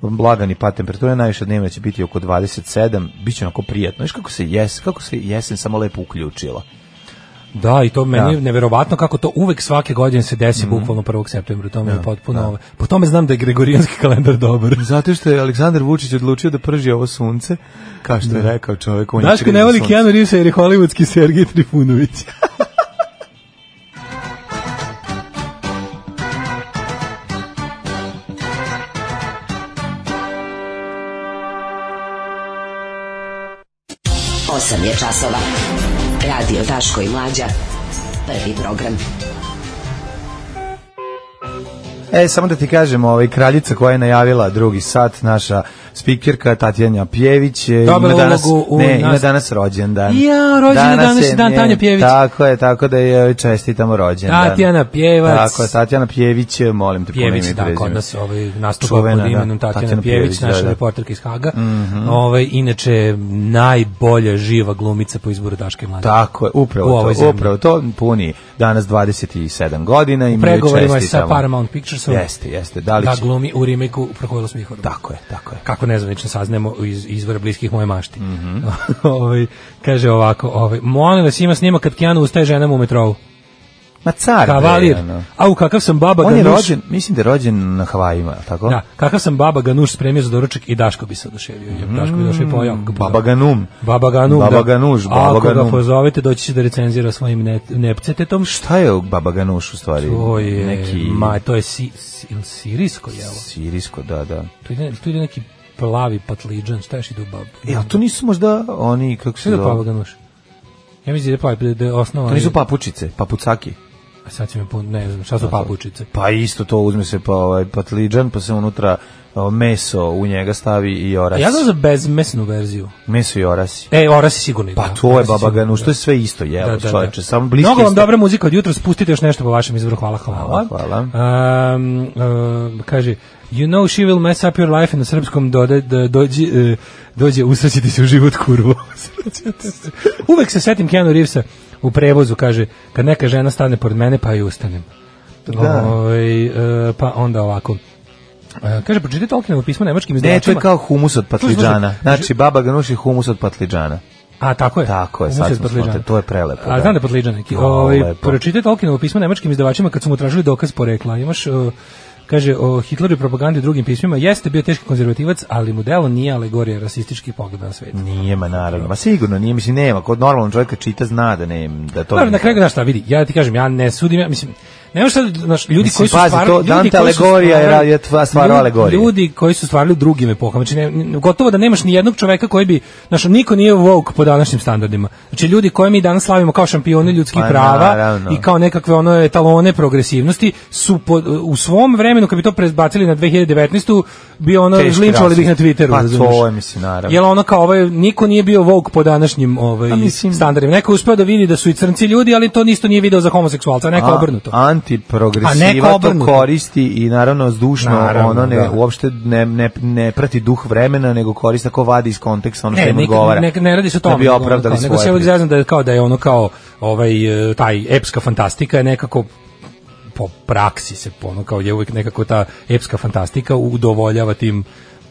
Speaker 6: blagani pad temperature, najviše dnevno će biti oko 27, bit će onako prijatno. Viš kako se, jes, kako se jesen samo lepo uključila.
Speaker 7: Da, i to meni
Speaker 6: Da. Mhm.
Speaker 7: je neverovatno kako to uvek svake godine se desi bukvalno 1. septembra, to
Speaker 6: Da,
Speaker 7: mi je potpuno... ovaj- Po tome znam da je gregorijanski kalendar dobar.
Speaker 6: Zato što je Aleksandar Vučić odlučio da prži ovo sunce, kao što je rekao čovjek, on
Speaker 7: Da. Daško ne voli Keanu Reevesa jer je hollywoodski Sergej Trifunović.
Speaker 6: Da,
Speaker 3: Osam je časova. Radio Daško i Mlađa. Prvi program.
Speaker 6: E, samo da ti kažem, ovaj, kraljica koja je najavila drugi sat, naša spikirka Tatjana Pjević, je-
Speaker 7: Dobila
Speaker 6: ima danas,
Speaker 7: ulogu u
Speaker 6: ne, ima
Speaker 7: nas-
Speaker 6: danas rođendan.
Speaker 7: Ja, rođendan, danas je dan
Speaker 6: njen-
Speaker 7: Tanje Pjević.
Speaker 6: Tako je, tako da je čestitamo rođendan.
Speaker 7: Tatjana Pjevac.
Speaker 6: da. Tako je, Tatjana Pjević, molim te,
Speaker 7: Pjević,
Speaker 6: puno ime i
Speaker 7: da, kod
Speaker 6: prezime.
Speaker 7: nas ovaj, nastupa
Speaker 6: Čuvena,
Speaker 7: pod imenom
Speaker 6: da,
Speaker 7: Tatjana,
Speaker 6: Tatjana
Speaker 7: Pjević,
Speaker 6: Pjević,
Speaker 7: naša
Speaker 6: da, Mhm. da.
Speaker 7: reporterka iz Haga. ovaj, inače, najbolja živa glumica po izboru Daške Mlade.
Speaker 6: Tako je,
Speaker 7: U
Speaker 6: upravo
Speaker 7: ovoj
Speaker 6: to,
Speaker 7: zemlji.
Speaker 6: upravo to, puni danas 27 godina i mi joj
Speaker 7: Pregovorima je sa
Speaker 6: čestitamo.
Speaker 7: Paramount Picturesom
Speaker 6: Jeste, jeste, da li
Speaker 7: da
Speaker 6: će-
Speaker 7: glumi u remake'u Prokovilo smihorom.
Speaker 6: Tako je, tako je.
Speaker 7: kako nezvanično saznajemo iz izvora bliskih moje mašti.
Speaker 6: Mhm.
Speaker 7: ovaj, kaže ovako, ovaj, molim vas ima snima kad Keanu ustaje ženama u metrovu.
Speaker 6: Ma car, bre,
Speaker 7: Kavalir,
Speaker 6: ono.
Speaker 7: au kakav sam baba
Speaker 6: da, On je
Speaker 7: ganuš.
Speaker 6: rođen, mislim da je rođen na Havajima, jel tako?
Speaker 7: Da, kakav sam baba ganuš spremio za doručak i Daško bi se oduševio. jer Daško bi došao i pojao. ga puno.
Speaker 6: Mhm. Baba Ganum.
Speaker 7: Baba Ganu,
Speaker 6: Baba Ganuš, Baba
Speaker 7: Ako ga
Speaker 6: Ganum.
Speaker 7: pozovete, doći će da recenzira svojim ne, nepcetetom.
Speaker 6: Šta je u Baba Ganuš u stvari?
Speaker 7: To je,
Speaker 6: Neki
Speaker 7: ma, to je si, si, ili sirijsko jelo.
Speaker 6: sirijsko, da, da.
Speaker 7: Tu ide, tu ide neki plavi patliđan, šta još ide u babu?
Speaker 6: E, a to nisu možda oni, kako se
Speaker 7: Sve da Baba
Speaker 6: zove?
Speaker 7: Ganuš. Ja mislim da je plavi, da je osnova.
Speaker 6: To nisu pa- papučice, papucaki.
Speaker 7: A sad će me pun, ne znam, šta su papučice?
Speaker 6: Pa isto to uzme se pa ovaj patliđan, pa se unutra o, meso u njega stavi i
Speaker 7: A
Speaker 6: orasi.
Speaker 7: ja znam za bezmesnu verziju.
Speaker 6: Meso i orasi.
Speaker 7: E, orasi sigurno.
Speaker 6: Pa to je Baba Ganuš, to je sve isto, jelo,
Speaker 7: Da, da, da.
Speaker 6: čoveče, samo bliski.
Speaker 7: Mnogo vam
Speaker 6: isto.
Speaker 7: dobra muzika od jutra, spustite još nešto po vašem izboru, hvala, hvala.
Speaker 6: Hvala, hvala.
Speaker 7: Um, um, kaže, you know she will mess up your life, i na srpskom dode, do, dođi, e, dođe, usrećiti se u život, kurvo. Usrećite se. Uvek se setim Keanu Reevesa u prevozu, kaže, kad neka žena stane pored mene, pa i ustanem.
Speaker 6: Da.
Speaker 7: Ovaj, e, pa onda ovako. E, kaže, pročitaj Tolkienovo pismo nemačkim
Speaker 6: Ne, to je
Speaker 7: izdavačima.
Speaker 6: kao humus od patliđana.
Speaker 7: Slušaj, slušaj.
Speaker 6: Znači, Baba Ganuš je humus od patliđana.
Speaker 7: A tako je.
Speaker 6: Tako je,
Speaker 7: Umus
Speaker 6: sad
Speaker 7: od
Speaker 6: smo
Speaker 7: Patliđana.
Speaker 6: shvatili, to je prelepo,
Speaker 7: A
Speaker 6: da.
Speaker 7: znam da je Patliđan neki.
Speaker 6: O,
Speaker 7: Ovaj
Speaker 6: lepo.
Speaker 7: pročitaj Tolkienovo pismo nemačkim izdavačima kad su mu tražili dokaz porekla. Imaš uh, kaže o Hitleru i propagandi i drugim pismima jeste bio teški konzervativac, ali mu delo nije alegorija rasističkih pogleda na svet.
Speaker 6: Nije, ma naravno. Ma sigurno, nije, mislim, nema. Kod normalnog čovjeka čita, zna da ne, da to...
Speaker 7: Dobro, na kraju znaš šta, vidi, ja ti kažem, ja ne sudim, ja mislim, ne možeš sad, znaš, ljudi
Speaker 6: Mislim,
Speaker 7: koji su
Speaker 6: pazi,
Speaker 7: stvarali...
Speaker 6: to
Speaker 7: ljudi
Speaker 6: Dante
Speaker 7: koji su
Speaker 6: alegorija je
Speaker 7: stvarali-
Speaker 6: ra- je tva- stvar
Speaker 7: ljudi-
Speaker 6: alegorije.
Speaker 7: Ljudi koji su stvarali u drugim epohama, znači ne- ne- gotovo da nemaš ni jednog čoveka koji bi, znaš, niko nije woke po današnjim standardima. Znači ljudi koje mi danas slavimo kao šampioni ljudskih
Speaker 6: Pa,
Speaker 7: prava
Speaker 6: naravno.
Speaker 7: i kao nekakve ono etalone progresivnosti su po- u svom vremenu, kad bi to prezbacili na 2019. bi ono,
Speaker 6: Teški
Speaker 7: linčovali bi ih na
Speaker 6: rasist.
Speaker 7: Twitteru.
Speaker 6: Pa, to
Speaker 7: razumeš?
Speaker 6: je, mislim, naravno.
Speaker 7: Jel ono kao ovaj, niko nije bio woke po današnjim ovaj,
Speaker 6: Pa, mislim-
Speaker 7: standardima. Neko je uspeo da vidi da su i crnci ljudi, ali to isto nije video za homoseksualca, neko
Speaker 6: A-
Speaker 7: obrnuto. A neko
Speaker 6: Antiprogresiva to
Speaker 7: obrnuto.
Speaker 6: koristi i naravno zdušno
Speaker 7: Naravno,
Speaker 6: ono ne,
Speaker 7: da.
Speaker 6: uopšte ne, ne, ne prati duh vremena, nego koriste ako vadi iz konteksta ono što
Speaker 7: Ne,
Speaker 6: im
Speaker 7: ne,
Speaker 6: odgovara.
Speaker 7: ne, ne radi se o tome.
Speaker 6: Da bi
Speaker 7: nego
Speaker 6: opravdali
Speaker 7: ono kao- nego se
Speaker 6: svoje
Speaker 7: uvijek zezam da je kao da je ono kao ovaj e, taj epska fantastika je nekako po praksi se ono kao je uvijek nekako ta epska fantastika udovoljava tim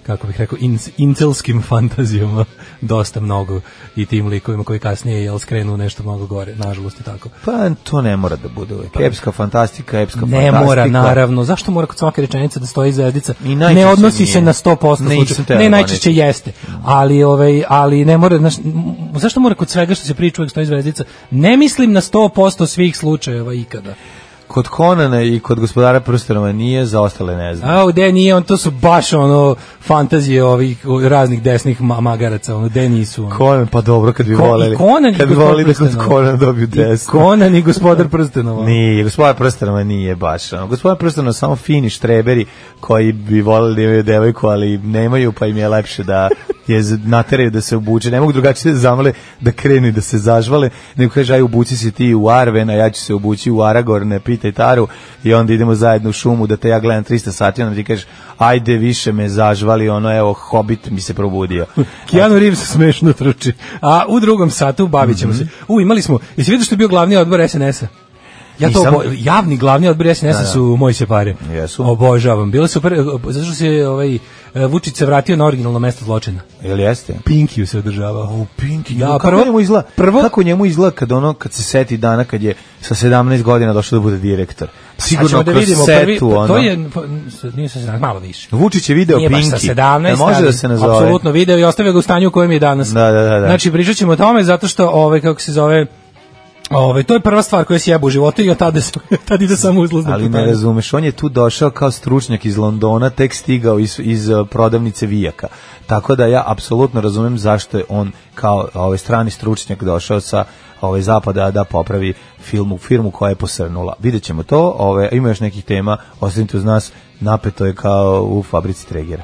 Speaker 7: kako bih rekao, in, incelskim fantazijama dosta mnogo i tim likovima koji kasnije jel skrenu u nešto mnogo gore, nažalost je tako.
Speaker 6: Pa to ne mora da bude uvek. Epska fantastika, epska
Speaker 7: Pa- Ne
Speaker 6: fantastika.
Speaker 7: mora, naravno. Zašto mora kod svake rečenice da stoji zvezdica?
Speaker 6: I najčešće
Speaker 7: ne odnosi se
Speaker 6: nije.
Speaker 7: na 100%
Speaker 6: Ne,
Speaker 7: slučaja.
Speaker 6: nisam teo
Speaker 7: Ne,
Speaker 6: da
Speaker 7: najčešće
Speaker 6: govorim.
Speaker 7: jeste. Ali, ovaj, ali ne mora, znaš, m, zašto mora kod svega što se priča uvek stoji zvezdica? Ne mislim na 100% svih slučajeva ikada.
Speaker 6: Kod Konana i kod gospodara Prstenova nije, za ostale ne znam.
Speaker 7: A, gde nije, on, to su baš ono fantazije ovih o, raznih desnih ma- magaraca, ono, gde nisu. Ono.
Speaker 6: Conan, pa dobro, kad bi
Speaker 7: Ko- i
Speaker 6: voleli.
Speaker 7: Conan i
Speaker 6: kad bi
Speaker 7: Gospodar
Speaker 6: voleli da kod
Speaker 7: prstenova.
Speaker 6: Konana dobiju
Speaker 7: I
Speaker 6: deset.
Speaker 7: Conan i gospodar prstenova.
Speaker 6: Nije, gospodar Prstenova nije baš. ono. Gospodar Prstenova samo fini štreberi koji bi voleli da imaju devojku, ali nemaju, pa im je lepše da je z- nateraju da se obuče. Ne mogu drugačije da zamole da krenu i da se zažvale, nego kaže, aj obuci se ti u Arven, a ja ću se obući u Aragorne, pitaj Taru, i onda idemo zajedno u šumu da te ja gledam 300 sati, onda ti kažeš, ajde više me zažvali, ono, evo, Hobbit mi se probudio.
Speaker 7: Keanu Reeves smešno trči. A u drugom satu bavit ćemo
Speaker 6: Mhm.
Speaker 7: se. U, imali smo, jesi vidio što je bio glavni odbor SNS-a? Ja to
Speaker 6: Nisam. Da,
Speaker 7: obo- javni glavni odbor SNS-a su moji se pare.
Speaker 6: Jesu.
Speaker 7: Obožavam. Bilo je super, e, zato što se ovaj, e, Vučić se vratio na originalno mesto zločina.
Speaker 6: Jel jeste?
Speaker 7: Pinkiju se održavao.
Speaker 6: U Pinki,
Speaker 7: Da,
Speaker 6: da, kako
Speaker 7: prvo-
Speaker 6: njemu izgleda?
Speaker 7: prvo-
Speaker 6: kako njemu izgleda kad ono kad se seti dana kad je sa 17 godina došao da bude direktor. Sigurno
Speaker 7: Pa Sad ćemo
Speaker 6: da kroz setu
Speaker 7: prvi-
Speaker 6: ono.
Speaker 7: To je, pa, s- nije sa 17, malo više.
Speaker 6: Vučić je video
Speaker 7: Nije baš
Speaker 6: Pinki.
Speaker 7: sa 17,
Speaker 6: Ne može da
Speaker 7: ali
Speaker 6: se nazove.
Speaker 7: Apsolutno video i ostavio ga u stanju u kojem je danas.
Speaker 6: Da, da, da, da.
Speaker 7: Znači, pričat ćemo o tome zato što, ovaj, kako se zove, ovaj, to je prva stvar koja se jeba u životu i od tada, se- tad ide samo uzlazno.
Speaker 6: Ali ne razumeš, on je tu došao kao stručnjak iz Londona, tek stigao iz, iz uh, prodavnice vijaka. Tako da ja apsolutno razumem zašto je on kao ovaj strani stručnjak došao sa ovaj zapada da popravi filmu, firmu koja je posrnula. Vidjet ćemo to, ove, ima još nekih tema, ostanite uz nas, napeto je kao u fabrici Tregera.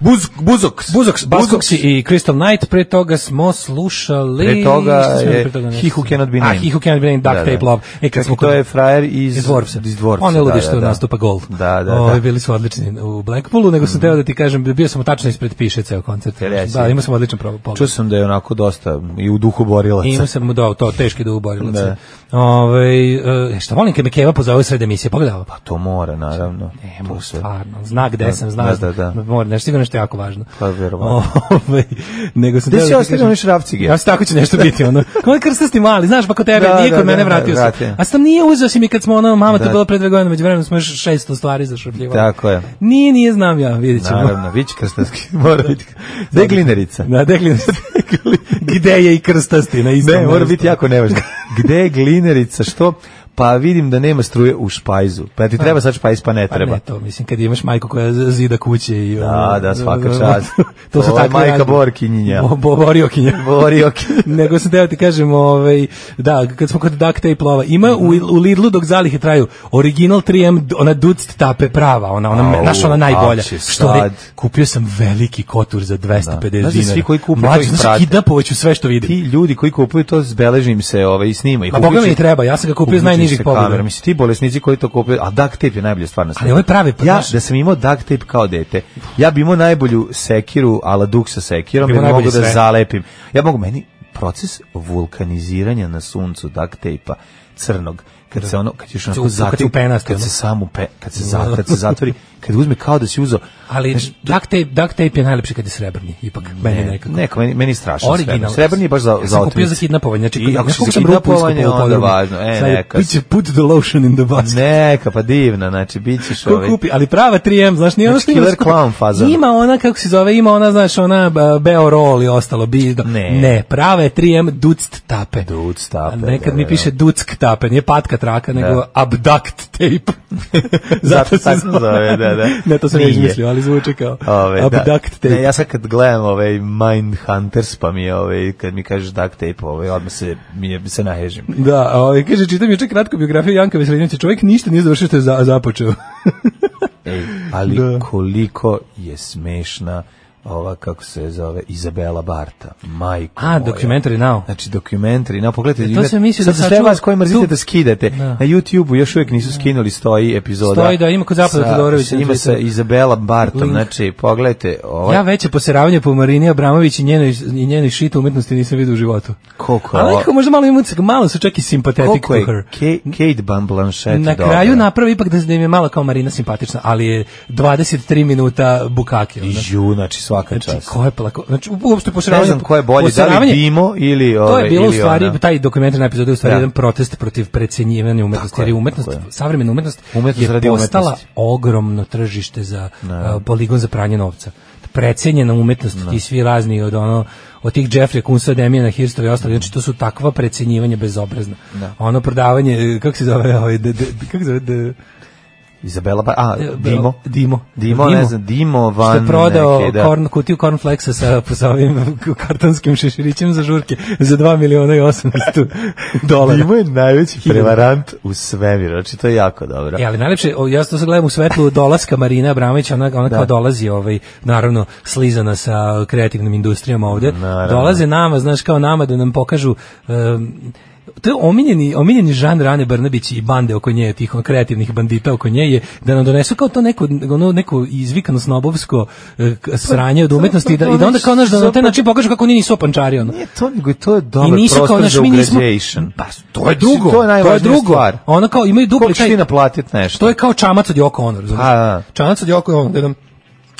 Speaker 6: Buz, buzoks.
Speaker 7: Buzoks, Buzoks i Crystal Knight, pre toga smo slušali...
Speaker 6: Pre toga
Speaker 7: Šta smo
Speaker 6: je
Speaker 7: imali pre toga?
Speaker 6: He Who Cannot Be Named.
Speaker 7: A, He Who Cannot Be Named, Duck
Speaker 6: Da,
Speaker 7: Tape
Speaker 6: da.
Speaker 7: Love. E, kad
Speaker 6: Čekaj,
Speaker 7: smo
Speaker 6: to je frajer iz,
Speaker 7: iz Dvorpsa.
Speaker 6: Iz Dvorpsa,
Speaker 7: On je ludi
Speaker 6: da,
Speaker 7: što
Speaker 6: da, da.
Speaker 7: nastupa gol.
Speaker 6: Da, da, da.
Speaker 7: Ovi bili su odlični u Blackpoolu, nego sam teo da ti kažem, bio sam tačno ispred piše ceo koncert.
Speaker 6: Jel jesi?
Speaker 7: Da, imao sam odličan prob- pogled.
Speaker 6: Čuo sam da je onako dosta i u duhu borilaca.
Speaker 7: I imao sam mu dao to, teški da uborilac.
Speaker 6: Da.
Speaker 7: Ove, e, šta volim kad me Keva pozove sred emisije, pogledava. Pa,
Speaker 6: To mora, naravno.
Speaker 7: ne mogu
Speaker 6: To se-
Speaker 7: stvarno, zna gde sam, zna,
Speaker 6: da, da, da.
Speaker 7: mora, nešto sigurno nešto jako važno.
Speaker 6: Pa, verovatno.
Speaker 7: Ovaj, nego sam
Speaker 6: Gde
Speaker 7: teo
Speaker 6: si
Speaker 7: da ti
Speaker 6: ostavio
Speaker 7: kažem-
Speaker 6: one šrafcige?
Speaker 7: Ja sam tako će nešto biti, ono. Kao je krstasti mali, znaš, pa kod tebe,
Speaker 6: Da,
Speaker 7: nije
Speaker 6: da,
Speaker 7: kod mene
Speaker 6: da,
Speaker 7: vratio
Speaker 6: da,
Speaker 7: sam.
Speaker 6: vratio.
Speaker 7: A sam nije uzeo si mi kad smo ono, mama, to
Speaker 6: Da.
Speaker 7: bilo pre dve godine, među vremenom smo još 600 stvari zašrpljivo.
Speaker 6: Tako je.
Speaker 7: Nije, nije znam ja, vidjet ćemo.
Speaker 6: Naravno, vić krstanski, mora biti. Da je glinerica.
Speaker 7: Na deklinu gde je i krstasti na istom.
Speaker 6: Ne, mora
Speaker 7: mestu.
Speaker 6: biti jako nevažno. Gde je glinerica, što? Pa vidim da nema struje u špajzu. Pa ti treba sad špajz, pa ne
Speaker 7: Pa
Speaker 6: treba.
Speaker 7: ne, to mislim, kad imaš majku koja z- zida kuće i...
Speaker 6: Da, da, svaka čast.
Speaker 7: to su
Speaker 6: Ovo je
Speaker 7: takve
Speaker 6: majka
Speaker 7: razlike.
Speaker 6: Borkinjinja.
Speaker 7: Bo, bo, boriokinja.
Speaker 6: Bori, ok.
Speaker 7: Nego sam teo ti kažem, ovaj, da, kad smo kod duct tape lova, ima u, u Lidlu dok zalihe traju original 3M, d- ona duct tape prava, ona, ona,
Speaker 6: Au,
Speaker 7: naša ona najbolja.
Speaker 6: a će
Speaker 7: Što li,
Speaker 6: sad.
Speaker 7: kupio sam veliki kotur za 250
Speaker 6: Da.
Speaker 7: dinara.
Speaker 6: Znaš da svi koji kupe, to
Speaker 7: Mlađe,
Speaker 6: ih
Speaker 7: znaš,
Speaker 6: prate.
Speaker 7: kidapovaću sve što vidim.
Speaker 6: Ti ljudi koji kupuju to, zbeležim se ovaj, i snima. ih.
Speaker 7: A Pa Boga mi
Speaker 6: Uključi-
Speaker 7: i treba, ja sam ga kupio iz
Speaker 6: Uključi
Speaker 7: najnižih
Speaker 6: se
Speaker 7: pobjeda.
Speaker 6: kamera. Mislim, ti bolesnici koji to kupe, a duct tape je najbolja stvar na svijetu.
Speaker 7: Ali ovo je pravi, pa
Speaker 6: Ja,
Speaker 7: znaš-
Speaker 6: da sam imao duct tape kao dete, ja bi imao najbolju sekiru, ala duk sa sekirom,
Speaker 7: Bi
Speaker 6: jer
Speaker 7: imao
Speaker 6: mogu da
Speaker 7: najbolje sve.
Speaker 6: zalepim. Ja mogu, meni proces vulkaniziranja na suncu duct tape crnog, kad se ono, kad još onako
Speaker 7: Kad se
Speaker 6: zatim,
Speaker 7: upenasti,
Speaker 6: kad
Speaker 7: ono.
Speaker 6: se samo pe, kad se, za, kad se zatvori, kad uzme kao da si uzeo,
Speaker 7: Ali
Speaker 6: znaš,
Speaker 7: duct tape, duct tape je najlepši kad je srebrni, ipak, meni
Speaker 6: ne,
Speaker 7: nekako.
Speaker 6: neko, meni, meni je strašan
Speaker 7: Original.
Speaker 6: Pa srebrni. Srebrni je baš za,
Speaker 7: ja
Speaker 6: za
Speaker 7: sam kupio za
Speaker 6: otmice.
Speaker 7: kidnapovanje. Znači,
Speaker 6: I ako
Speaker 7: ja
Speaker 6: si za
Speaker 7: kupio sam rupu
Speaker 6: kidnapovanje,
Speaker 7: iskopao u
Speaker 6: onda
Speaker 7: podrumu.
Speaker 6: važno. E,
Speaker 7: Sad je,
Speaker 6: neka.
Speaker 7: Biće put the lotion in the basket.
Speaker 6: Neka, pa divna, znači, bit ćeš
Speaker 7: Ko
Speaker 6: ovaj...
Speaker 7: kupi, ali prava 3M, znaš, nije ono
Speaker 6: Znači,
Speaker 7: što ima...
Speaker 6: killer clown faza.
Speaker 7: Ima ona, kako se zove, ima ona, znaš, ona b- Beo Roll i ostalo. Bi,
Speaker 6: Ne.
Speaker 7: ne, prava je 3M duct tape.
Speaker 6: Duct tape,
Speaker 7: A Nekad
Speaker 6: da,
Speaker 7: mi
Speaker 6: da,
Speaker 7: piše duck tape, nije patka traka, nego
Speaker 6: Da.
Speaker 7: abduct tape.
Speaker 6: Zato tako zove, da, da.
Speaker 7: Ne, to sam ja
Speaker 6: Nije.
Speaker 7: izmislio, ali zvuči kao
Speaker 6: Ove, da.
Speaker 7: abduct tape.
Speaker 6: Ne, ja sad kad gledam ovaj Mindhunters, pa mi ove, kad mi kažeš duct tape, ove, odmah se, mi je, se nahežim.
Speaker 7: Da, a ovaj, kaže, čitam juče kratku biografiju Janka Veselinovića, čovjek ništa nije završio što je za, započeo.
Speaker 6: Ali
Speaker 7: Da.
Speaker 6: koliko je smešna ova kako se zove Izabela Barta. Majko.
Speaker 7: A,
Speaker 6: moja.
Speaker 7: Documentary Now.
Speaker 6: Znači dokumentari, na pogledajte,
Speaker 7: E, to
Speaker 6: ima-
Speaker 7: sam mislio
Speaker 6: sad
Speaker 7: da
Speaker 6: za sve
Speaker 7: sačuvam
Speaker 6: vas koji mrzite
Speaker 7: tu-
Speaker 6: da skidate.
Speaker 7: Da.
Speaker 6: Na YouTubeu još uvijek nisu skinuli stoji epizoda.
Speaker 7: Stoji, da, ima kod Zapada
Speaker 6: sa-
Speaker 7: Todorovića
Speaker 6: sa-
Speaker 7: na
Speaker 6: Ima sa
Speaker 7: Twitteru.
Speaker 6: Izabela Bartom,
Speaker 7: Link.
Speaker 6: znači pogledajte, ovaj
Speaker 7: Ja veće poseravanje po Marini Abramović i njenoj, i njenoj šitu umetnosti nisam vidio u životu.
Speaker 6: koliko je
Speaker 7: Ali
Speaker 6: ovo-
Speaker 7: nekako možda malo ima ucak, malo su čak i sympathetic
Speaker 6: koliko
Speaker 7: to
Speaker 6: je
Speaker 7: her.
Speaker 6: Kate, Kate Ban- Blanchett
Speaker 7: Na
Speaker 6: dobra.
Speaker 7: kraju napravi ipak da, da im je malo kao Marina simpatična, ali je 23 minuta bukake. Ono.
Speaker 6: Ju, znači svaka
Speaker 7: Znači,
Speaker 6: čast.
Speaker 7: ko je plako? Znači, uopšte
Speaker 6: Ne
Speaker 7: poseravanje...
Speaker 6: znam ko je bolje, da li
Speaker 7: poseravanje-
Speaker 6: Dimo ili
Speaker 7: To
Speaker 6: ovaj,
Speaker 7: je bilo u
Speaker 6: ili
Speaker 7: stvari,
Speaker 6: ona.
Speaker 7: taj dokumentarni epizod je u stvari
Speaker 6: Da.
Speaker 7: jedan protest protiv precenjivanja umetnosti,
Speaker 6: Tako je,
Speaker 7: jer je umetnost,
Speaker 6: tako je.
Speaker 7: savremena umetnost,
Speaker 6: Umetnost
Speaker 7: je
Speaker 6: radi
Speaker 7: postala
Speaker 6: umetnosti. Da.
Speaker 7: ogromno tržište za a, poligon za pranje novca. Precenjena umetnost, ti svi razni od ono od tih Jeffrey Kunsa, Demiana Hirstova i ostali, znači to su takva precenjivanja bezobrazna.
Speaker 6: Da.
Speaker 7: Ono prodavanje, e, kako se zove, ovaj, de, de, de- kako se zove, de,
Speaker 6: Izabela Bar- a,
Speaker 7: e,
Speaker 6: Dimo.
Speaker 7: Dimo.
Speaker 6: Dimo, ne znam, Dimo van
Speaker 7: Što je prodao
Speaker 6: neke, da.
Speaker 7: korn, kutiju cornflakesa sa, sa ovim kartonskim šeširićem za žurke za 2 miliona i 800 dolara.
Speaker 6: Dimo je najveći prevarant u svemiru, znači to je jako dobro.
Speaker 7: E, ali najlepše, o, ja to sad gledam u svetlu dolaska Marina Abramovića, ona, ona
Speaker 6: Da.
Speaker 7: kao dolazi, ovaj, naravno, slizana sa kreativnim industrijama ovde.
Speaker 6: Naravno.
Speaker 7: Dolaze nama, znaš, kao nama da nam pokažu... em, to je omiljeni, omiljeni žan Rane Brnabić i bande oko nje, tih ono, kreativnih bandita oko nje, je da nam donesu kao to neko, ono, neko izvikano snobovsko eh, k- sranje
Speaker 6: Pa,
Speaker 7: od umetnosti i da, i da onda kao naš, da na taj način pokažu kako oni nisu opančari, ono.
Speaker 6: Nije to, nego je to je dobar
Speaker 7: I nisu kao
Speaker 6: prostor
Speaker 7: naš,
Speaker 6: za
Speaker 7: mi nismo...
Speaker 6: ugrađation. Znači,
Speaker 7: Pa, to je drugo.
Speaker 6: To je najvažnija
Speaker 7: drugo.
Speaker 6: stvar.
Speaker 7: Ono kao imaju dupli
Speaker 6: Koliko ćeš ti naplatiti nešto?
Speaker 7: to je kao čamac od Joko Ono, razumiješ?
Speaker 6: A, da.
Speaker 7: Čamac od Joko Ono, da nam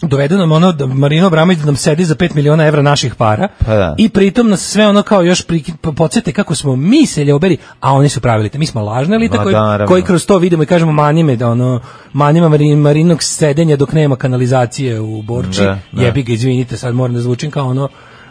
Speaker 7: dovedu nam ono da Marino Abramović da nam sedi za 5 miliona evra naših para
Speaker 6: Pa da.
Speaker 7: i pritom nas sve ono kao još pri, po- podsjete kako smo mi se ljoberi, a oni su pravi elite. Mi smo lažne elite
Speaker 6: Ma,
Speaker 7: koji,
Speaker 6: da, naravno.
Speaker 7: koji kroz to vidimo i kažemo manime da ono manima Marin, Marinog sedenja dok nema kanalizacije u Borči.
Speaker 6: Da, da.
Speaker 7: Jebi ga, izvinite, sad moram da zvučim kao ono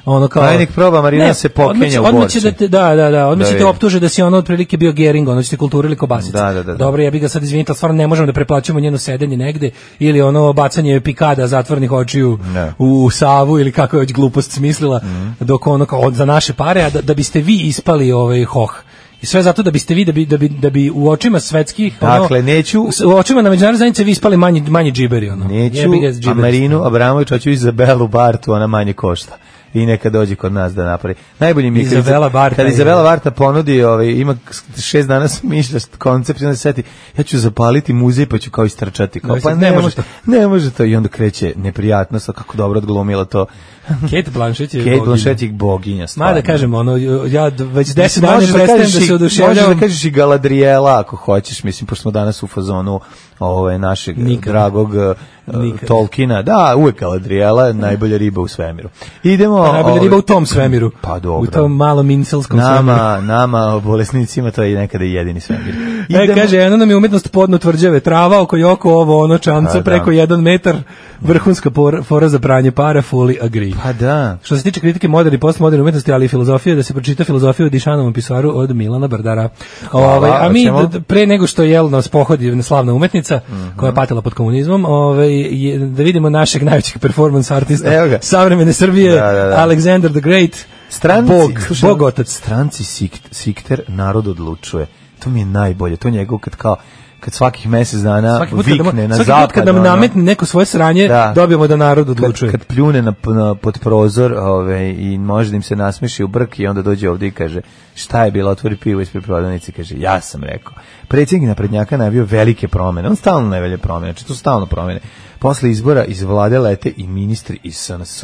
Speaker 7: ono kao
Speaker 6: Aj, nek proba, Marina se pokenja
Speaker 7: odmah će-
Speaker 6: u
Speaker 7: odmah
Speaker 6: Borči.
Speaker 7: će da te, da, da, da, odmah
Speaker 6: Da
Speaker 7: će te
Speaker 6: vidi.
Speaker 7: optuže da si ono otprilike bio Gering, ono će te kulturili kobasice.
Speaker 6: Da, da, da, da.
Speaker 7: Dobro, ja bih ga sad izvinite, ali stvarno ne možemo da preplaćujemo njeno sedenje negde ili ono bacanje pikada zatvornih očiju
Speaker 6: Ne.
Speaker 7: u Savu ili kako je već glupost smislila dok ono kao od, za naše pare, a da, da biste vi ispali ovaj hoh. I sve zato da biste vi, da bi, da bi, da bi u očima svetskih, ono,
Speaker 6: Dakle, neću-
Speaker 7: s- u očima na međunarodne zajednice vi ispali manji, manji džiberi. Ono.
Speaker 6: Neću,
Speaker 7: Jebi ga, džiberi
Speaker 6: a
Speaker 7: ste.
Speaker 6: Marinu Abramović, hoću Izabelu Bartu, ona manje košta. I neka dođe kod nas da napravi. Najbolje mi je kad
Speaker 7: Izabela
Speaker 6: Iza-
Speaker 7: Barta
Speaker 6: Kad
Speaker 7: je-
Speaker 6: Izabela Barta ponudi, ovaj, ima k- šest dana smišlja koncept i onda se seti, ja ću zapaliti muzej pa ću kao istrčati. Kao,
Speaker 7: Da,
Speaker 6: pa
Speaker 7: sad
Speaker 6: ne,
Speaker 7: ne
Speaker 6: može
Speaker 7: može
Speaker 6: to. Ne može to. I onda kreće neprijatnost, a kako dobro odglumila to.
Speaker 7: Kate Blanchett je
Speaker 6: Kate
Speaker 7: boginja.
Speaker 6: Blanchett je boginja.
Speaker 7: Ma da
Speaker 6: stvarno.
Speaker 7: kažem, ono, ja d- već 10 dana
Speaker 6: Možeš
Speaker 7: prestajem da,
Speaker 6: kažeš i-
Speaker 7: se oduševljavam.
Speaker 6: Možeš da kažeš i Galadrijela ako hoćeš, mislim, pošto smo danas u fazonu ovaj, našeg eh,
Speaker 7: Nikad.
Speaker 6: dragog eh,
Speaker 7: Nikad.
Speaker 6: Tolkina. Da, uvek Galadrijela, je najbolja riba u svemiru. Idemo...
Speaker 7: Pa najbolja
Speaker 6: ovaj,
Speaker 7: riba u tom svemiru.
Speaker 6: Pa dobro.
Speaker 7: U tom malom incelskom svemiru.
Speaker 6: Nama, nama, bolesnicima, to je nekada i jedini svemir.
Speaker 7: E, kaže, jedna nam je umetnost podno tvrđave, trava oko joko, ovo, ono, čamca,
Speaker 6: Pa, da.
Speaker 7: preko jedan metar, vrhunska por- fora za pranje para, fully agree.
Speaker 6: Pa da.
Speaker 7: Što se tiče kritike moderne i postmoderne umetnosti, ali i filozofije, da se pročita filozofija u Dišanovom pisaru od Milana Bardara. Ovaj, a mi,
Speaker 6: hoćemo?
Speaker 7: d- pre nego što jel nas pohodi slavna umetnica,
Speaker 6: Mhm.
Speaker 7: koja je patila pod komunizmom, ovaj, je- da vidimo našeg najvećeg performance artista
Speaker 6: Evo ga.
Speaker 7: savremene Srbije,
Speaker 6: Da, da, da.
Speaker 7: Alexander the Great,
Speaker 6: Stranci,
Speaker 7: Bog,
Speaker 6: slušaj,
Speaker 7: Bog otac.
Speaker 6: Stranci sikt, sikter, narod odlučuje. To mi je najbolje. To je njegov kad kao kad svakih mesec dana
Speaker 7: Svaki put kad,
Speaker 6: vikne
Speaker 7: nam-
Speaker 6: na
Speaker 7: svaki
Speaker 6: zapad.
Speaker 7: put kad nam
Speaker 6: ono.
Speaker 7: nametne neko svoje sranje,
Speaker 6: Da.
Speaker 7: dobijemo da narod
Speaker 6: kad,
Speaker 7: odlučuje.
Speaker 6: kad pljune na, na, pod prozor ove, i možda im se nasmiši u brk i onda dođe ovde i kaže šta je bilo, otvori pivo ispred prodavnice i kaže ja sam rekao. Predsjednik naprednjaka najavio velike promene, on stalno najavlja promene, znači to su stalno promene. Posle izbora iz vlade lete i ministri iz SNS.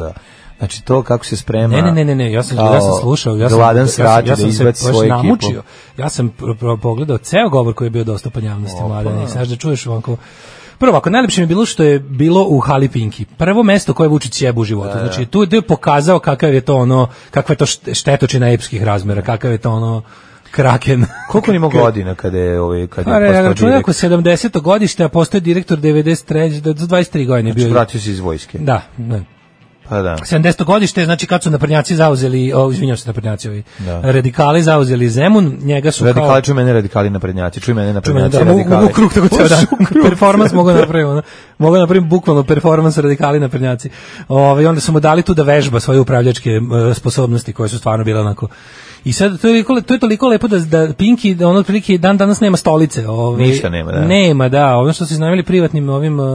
Speaker 6: Znači to kako se sprema...
Speaker 7: Ne, ne, ne, ne, ne, ja sam, ja sam
Speaker 6: da. kao
Speaker 7: slušao, ja sam,
Speaker 6: gladan
Speaker 7: ja sam,
Speaker 6: srat
Speaker 7: ja sam
Speaker 6: da
Speaker 7: se
Speaker 6: izbaci
Speaker 7: baš
Speaker 6: svoju ekipu.
Speaker 7: namučio. Ja sam pro- pro- pogledao ceo govor koji je bio dostupan javnosti mladene i sad da čuješ ovako Prvo, ako najlepše mi je bilo što je bilo u Hali Pinki. Prvo mesto koje Vučić jebe u životu.
Speaker 6: Da,
Speaker 7: Znači, tu je tu je pokazao kakav je to ono, kakva je to št- štetočina epskih razmera, kakav je to ono kraken.
Speaker 6: Koliko on imao godina kada je... Ovaj, kada
Speaker 7: Pa,
Speaker 6: je postao
Speaker 7: re, računaj
Speaker 6: direkt-
Speaker 7: ako 70. godište, a postoje direktor 93, da- do 23 godine bio. je.
Speaker 6: Znači, Vratio se iz vojske.
Speaker 7: Da, ne.
Speaker 6: Pa da.
Speaker 7: 70. godište, znači kad su naprnjaci zauzeli, o, izvinjam se naprnjaci ovi, radikali zauzeli Zemun, njega su
Speaker 6: Radikali,
Speaker 7: kao...
Speaker 6: čuj mene radikali naprednjaci, čuj mene
Speaker 7: Čuj mene,
Speaker 6: naprednjaci,
Speaker 7: da, mogu,
Speaker 6: radikali. Pa
Speaker 7: mogu krug tako ceo dan.
Speaker 6: U krug.
Speaker 7: performans mogu napraviti, ono. mogu napraviti bukvalno performans radikali naprnjaci. Ove, onda su mu dali tu da vežba svoje upravljačke e, sposobnosti koje su stvarno bile onako I sad to je toliko, to je toliko lepo da, da Pinky, ono otprilike dan danas nema stolice. Ovaj,
Speaker 6: Ništa nema, da.
Speaker 7: Nema, da. Ono što su iznajmili privatnim ovim uh,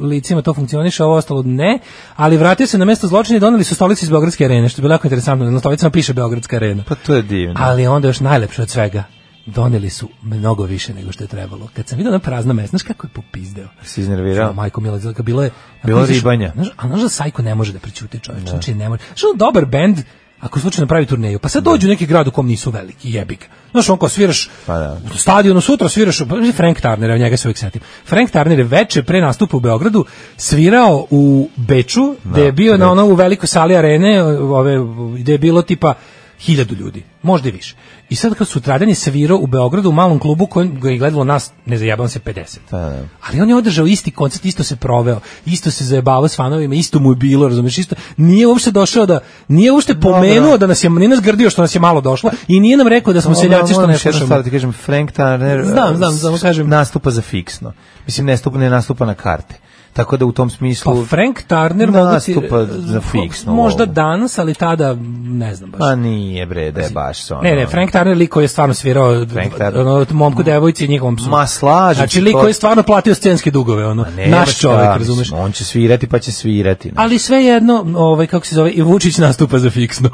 Speaker 7: licima, to funkcioniše, ovo ostalo ne. Ali vratio se na mesto zločina i doneli su stolice iz Beogradske arene, što je bilo jako interesantno. Na stolicama piše Beogradska arena.
Speaker 6: Pa to je divno.
Speaker 7: Ali onda još najlepše od svega doneli su mnogo više nego što je trebalo. Kad sam vidio na prazna mesta, znaš kako je popizdeo?
Speaker 6: Si iznervirao?
Speaker 7: Što, majko Mila, znači, bilo je...
Speaker 6: Bilo
Speaker 7: znaš,
Speaker 6: da. ribanja.
Speaker 7: Znaš, a znaš da Sajko ne može da prećute čovječ, znači ne može. Znaš, on dobar bend, ako slučajno pravi turneju, pa
Speaker 6: Da.
Speaker 7: sad dođu u neki grad u kom nisu veliki, jebik. Znaš, on kao sviraš
Speaker 6: Pa da.
Speaker 7: u stadionu, sutra sviraš, u- Frank Tarnera, njega se uvijek setim. Frank Tarner je veče pre nastupa u Beogradu svirao u Beču,
Speaker 6: Da,
Speaker 7: gde je bio na ono u velikoj sali arene, ove, gde je bilo tipa hiljadu ljudi, možda i više. I sad kad sutradan je svirao u Beogradu u malom klubu kojem ga je gledalo nas, ne zajebavam se, 50.
Speaker 6: da.
Speaker 7: Ali on je održao isti koncert, isto se proveo, isto se zajebavao s fanovima, isto mu je bilo, razumeš, isto. Nije uopšte došao da, nije uopšte pomenuo da nas je, nije nas grdio što nas je malo došlo i nije nam rekao da smo seljaci što
Speaker 6: Moram
Speaker 7: ne
Speaker 6: još jednu
Speaker 7: slušamo.
Speaker 6: stvar da ti kažem, Frank Turner
Speaker 7: Znam,
Speaker 6: eh,
Speaker 7: znam, samo kažem.
Speaker 6: nastupa za fiksno. Mislim, ne stupa, ne nastupa na karte. Tako da u tom
Speaker 7: Pa
Speaker 6: smislu...
Speaker 7: Frank Turner mogu ti-
Speaker 6: Nastupa za fiksno
Speaker 7: Možda
Speaker 6: ovo.
Speaker 7: danas, ali tada ne znam baš.
Speaker 6: Pa nije bre, da je baš sa ono.
Speaker 7: Ne, ne, Frank Turner lik koji je stvarno svirao
Speaker 6: Frank Turner.
Speaker 7: ono, momku, devojci i njihovom psu.
Speaker 6: Ma, slažem
Speaker 7: Znači,
Speaker 6: se,
Speaker 7: lik
Speaker 6: to-
Speaker 7: koji je stvarno platio scenske dugove, ono,
Speaker 6: Ne, baš
Speaker 7: naš
Speaker 6: šta,
Speaker 7: čovjek,
Speaker 6: mislim,
Speaker 7: razumeš.
Speaker 6: On će svirati pa će svirati.
Speaker 7: Ali svejedno, ovaj, kako se zove, i Vučić nastupa za fiksno.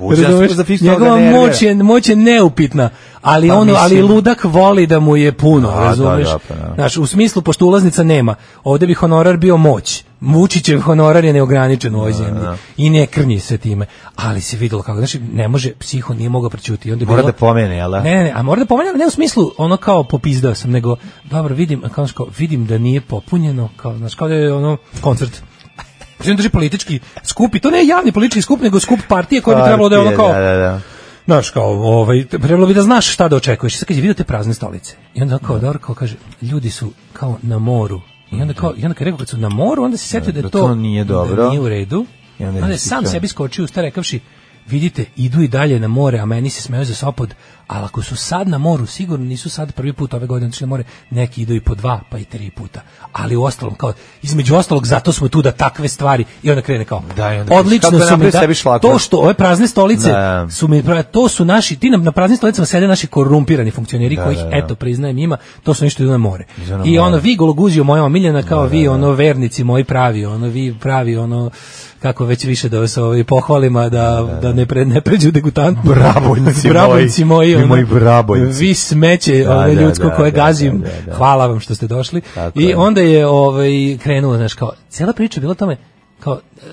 Speaker 6: Uđe nastupa za fiksno,
Speaker 7: Njegova
Speaker 6: toga nervira.
Speaker 7: moć je, moć je neupitna, ali
Speaker 6: Pa
Speaker 7: on,
Speaker 6: mislim-
Speaker 7: ali ludak voli da mu je puno,
Speaker 6: A, da,
Speaker 7: razumeš?
Speaker 6: da, pa da.
Speaker 7: Znaš, u smislu, pošto ulaznica nema, ovde bi honorar bio moć. Vučićev honorar je neograničen u
Speaker 6: Da,
Speaker 7: ovoj zemlji i ne krnji se time. Ali se videlo kako, znači, ne može, psiho nije mogao prećuti. i Onda je
Speaker 6: Mora
Speaker 7: bilo-
Speaker 6: da pomene, jel da?
Speaker 7: Ne, ne, ne, a mora da pomene, ali ne u smislu ono kao popizdao sam, nego, dobro, vidim, kao, znaš, kao, vidim da nije popunjeno, kao, znaš, kao da je ono koncert. Znači, on drži politički skup i to ne javni politički skup, nego skup partije koje bi trebalo da je ono kao,
Speaker 6: Da, da, da.
Speaker 7: Znaš, kao, ovaj, trebalo bi da znaš šta da očekuješ. I Sad kad je vidio te prazne stolice, i onda
Speaker 6: Da.
Speaker 7: kao, dobro, kao kaže, ljudi su kao na moru. I onda, kao, i onda kad je rekao kad su na moru, onda se setio da,
Speaker 6: Da
Speaker 7: je to,
Speaker 6: to nije dobro.
Speaker 7: Da nije u redu.
Speaker 6: I onda je
Speaker 7: onda je sam
Speaker 6: ispričao.
Speaker 7: sebi skočio u usta rekavši, vidite, idu i dalje na more, a meni se smeju za sopod, ali ako su sad na moru, sigurno nisu sad prvi put ove godine otišli na more, neki idu i po dva, pa i tri puta. Ali u ostalom, kao, između ostalog, zato smo tu da takve stvari, i onda krene kao,
Speaker 6: Da, i onda kaže,
Speaker 7: odlično
Speaker 6: kako da
Speaker 7: su mi,
Speaker 6: napravi sebi šlagvort.
Speaker 7: to što ove prazne stolice
Speaker 6: Da.
Speaker 7: su mi pravi- to su naši ti nam na praznim stolicama sede naši korumpirani funkcioneri kojih
Speaker 6: da, da.
Speaker 7: eto priznajem ima to su nešto idu na more
Speaker 6: Idu na
Speaker 7: i
Speaker 6: more. Da,
Speaker 7: ono vi gologuzio moja omiljena kao vi ono vernici moji pravi ono vi pravi ono kako već više da se ovaj pohvalima da da ne pre, ne pređu degutantno
Speaker 6: Brabojnici moji.
Speaker 7: Brabojnici moji
Speaker 6: Vi
Speaker 7: ono,
Speaker 6: moji brabojnici.
Speaker 7: vi smeće
Speaker 6: Da,
Speaker 7: ono
Speaker 6: da,
Speaker 7: ljudsko
Speaker 6: da,
Speaker 7: koje
Speaker 6: da,
Speaker 7: gazim
Speaker 6: da, da, da.
Speaker 7: hvala vam što ste došli
Speaker 6: Tako
Speaker 7: i
Speaker 6: je.
Speaker 7: onda je ovaj krenuo znaš kao cela priča je bila o tome kao eh,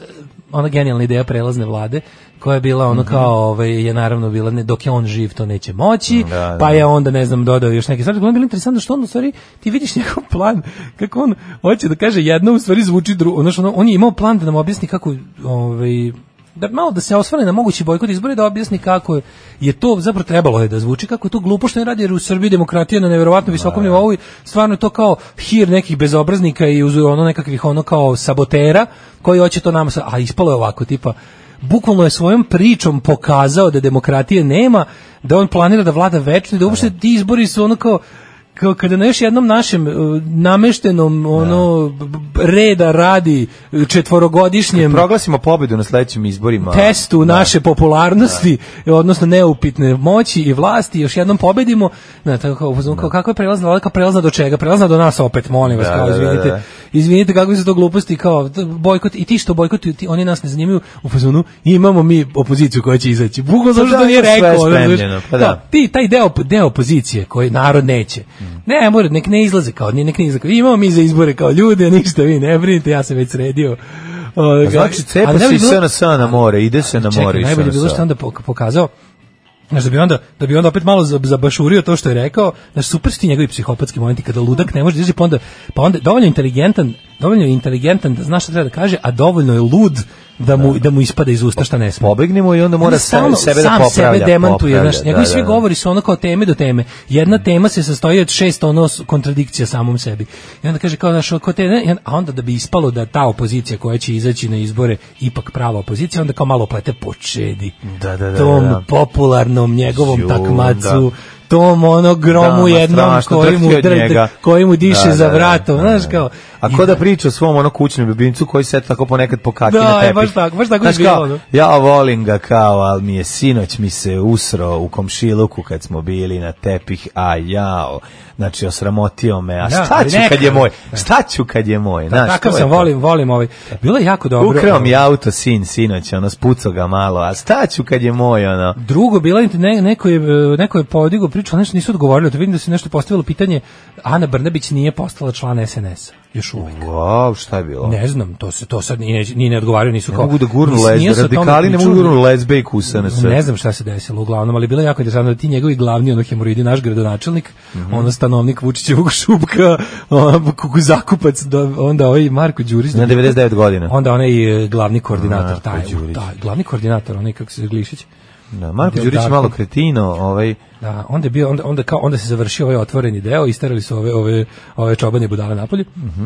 Speaker 7: ona genijalna ideja prelazne vlade koja je bila
Speaker 6: Mhm.
Speaker 7: ono kao ovaj je naravno bila ne, dok je on živ to neće moći
Speaker 6: Da, da.
Speaker 7: pa je onda ne znam dodao još neke stvari Uglavnom, bilo je interesantno što on u stvari ti vidiš njegov plan kako on hoće da kaže jedno u stvari zvuči drugo znači ono, on je imao plan da nam objasni kako ovaj da malo da se osvane na mogući bojkot izbora i da objasni kako je to zapravo trebalo je da zvuči kako je to glupo što ne radi jer u Srbiji demokratija je na neverovatno visokom nivou i stvarno je to kao hir nekih bezobraznika i uz ono nekakvih ono kao sabotera koji hoće to nama sa- a ispalo je ovako tipa bukvalno je svojom pričom pokazao da demokratije nema, da on planira da vlada večno i da uopšte ti izbori su ono kao kao kada na još jednom našem eh, nameštenom ono b- b- reda radi eh, četvorogodišnjem
Speaker 6: Proglasimo pobedu na sledećim izborima.
Speaker 7: testu
Speaker 6: Da.
Speaker 7: naše popularnosti, odnosno neupitne moći i vlasti, još jednom pobedimo, na tako kao, uzmem, kao kako je prelazna vlada, kao prelazna do čega, prelazna do nas opet, molim vas,
Speaker 6: Da,
Speaker 7: kao
Speaker 6: da, da,
Speaker 7: izvinite,
Speaker 6: da.
Speaker 7: izvinite kakve su to gluposti, kao t- bojkot, i ti što bojkotuju, ti, oni nas ne zanimaju, u fazonu, imamo mi opoziciju koja će izaći, bukvalno zato što
Speaker 6: da,
Speaker 7: nije
Speaker 6: ima sve
Speaker 7: rekao, ono, znaš,
Speaker 6: spremljeno, pa
Speaker 7: kao,
Speaker 6: da. Mm.
Speaker 7: ti, taj deo, deo opozicije koji narod neće, ne, mora, nek ne izlaze, kao, ne, nek ne izlaze, kao, imamo mi za izbore, kao ljude, ništa, vi ne brinite, ja sam već sredio, O,
Speaker 6: Pa Znači, cepa
Speaker 7: ali ne
Speaker 6: se
Speaker 7: bi
Speaker 6: i
Speaker 7: bilo-
Speaker 6: SNS na more, ide se na more
Speaker 7: Čekaj,
Speaker 6: i
Speaker 7: najbolje bi bilo
Speaker 6: SNS.
Speaker 7: što je onda pok- pokazao Znaš, da bi onda, da bi onda opet malo zab- zabašurio to što je rekao, znaš, super su ti njegovi psihopatski momenti kada ludak ne može da izdrži, pa onda, pa onda je dovoljno inteligentan, dovoljno je inteligentan da zna šta treba da kaže, a dovoljno je lud da mu, da mu ispada iz usta šta ne sme.
Speaker 6: Pobegnemo i onda mora
Speaker 7: Onda
Speaker 6: sam, sebe da
Speaker 7: sam
Speaker 6: popravlja.
Speaker 7: sebe demantuje,
Speaker 6: popravlja, da,
Speaker 7: znaš, njegovi svi govori su ono kao teme do teme.
Speaker 6: Mm.
Speaker 7: Jedna tema se sastoji od šest ono s- kontradikcija samom sebi. I onda kaže kao znaš, kao te, ne, i on- a onda da bi ispalo da ta opozicija koja će izaći na izbore ipak prava opozicija, onda kao malo plete počedi.
Speaker 6: Da, da, da,
Speaker 7: tom
Speaker 6: da, da.
Speaker 7: popularnom njegovom
Speaker 6: Ju,
Speaker 7: takmacu, tom ono gromu
Speaker 6: Da, ma
Speaker 7: jednom
Speaker 6: strašno,
Speaker 7: koji mu,
Speaker 6: drhti od
Speaker 7: dr-
Speaker 6: njega.
Speaker 7: koji mu diše
Speaker 6: Da,
Speaker 7: za
Speaker 6: da, da,
Speaker 7: vratom,
Speaker 6: da,
Speaker 7: znaš
Speaker 6: da.
Speaker 7: kao,
Speaker 6: A ko da priča o svom ono kućnom ljubimcu koji se tako ponekad pokaki
Speaker 7: Da,
Speaker 6: na
Speaker 7: je,
Speaker 6: tepih.
Speaker 7: baš tako, baš tako je
Speaker 6: Znaš kao,
Speaker 7: bilo, da.
Speaker 6: ja volim ga kao, ali mi je sinoć mi se usro u komšiluku kad smo bili na tepih, a jao. Znači, osramotio me, a
Speaker 7: Da,
Speaker 6: šta
Speaker 7: ali
Speaker 6: ću
Speaker 7: neka- Da.
Speaker 6: kad je moj? Šta ću kad je moj? Znaš,
Speaker 7: Takav
Speaker 6: to je
Speaker 7: sam,
Speaker 6: to.
Speaker 7: volim, volim ovaj. Bilo je jako dobro.
Speaker 6: Ukrao mi je auto sin sinoć, ono, spucao ga malo, a šta ću kad je moj, ono?
Speaker 7: Drugo, bila je ne, neko je e, neko je podigao priču, ali nešto nisu odgovorili. To vidim da se nešto postavilo pitanje. Ana Brnabić nije postala član SNS-a još uvek.
Speaker 6: Wow, šta je bilo?
Speaker 7: Ne znam, to se to sad ni ne, ni ne odgovaraju, nisu
Speaker 6: Ne
Speaker 7: kao.
Speaker 6: mogu da gurnu
Speaker 7: nis- nije
Speaker 6: lezbe,
Speaker 7: se o tome
Speaker 6: radikali ne mogu da
Speaker 7: pričalo.
Speaker 6: gurnu lezbe i kusane sve.
Speaker 7: Ne znam šta se desilo uglavnom, ali bilo je jako interesantno da ti njegovi glavni ono hemoroidi, naš gradonačelnik,
Speaker 6: Mhm.
Speaker 7: ono stanovnik Vučićevog šupka, ono, kuku zakupac, do- onda ovaj Marko Đurić.
Speaker 6: Na 99 godina.
Speaker 7: Onda onaj e, glavni koordinator,
Speaker 6: Marko
Speaker 7: taj,
Speaker 6: Đurić.
Speaker 7: taj, glavni koordinator, onaj kako se zove, Glišić.
Speaker 6: Da, Marko Đurić
Speaker 7: Dakle.
Speaker 6: je malo kretino, ovaj,
Speaker 7: Da, onda je bio onda onda kao onda se završio ovaj otvoreni deo, isterali su ove ove ove čobane budale napolje. Mhm.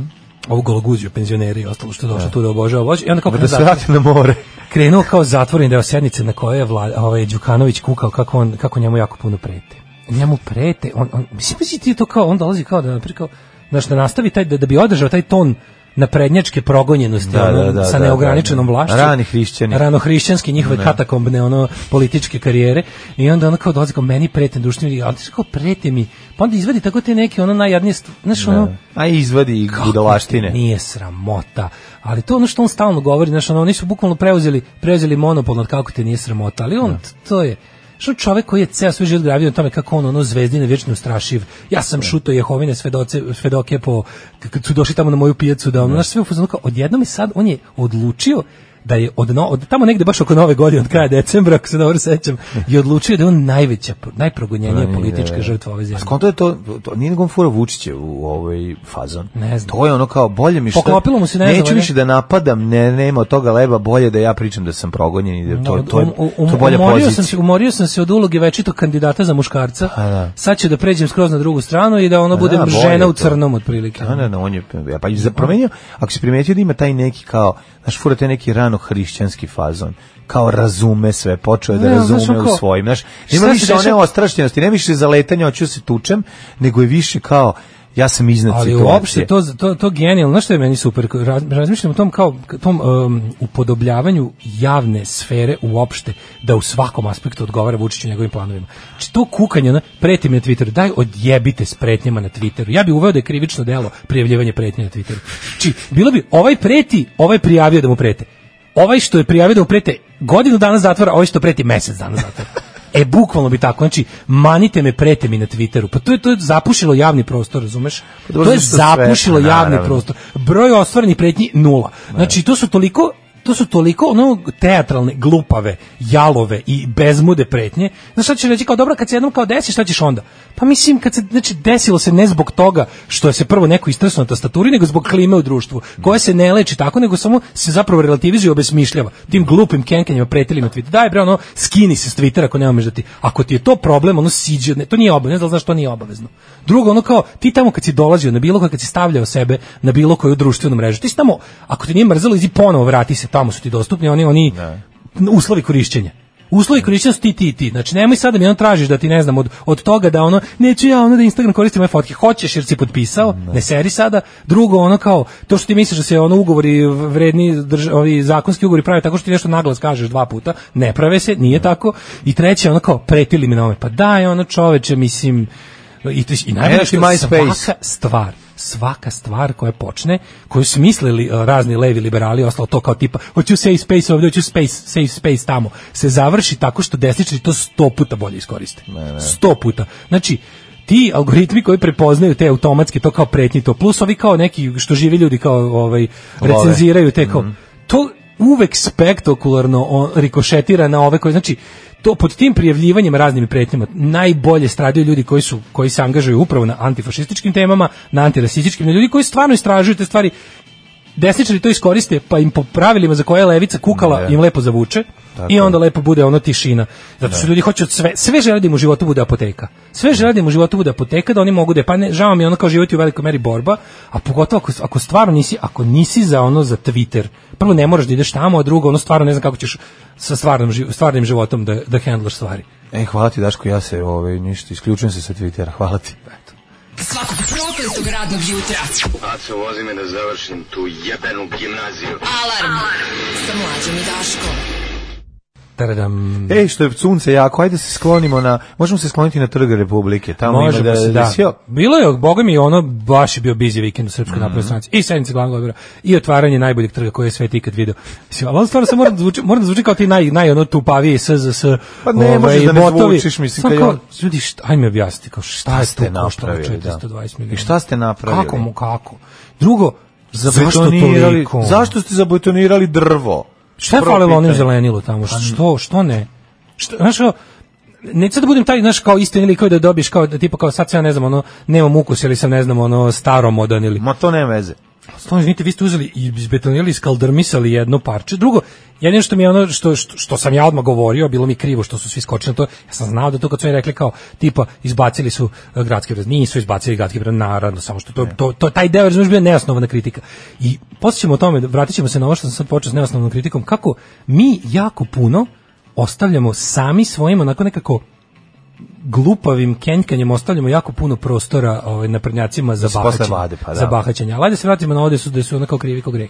Speaker 7: ovu gologuziju, penzioneri i ostalo što je došlo tu da obožava vođe. I onda kako
Speaker 6: da se vrati na more.
Speaker 7: krenuo kao zatvoreni deo sednice na kojoj je vlada, ovaj Đukanović kukao kako on kako njemu jako puno prete. Njemu prete, on, on mislim misli ti to kao on dolazi kao da naprikao znaš, da nastavi taj da, da bi održao taj ton na prednjačke progonjenosti
Speaker 6: Da,
Speaker 7: ono,
Speaker 6: da, da,
Speaker 7: sa
Speaker 6: da,
Speaker 7: neograničenom
Speaker 6: da.
Speaker 7: vlašću
Speaker 6: Rani hrišćani. Da.
Speaker 7: rano hrišćanske njihove katakombne ono političke karijere i onda ono kao dolazi kao meni prete društveni ja ti kao prete mi pa onda izvadi tako te neke ono najjadnije stv- znaš
Speaker 6: Da.
Speaker 7: ono
Speaker 6: A izvadi i
Speaker 7: kako ti
Speaker 6: budalaštine.
Speaker 7: Nije sramota. Ali to je ono što on stalno govori, znaš, ono, oni su bukvalno preuzeli, preuzeli monopol nad kako te nije sramota, ali on, to je, što čovek koji je ceo svoj život gravio na tome kako on ono zvezdine vječno strašiv. Ja sam šuto Jehovine svedoce, svedoke po k- kad su došli tamo na moju pijacu da ono, znaš, sve u fazonu kao odjednom i sad on je odlučio da je od, no, od tamo negde baš oko nove godine od kraja decembra ako se dobro sećam je odlučio da je on najveća pro- najprogonjenija politička žrtva ove
Speaker 6: A
Speaker 7: zemlje.
Speaker 6: skonto je to, to nije nego on fura Vučiće u ovoj fazon.
Speaker 7: Ne znam.
Speaker 6: To je ono kao, bolje mi što...
Speaker 7: Poklopilo mu se, ne znam,
Speaker 6: Neću
Speaker 7: ne?
Speaker 6: više da napadam, ne, nema od toga leba, bolje da ja pričam da sam progonjen i da to, to, je,
Speaker 7: Um, um,
Speaker 6: to je bolja
Speaker 7: umorio
Speaker 6: pozicija.
Speaker 7: Sam se, umorio sam se od uloge večitog kandidata za muškarca.
Speaker 6: A, da.
Speaker 7: Sad ću da pređem skroz na drugu stranu i da ono
Speaker 6: A,
Speaker 7: budem
Speaker 6: da, bolje
Speaker 7: žena u
Speaker 6: to.
Speaker 7: crnom otprilike.
Speaker 6: Da, da, da, on je, pa i za- promenio, ako si primetio da ima taj neki kao, znaš, fura taj neki rano hrišćanski fazon, kao razume sve, počeo je da
Speaker 7: Ne, znaš,
Speaker 6: razume
Speaker 7: ono kao,
Speaker 6: u svojim, znaš,
Speaker 7: šta
Speaker 6: nema
Speaker 7: se
Speaker 6: više one
Speaker 7: dešava?
Speaker 6: ostrašćenosti, nema više zaletanja, hoću da se tučem, nego je više kao, ja sam iznad
Speaker 7: Ali
Speaker 6: situacije.
Speaker 7: uopšte to to to genijalno, znaš što je meni super, Raz- razmišljam o tom kao tom um, upodobljavanju javne sfere uopšte da u svakom aspektu odgovara Vučiću i njegovim planovima. Znači to kukanje, ono, preti mi na Twitteru, daj odjebite s pretnjama na Twitteru. Ja bi uveo da je krivično delo prijavljivanje pretnje na Twitteru. Či bilo bi ovaj preti, ovaj prijavio da mu prete. Ovaj što je prijavio da mu prete godinu dana zatvora, a ovaj što preti mesec dana zatvora. E, bukvalno bi tako, znači, manite me, prete mi na Twitteru. Pa to je, to je zapušilo javni prostor, razumeš?
Speaker 6: dobro,
Speaker 7: to je
Speaker 6: zato što
Speaker 7: zapušilo
Speaker 6: sve,
Speaker 7: javni
Speaker 6: naravno.
Speaker 7: prostor. Broj ostvarenih pretnji nula. Znači to su toliko to su toliko ono teatralne, glupave, jalove i bezmude pretnje. Znaš šta ćeš reći kao dobro kad se jednom kao desi, šta ćeš onda? Pa mislim kad se znači desilo se ne zbog toga što je se prvo neko istresno na tastaturi, nego zbog klime u društvu, koja se ne leči tako, nego samo se zapravo relativizuje i obesmišljava. Tim glupim kenkanjima pretelima na Twitter. Daj bre, ono, skini se s Twittera ako nemaš da ti. Ako ti je to problem, ono siđi, od ne, to nije obavezno, ne znam znaš to nije obavezno. Drugo, ono kao ti tamo kad si dolazio na bilo koje, kad si stavljao sebe na bilo koju društvenu mrežu, ti si tamo, ako ti nije mrzelo, izi ponovo vrati se, tamo su ti dostupni, oni, oni uslovi korišćenja. Uslovi korišćenja su ti, ti, i ti. Znači, nemoj sada mi ono tražiš da ti, ne znam, od, od toga da ono, neću ja ono da Instagram koristi moje fotke. Hoćeš jer si potpisao, ne, seri sada. Drugo, ono kao, to što ti misliš da se ono ugovori vredni, drž, ovi zakonski ugovori prave tako što ti nešto naglas kažeš dva puta, ne prave se, nije tako. I treće, ono kao, pretili mi na ome. Pa daj, ono čoveče, mislim, i, ti- i najbolje
Speaker 6: Evo ti
Speaker 7: što
Speaker 6: MySpace.
Speaker 7: svaka stvar svaka stvar koja počne, koju su mislili e, razni levi liberali, i ostalo to kao tipa hoću safe space ovdje, hoću space, safe space tamo, se završi tako što desničari to sto puta bolje iskoriste. Sto puta. Znači, ti algoritmi koji prepoznaju te automatske, to kao pretnji to, plus ovi kao neki što živi ljudi kao ovaj, recenziraju te kao, to uvek spektakularno on, rikošetira na ove koji, znači, to pod tim prijavljivanjem raznim pretnjama najbolje stradaju ljudi koji su koji se angažuju upravo na antifašističkim temama, na antirasističkim, na ljudi koji stvarno istražuju te stvari. Desničari to iskoriste, pa im po pravilima za koje je levica kukala, im lepo zavuče i onda lepo bude ono tišina. Zato što ljudi hoće od sve, sve žele da im u životu bude apoteka. Sve žele da im u životu bude apoteka, da oni mogu da je, pa ne, žao mi je ono kao život je u velikoj meri borba, a pogotovo ako, ako stvarno nisi, ako nisi za ono za Twitter, prvo ne moraš da ideš tamo, a drugo ono stvarno ne znam kako ćeš sa stvarnom, živ- stvarnim životom da, da handlaš stvari.
Speaker 6: E, hvala ti, Daško, ja se, ovaj, ništa, isključujem se sa Twittera, hvala ti.
Speaker 8: Svakog prokletog
Speaker 11: svakog radnog jutra.
Speaker 12: Aco, vozi me da završim tu jebenu gimnaziju.
Speaker 11: Alarm, Alarm. sa mlađom i Daškom.
Speaker 7: Taradam.
Speaker 6: Ej, što je sunce jako, ajde se sklonimo na, možemo se skloniti na Trg Republike, tamo
Speaker 7: Možemo
Speaker 6: ima da,
Speaker 7: se, da.
Speaker 6: sve-
Speaker 7: Bilo je, boga mi, ono, baš je bio busy vikend u
Speaker 6: Mhm.
Speaker 7: Srpskoj mm. stranci. I sednice glavnog odbora, i otvaranje najboljeg trga koje je svet ikad video. Mislim, ali on stvarno se mora da zvuči, mora da zvuči kao ti naj, naj ono tupaviji SZS,
Speaker 6: Pa ne, možeš da ne zvučiš, mislim,
Speaker 7: ovaj, Samo
Speaker 6: kad je
Speaker 7: kao,
Speaker 6: on-
Speaker 7: ljudi, šta, ajme objasniti, kao šta je
Speaker 6: ste
Speaker 7: to koštalo
Speaker 6: napravili,
Speaker 7: 420
Speaker 6: da.
Speaker 7: miliona?
Speaker 6: I šta ste napravili?
Speaker 7: Kako mu, kako? Drugo, zašto
Speaker 6: Zabetonirali-
Speaker 7: toliko?
Speaker 6: Zašto ste zabetonirali drvo?
Speaker 7: Šta je
Speaker 6: Prvo
Speaker 7: falilo onim
Speaker 6: pitanje. Pa
Speaker 7: zelenilu tamo? Što, što ne? Što, znaš, kao, ne sad da budem taj, znaš, kao istin ili koji da dobiješ, kao, tipa kao sad sam ja ne znam, ono, nemam ukus ili sam, ne znam, ono, staromodan ili...
Speaker 6: Ma to nema veze.
Speaker 7: Stvarno, izvinite, vi ste uzeli i izbetonirali, skaldermisali jedno parče. Drugo, jedino što mi je ono, što, što, što sam ja odmah govorio, bilo mi krivo što su svi skočili na to, ja sam znao da to kad su oni rekli kao, tipa, izbacili su e, gradski brez, nisu izbacili gradski brez, naravno, samo što to, to, to, taj deo, razumiješ, bio je neosnovana kritika. I poslije ćemo o tome, vratit ćemo se na ovo što sam sad počeo s neosnovnom kritikom, kako mi jako puno ostavljamo sami svojim, onako nekako, glupavim kenjkanjem ostavljamo jako puno prostora ovaj naprednjacima za
Speaker 6: Mislim,
Speaker 7: bahaćenje.
Speaker 6: posle vade, pa da.
Speaker 7: Za bahaćenje. Ali ajde se vratimo na ovde su da su onako krivi kao greh.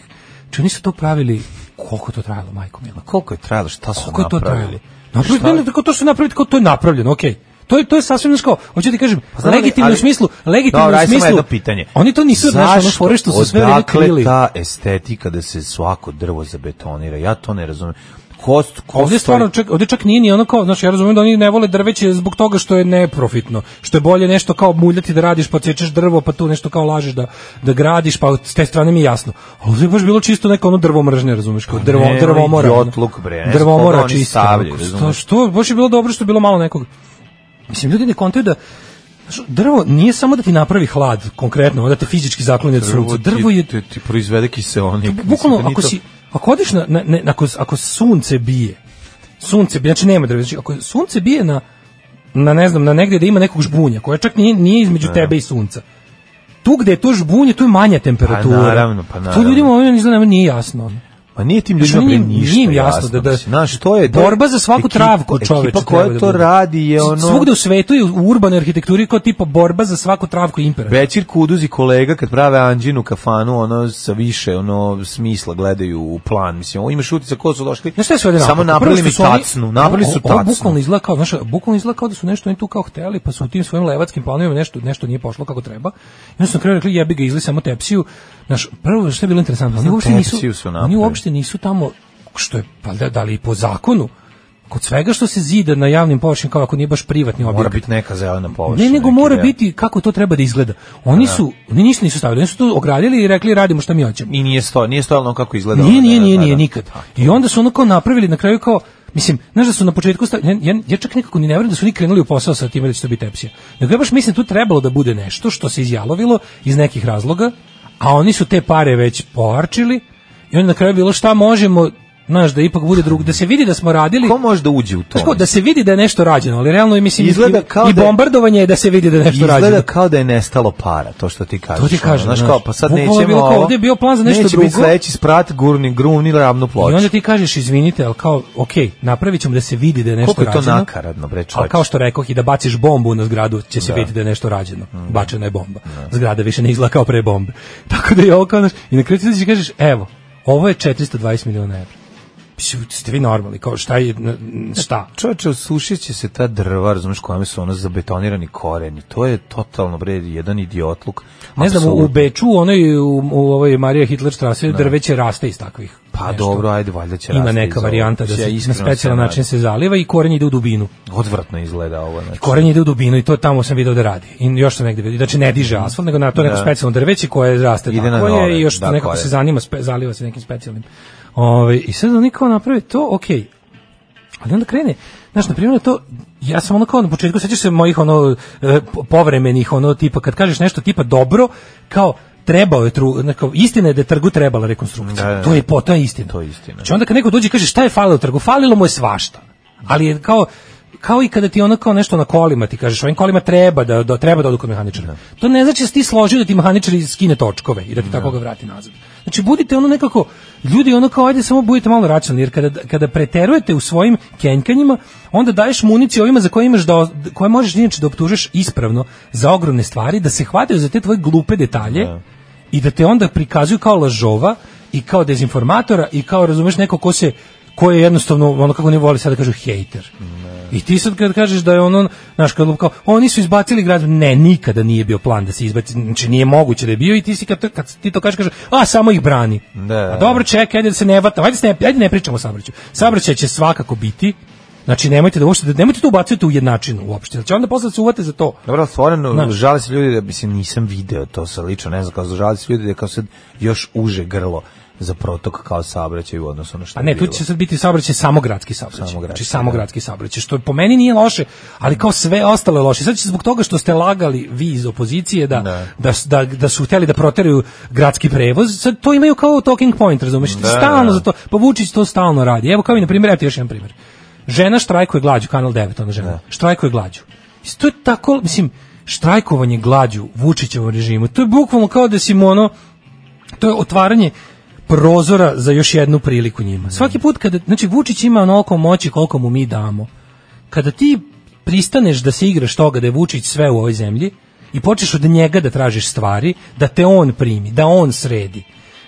Speaker 7: Ču nisu to pravili koliko je to trajalo, majko mila?
Speaker 6: Koliko je trajalo, šta su
Speaker 7: Koliko je to trajalo?
Speaker 6: napravili?
Speaker 7: Napravili, ne, ne, tako to što napravili, kao to je napravljeno, okej. To je to je sasvim znači kao, hoću ti kažem,
Speaker 6: znam, ali-
Speaker 7: legitimno
Speaker 6: Pa ali-
Speaker 7: u smislu, legitimno
Speaker 6: Dobro,
Speaker 7: u
Speaker 6: ajde samo
Speaker 7: smislu.
Speaker 6: jedno pitanje.
Speaker 7: Oni to nisu znači ono
Speaker 6: Zašto?
Speaker 7: fore što su sve vreme
Speaker 6: Odakle
Speaker 7: krili.
Speaker 6: ta estetika da se svako drvo zabetonira? Ja to ne razumem. Kost, kost,
Speaker 7: Ovdje stvarno čak, ovdje čak nije ni ono kao, znači ja razumijem da oni ne vole drveće zbog toga što je neprofitno, što je bolje nešto kao muljati da radiš, pa cečeš drvo, pa tu nešto kao lažeš da, da gradiš, pa s te strane mi je jasno. Ali ovdje je baš bilo čisto neko ono drvo mržnje, razumiješ, kao drvo,
Speaker 6: Pa ne,
Speaker 7: drvo mora.
Speaker 6: ono idiotluk, bre, ne znam
Speaker 7: drvo
Speaker 6: koga
Speaker 7: mora
Speaker 6: oni
Speaker 7: čisto.
Speaker 6: stavljaju,
Speaker 7: onako, što,
Speaker 6: razumeš?
Speaker 7: što, baš je bilo dobro što je bilo malo nekog. Mislim, ljudi ne kontaju da znaš, Drvo nije samo da ti napravi hlad, konkretno, da te fizički zakloni od sunca.
Speaker 6: ti-
Speaker 7: Drvo je
Speaker 6: Ti, ti proizvede kiseonik. Mislim,
Speaker 7: bukvalno
Speaker 6: da nije
Speaker 7: ako
Speaker 6: to-
Speaker 7: si ako odiš na, na ne, ako ako sunce bije sunce bije znači nema drveta znači ako sunce bije na na ne znam na negdje da ima nekog žbunja koje čak nije nije između
Speaker 6: Da.
Speaker 7: tebe i sunca tu gde je to žbunje tu je manja temperatura
Speaker 6: naravno, pa naravno.
Speaker 7: to ljudima ono izgleda nije jasno ono.
Speaker 6: Ma Pa nije tim
Speaker 7: Znači,
Speaker 6: ljudima
Speaker 7: nije
Speaker 6: pre
Speaker 7: im-
Speaker 6: ništa
Speaker 7: nije im jasno da- da-
Speaker 6: mislim, znaš, to je, to je-
Speaker 7: borba za svaku
Speaker 6: ekipa-
Speaker 7: travku, čoveče,
Speaker 6: Ekipa
Speaker 7: treba
Speaker 6: koja
Speaker 7: da
Speaker 6: to
Speaker 7: bude.
Speaker 6: radi je ono...
Speaker 7: svugde u svetu i u urbanoj arhitekturi kao tipa borba za svaku travku je imperativ
Speaker 6: Večir Kuduz i kolega kad prave Anđinu kafanu, ono sa više ono smisla gledaju u plan. Mislim, ovo imaš utica ko su došli.
Speaker 7: Znaš šta je sve ovde
Speaker 6: Samo
Speaker 7: napravljeno? Prvo
Speaker 6: napravili
Speaker 7: što
Speaker 6: mi
Speaker 7: su oni-
Speaker 6: tacnu, napravili su
Speaker 7: Ovo- ovo
Speaker 6: tacnu.
Speaker 7: Bukvalno izgleda kao, znaš, bukvalno izgleda kao da su nešto oni tu kao hteli, pa su u tim svojim levatskim planovima nešto nešto nije pošlo kako treba. I onda su na kraju rekli jebi ga izli samo tepsiju. Znaš, prvo što je bilo interesantno, oni
Speaker 6: Samo
Speaker 7: uopšte nisu
Speaker 6: tepsiju su
Speaker 7: oni
Speaker 6: napravili.
Speaker 7: uopšte nisu tamo što je valjda da li i po zakonu kod svega što se zida na javnim površinama kao ako nije baš privatni
Speaker 6: Mora
Speaker 7: objekat.
Speaker 6: biti neka zelena površina.
Speaker 7: Ne, nego
Speaker 6: neki
Speaker 7: mora
Speaker 6: deo.
Speaker 7: biti kako to treba da izgleda. Oni su, oni ništa nisu stavili, oni su to ogradili i rekli radimo šta mi hoćemo.
Speaker 6: I nije sto, nije stojalo ono kako izgleda.
Speaker 7: Nije,
Speaker 6: ono,
Speaker 7: nije,
Speaker 6: da,
Speaker 7: nije,
Speaker 6: da,
Speaker 7: nije,
Speaker 6: da.
Speaker 7: nikad. I onda su ono kao napravili na kraju kao Mislim, znaš da su na početku stavili, ja, ja, ja čak nekako ni ne vjerujem da su oni krenuli u posao sa tim da će to biti tepsija. Nego ja baš mislim tu trebalo da bude nešto što se izjalovilo iz nekih razloga, a oni su te pare već poarčili i onda na kraju je bilo šta možemo, znaš, da ipak bude drug, da se vidi da smo radili,
Speaker 6: Ko može da uđe u to?
Speaker 7: znaš, kao, da se vidi da je nešto rađeno, ali realno i mislim
Speaker 6: Izgleda
Speaker 7: i,
Speaker 6: kao
Speaker 7: i
Speaker 6: da je-
Speaker 7: bombardovanje je da se vidi da je nešto
Speaker 6: Izgleda
Speaker 7: rađeno.
Speaker 6: kao da je nestalo para, to što ti kažeš.
Speaker 7: To ti kažem,
Speaker 6: Ono, Znaš
Speaker 7: znaš,
Speaker 6: kao, pa sad
Speaker 7: bukvalno je
Speaker 6: nećemo
Speaker 7: bilo kao,
Speaker 6: ovo,
Speaker 7: ovdje je bio plan za
Speaker 6: neće
Speaker 7: nešto
Speaker 6: Neće biti
Speaker 7: drugo.
Speaker 6: sledeći sprat, gurni, gruni, ravnu ploču.
Speaker 7: I onda ti kažeš, izvinite, ali kao, ok, napravit ćemo da se vidi da je nešto
Speaker 6: Koliko je to
Speaker 7: rađeno.
Speaker 6: nakaradno, bre, čoveče.
Speaker 7: Ali kao što rekoh, i da baciš bombu na zgradu će se vidjeti da je nešto rađeno. Bačena je bomba.
Speaker 6: Da.
Speaker 7: Zgrada više ne izgleda kao pre bombe. Tako da je ovo kao, znaš, i na kraju ti izađeš i kažeš, evo, ovo je 420 miliona evra. Mislim, Ste vi normalni, kao šta je, n- šta?
Speaker 6: Čovječe, osušit će se ta drva, razumiješ, kojima su ono zabetonirani koreni. To je totalno, bre, jedan idiotluk.
Speaker 7: Ne znam, u
Speaker 6: Apsolutno. Da.
Speaker 7: Beču, u onoj, u, u ovoj Marija Hitler strase, drveće raste iz takvih.
Speaker 6: Pa
Speaker 7: nešto.
Speaker 6: dobro, ajde, valjda će
Speaker 7: Ima
Speaker 6: rasti iz
Speaker 7: neka
Speaker 6: ovog.
Speaker 7: varijanta da
Speaker 6: Ja
Speaker 7: se na
Speaker 6: iskreno
Speaker 7: specijalan
Speaker 6: se
Speaker 7: način se zaliva i korenje ide u dubinu.
Speaker 6: nadam. Odvratno izgleda ovo, znači.
Speaker 7: Korenje ide u dubinu i to tamo sam video da radi. I još sam negde vidio. Znači ne diže asfalt, nego na to neko
Speaker 6: Da.
Speaker 7: specijalno drveće koje raste
Speaker 6: Ide
Speaker 7: tako
Speaker 6: na
Speaker 7: je
Speaker 6: nove,
Speaker 7: i još
Speaker 6: da,
Speaker 7: nekako
Speaker 6: koje.
Speaker 7: se zanima, spe, zaliva se nekim specijalnim. Ove, I sad oni kao naprave to, ok. Ali onda krene, znaš, na primjer to, ja sam ono kao na početku, sećaš se mojih ono e, po- povremenih, ono tipa, kad kažeš nešto tipa dobro, kao trebao je tru, neko, istina je da je trgu trebala rekonstrukcija.
Speaker 6: Da, da, da.
Speaker 7: To je po, to je istina. da.
Speaker 6: To je istina.
Speaker 7: Znači onda kad neko dođe i kaže šta je falilo trgu, falilo mu je svašta. Ali je kao kao i kada ti ono kao nešto na kolima, ti kažeš, ovim kolima treba da, da treba da odu kod mehaničara. To ne znači da si ti složio da ti mehaničar skine točkove i da ti tako ga vrati nazad. Znači budite ono nekako ljudi ono kao ajde samo budite malo racionalni jer kada kada preterujete u svojim kenkanjima, onda daješ municiju ovima za koje imaš da koje možeš inače da optužiš ispravno za ogromne stvari, da se hvataju za te tvoje glupe detalje i da te onda prikazuju kao lažova i kao dezinformatora i kao razumeš neko ko se ko je jednostavno ono kako ne voli sad da kažu hejter. I ti sad kad kažeš da je ono naš kad kao oni su izbacili grad ne nikada nije bio plan da se izbaci znači nije moguće da je bio i ti si kad, to- kad ti to kažeš kažeš a samo ih brani.
Speaker 6: Da.
Speaker 7: A dobro čekaj ajde da se ne vatamo ajde, se ne, ajde ne pričamo o saobraćaju. Saobraćaj će svakako biti Znači nemojte da uopšte nemojte to ubacujete u jednačinu uopšte. Znači onda posle da se uvate za to.
Speaker 6: Dobro, stvarno,
Speaker 7: Znaš.
Speaker 6: žale se ljudi da, mislim, nisam video to sa lično, ne znam, kao žale se ljudi da je kao sad još uže grlo za protok kao saobraćaj u odnosu na što
Speaker 7: Pa ne,
Speaker 6: je
Speaker 7: tu
Speaker 6: bilo.
Speaker 7: će sad biti saobraćaj samo gradski saobraćaj.
Speaker 6: Samo gradski, da.
Speaker 7: znači samo gradski saobraćaj, što po meni nije loše, ali kao sve ostalo je loše. Sad će zbog toga što ste lagali vi iz opozicije da, da. s- da, da su hteli da proteraju gradski prevoz, sad to imaju kao talking point, razumeš?
Speaker 6: Da,
Speaker 7: stalno
Speaker 6: da.
Speaker 7: za to, pa Vučić to stalno radi. Evo kao i na primjer, evo ti još jedan primjer. Žena štrajkuje glađu, Kanal 9, ona žena,
Speaker 6: Da.
Speaker 7: štrajkuje glađu. Mislim, To je tako, mislim, štrajkovanje glađu Vučićevom režimu, to je bukvalno kao da si mu ono, to je otvaranje prozora za još jednu priliku njima.
Speaker 6: Da.
Speaker 7: Svaki put kada, znači Vučić ima onoliko moći koliko mu mi damo, kada ti pristaneš da se igraš toga da je Vučić sve u ovoj zemlji i počneš od njega da tražiš stvari, da te on primi, da on sredi,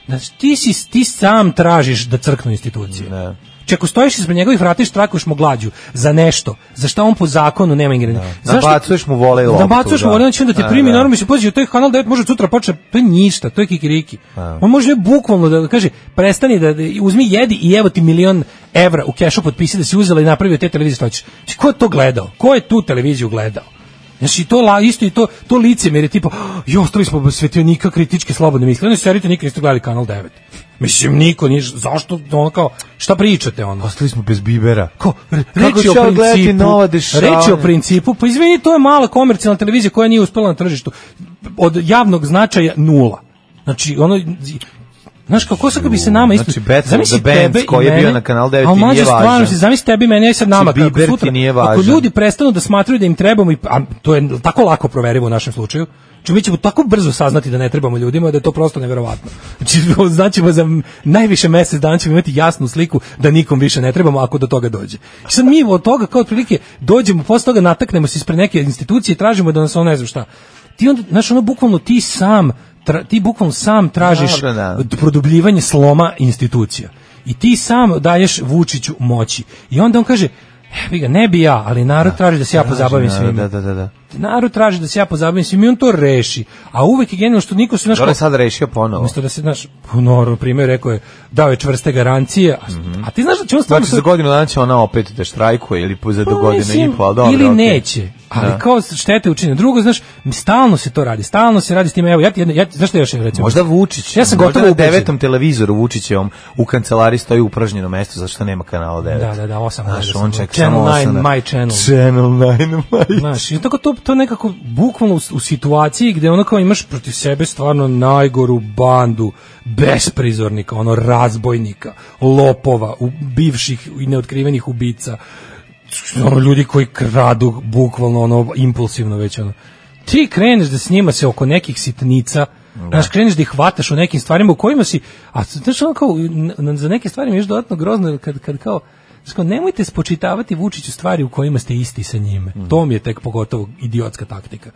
Speaker 7: znači ti, si, ti sam tražiš da crknu institucije.
Speaker 6: Da.
Speaker 7: Ne. Če ako stojiš ispred njegovih vrata i štrakuješ mu glađu za nešto, za šta on po zakonu nema ingredijenata. Zašto-
Speaker 6: Da. Nabacuješ mu volej loptu,
Speaker 7: Nabacuješ mu
Speaker 6: da.
Speaker 7: volej, on će onda te
Speaker 6: Da,
Speaker 7: primi,
Speaker 6: da.
Speaker 7: naravno mi se pozivi, to je kanal 9, može sutra počne, to je ništa, to je kikiriki. On može bukvalno da kaže, prestani da, da uzmi jedi i evo ti milion evra u kešu potpisi da si uzela i napravio te televizije što hoćeš. Znači, ko je to gledao? Ko je tu televiziju gledao? Znači, to la, isto i to, to licemjer je tipa, jo, ostali smo bez svetionika kritičke slobodne misli. Oni serite nikad niste gledali Kanal 9. Mislim, niko nije, zašto, ono kao, šta pričate ono?
Speaker 6: Ostali smo bez bibera.
Speaker 7: Ko, re-
Speaker 6: Kako
Speaker 7: reći
Speaker 6: ću ja
Speaker 7: o
Speaker 6: gledati
Speaker 7: principu,
Speaker 6: nova dešavanja?
Speaker 7: reći o principu, pa izvini, to je mala komercijalna televizija koja nije uspela na tržištu. Od javnog značaja nula. Znači, ono, Znaš kako sad kad bi se nama isto...
Speaker 6: Znači, Battle of
Speaker 7: Zamisli
Speaker 6: the Bands
Speaker 7: tebe i
Speaker 6: koji je bio
Speaker 7: mene,
Speaker 6: na Kanal 9
Speaker 7: ali
Speaker 6: i nije
Speaker 7: mlađe, stvarno,
Speaker 6: važan.
Speaker 7: si Zamisli tebi i mene, ja i sad nama,
Speaker 6: Znači,
Speaker 7: kako
Speaker 6: Bieber ti
Speaker 7: sutra.
Speaker 6: nije
Speaker 7: Ako
Speaker 6: važan.
Speaker 7: ljudi prestanu da smatraju da im trebamo, i, a to je tako lako proverivo u našem slučaju, Znači, mi ćemo tako brzo saznati da ne trebamo ljudima da je to prosto neverovatno. Znači, znaćemo za najviše mesec dana ćemo imati jasnu sliku da nikom više ne trebamo ako do toga dođe. I sad mi od toga kao otprilike dođemo, posle toga nataknemo se ispred neke institucije i tražimo da nas ono ne znam šta. Ti onda, znaš, ono bukvalno ti sam, tra- ti bukvalno sam tražiš
Speaker 6: Dobro, da.
Speaker 7: produbljivanje sloma institucija. I ti sam daješ Vučiću moći. I onda on kaže, "Evi ga, ne bi ja, ali narod traži da se ja pozabavim
Speaker 6: Da,
Speaker 7: svima.
Speaker 6: Da, da, da. da.
Speaker 7: Narod traži da se ja pozabavim svima i on to reši. A uvek je genijalno što niko se... znaš,
Speaker 6: Dobro
Speaker 7: kao-
Speaker 6: je sad rešio ponovo.
Speaker 7: Umesto da se, znaš, ponoro primjer rekao je, dao je čvrste garancije, a, a ti znaš da će on stvarno...
Speaker 6: Znači, za
Speaker 7: sad-
Speaker 6: godinu dana će ona opet da štrajkuje ili po- za do
Speaker 7: Pa,
Speaker 6: godine
Speaker 7: mislim,
Speaker 6: i po, ali dobro.
Speaker 7: Ili
Speaker 6: okej.
Speaker 7: neće, ali
Speaker 6: Da.
Speaker 7: kao štete učine. Drugo, znaš, stalno se to radi, stalno se radi s tim, evo, ja ti, jedno- ja, ti- znaš šta još recimo?
Speaker 6: Možda Vučić.
Speaker 7: Ja sam
Speaker 6: možda
Speaker 7: gotovo
Speaker 6: na
Speaker 7: ubeđen.
Speaker 6: devetom televizoru Vučićevom u kancelari stoji upražnjeno mesto zato što nema kanala 9.
Speaker 7: Da, da, da, osam
Speaker 6: Znaš,
Speaker 7: gleda
Speaker 6: on
Speaker 7: sam.
Speaker 6: čeka
Speaker 7: Channel
Speaker 6: samo
Speaker 7: nine,
Speaker 6: osam. da.
Speaker 7: my channel.
Speaker 6: Channel 9, my
Speaker 7: Znaš, i tako to, to nekako bukvalno u, u situaciji gde ono kao imaš protiv sebe stvarno najgoru bandu besprizornika, ono razbojnika, lopova, u, bivših i neotkrivenih ubica, ono ljudi koji kradu bukvalno ono impulsivno već ono. Ti kreneš da s njima se oko nekih sitnica Znaš, kreneš da ih hvataš u nekim stvarima u kojima si, a znaš, ono kao, n- n- za neke stvari mi je još dodatno grozno, jer kad, kad kao, znaš, kao, nemojte spočitavati Vučiću stvari u kojima ste isti sa njime.
Speaker 6: Mhm.
Speaker 7: To mi je tek pogotovo idiotska taktika.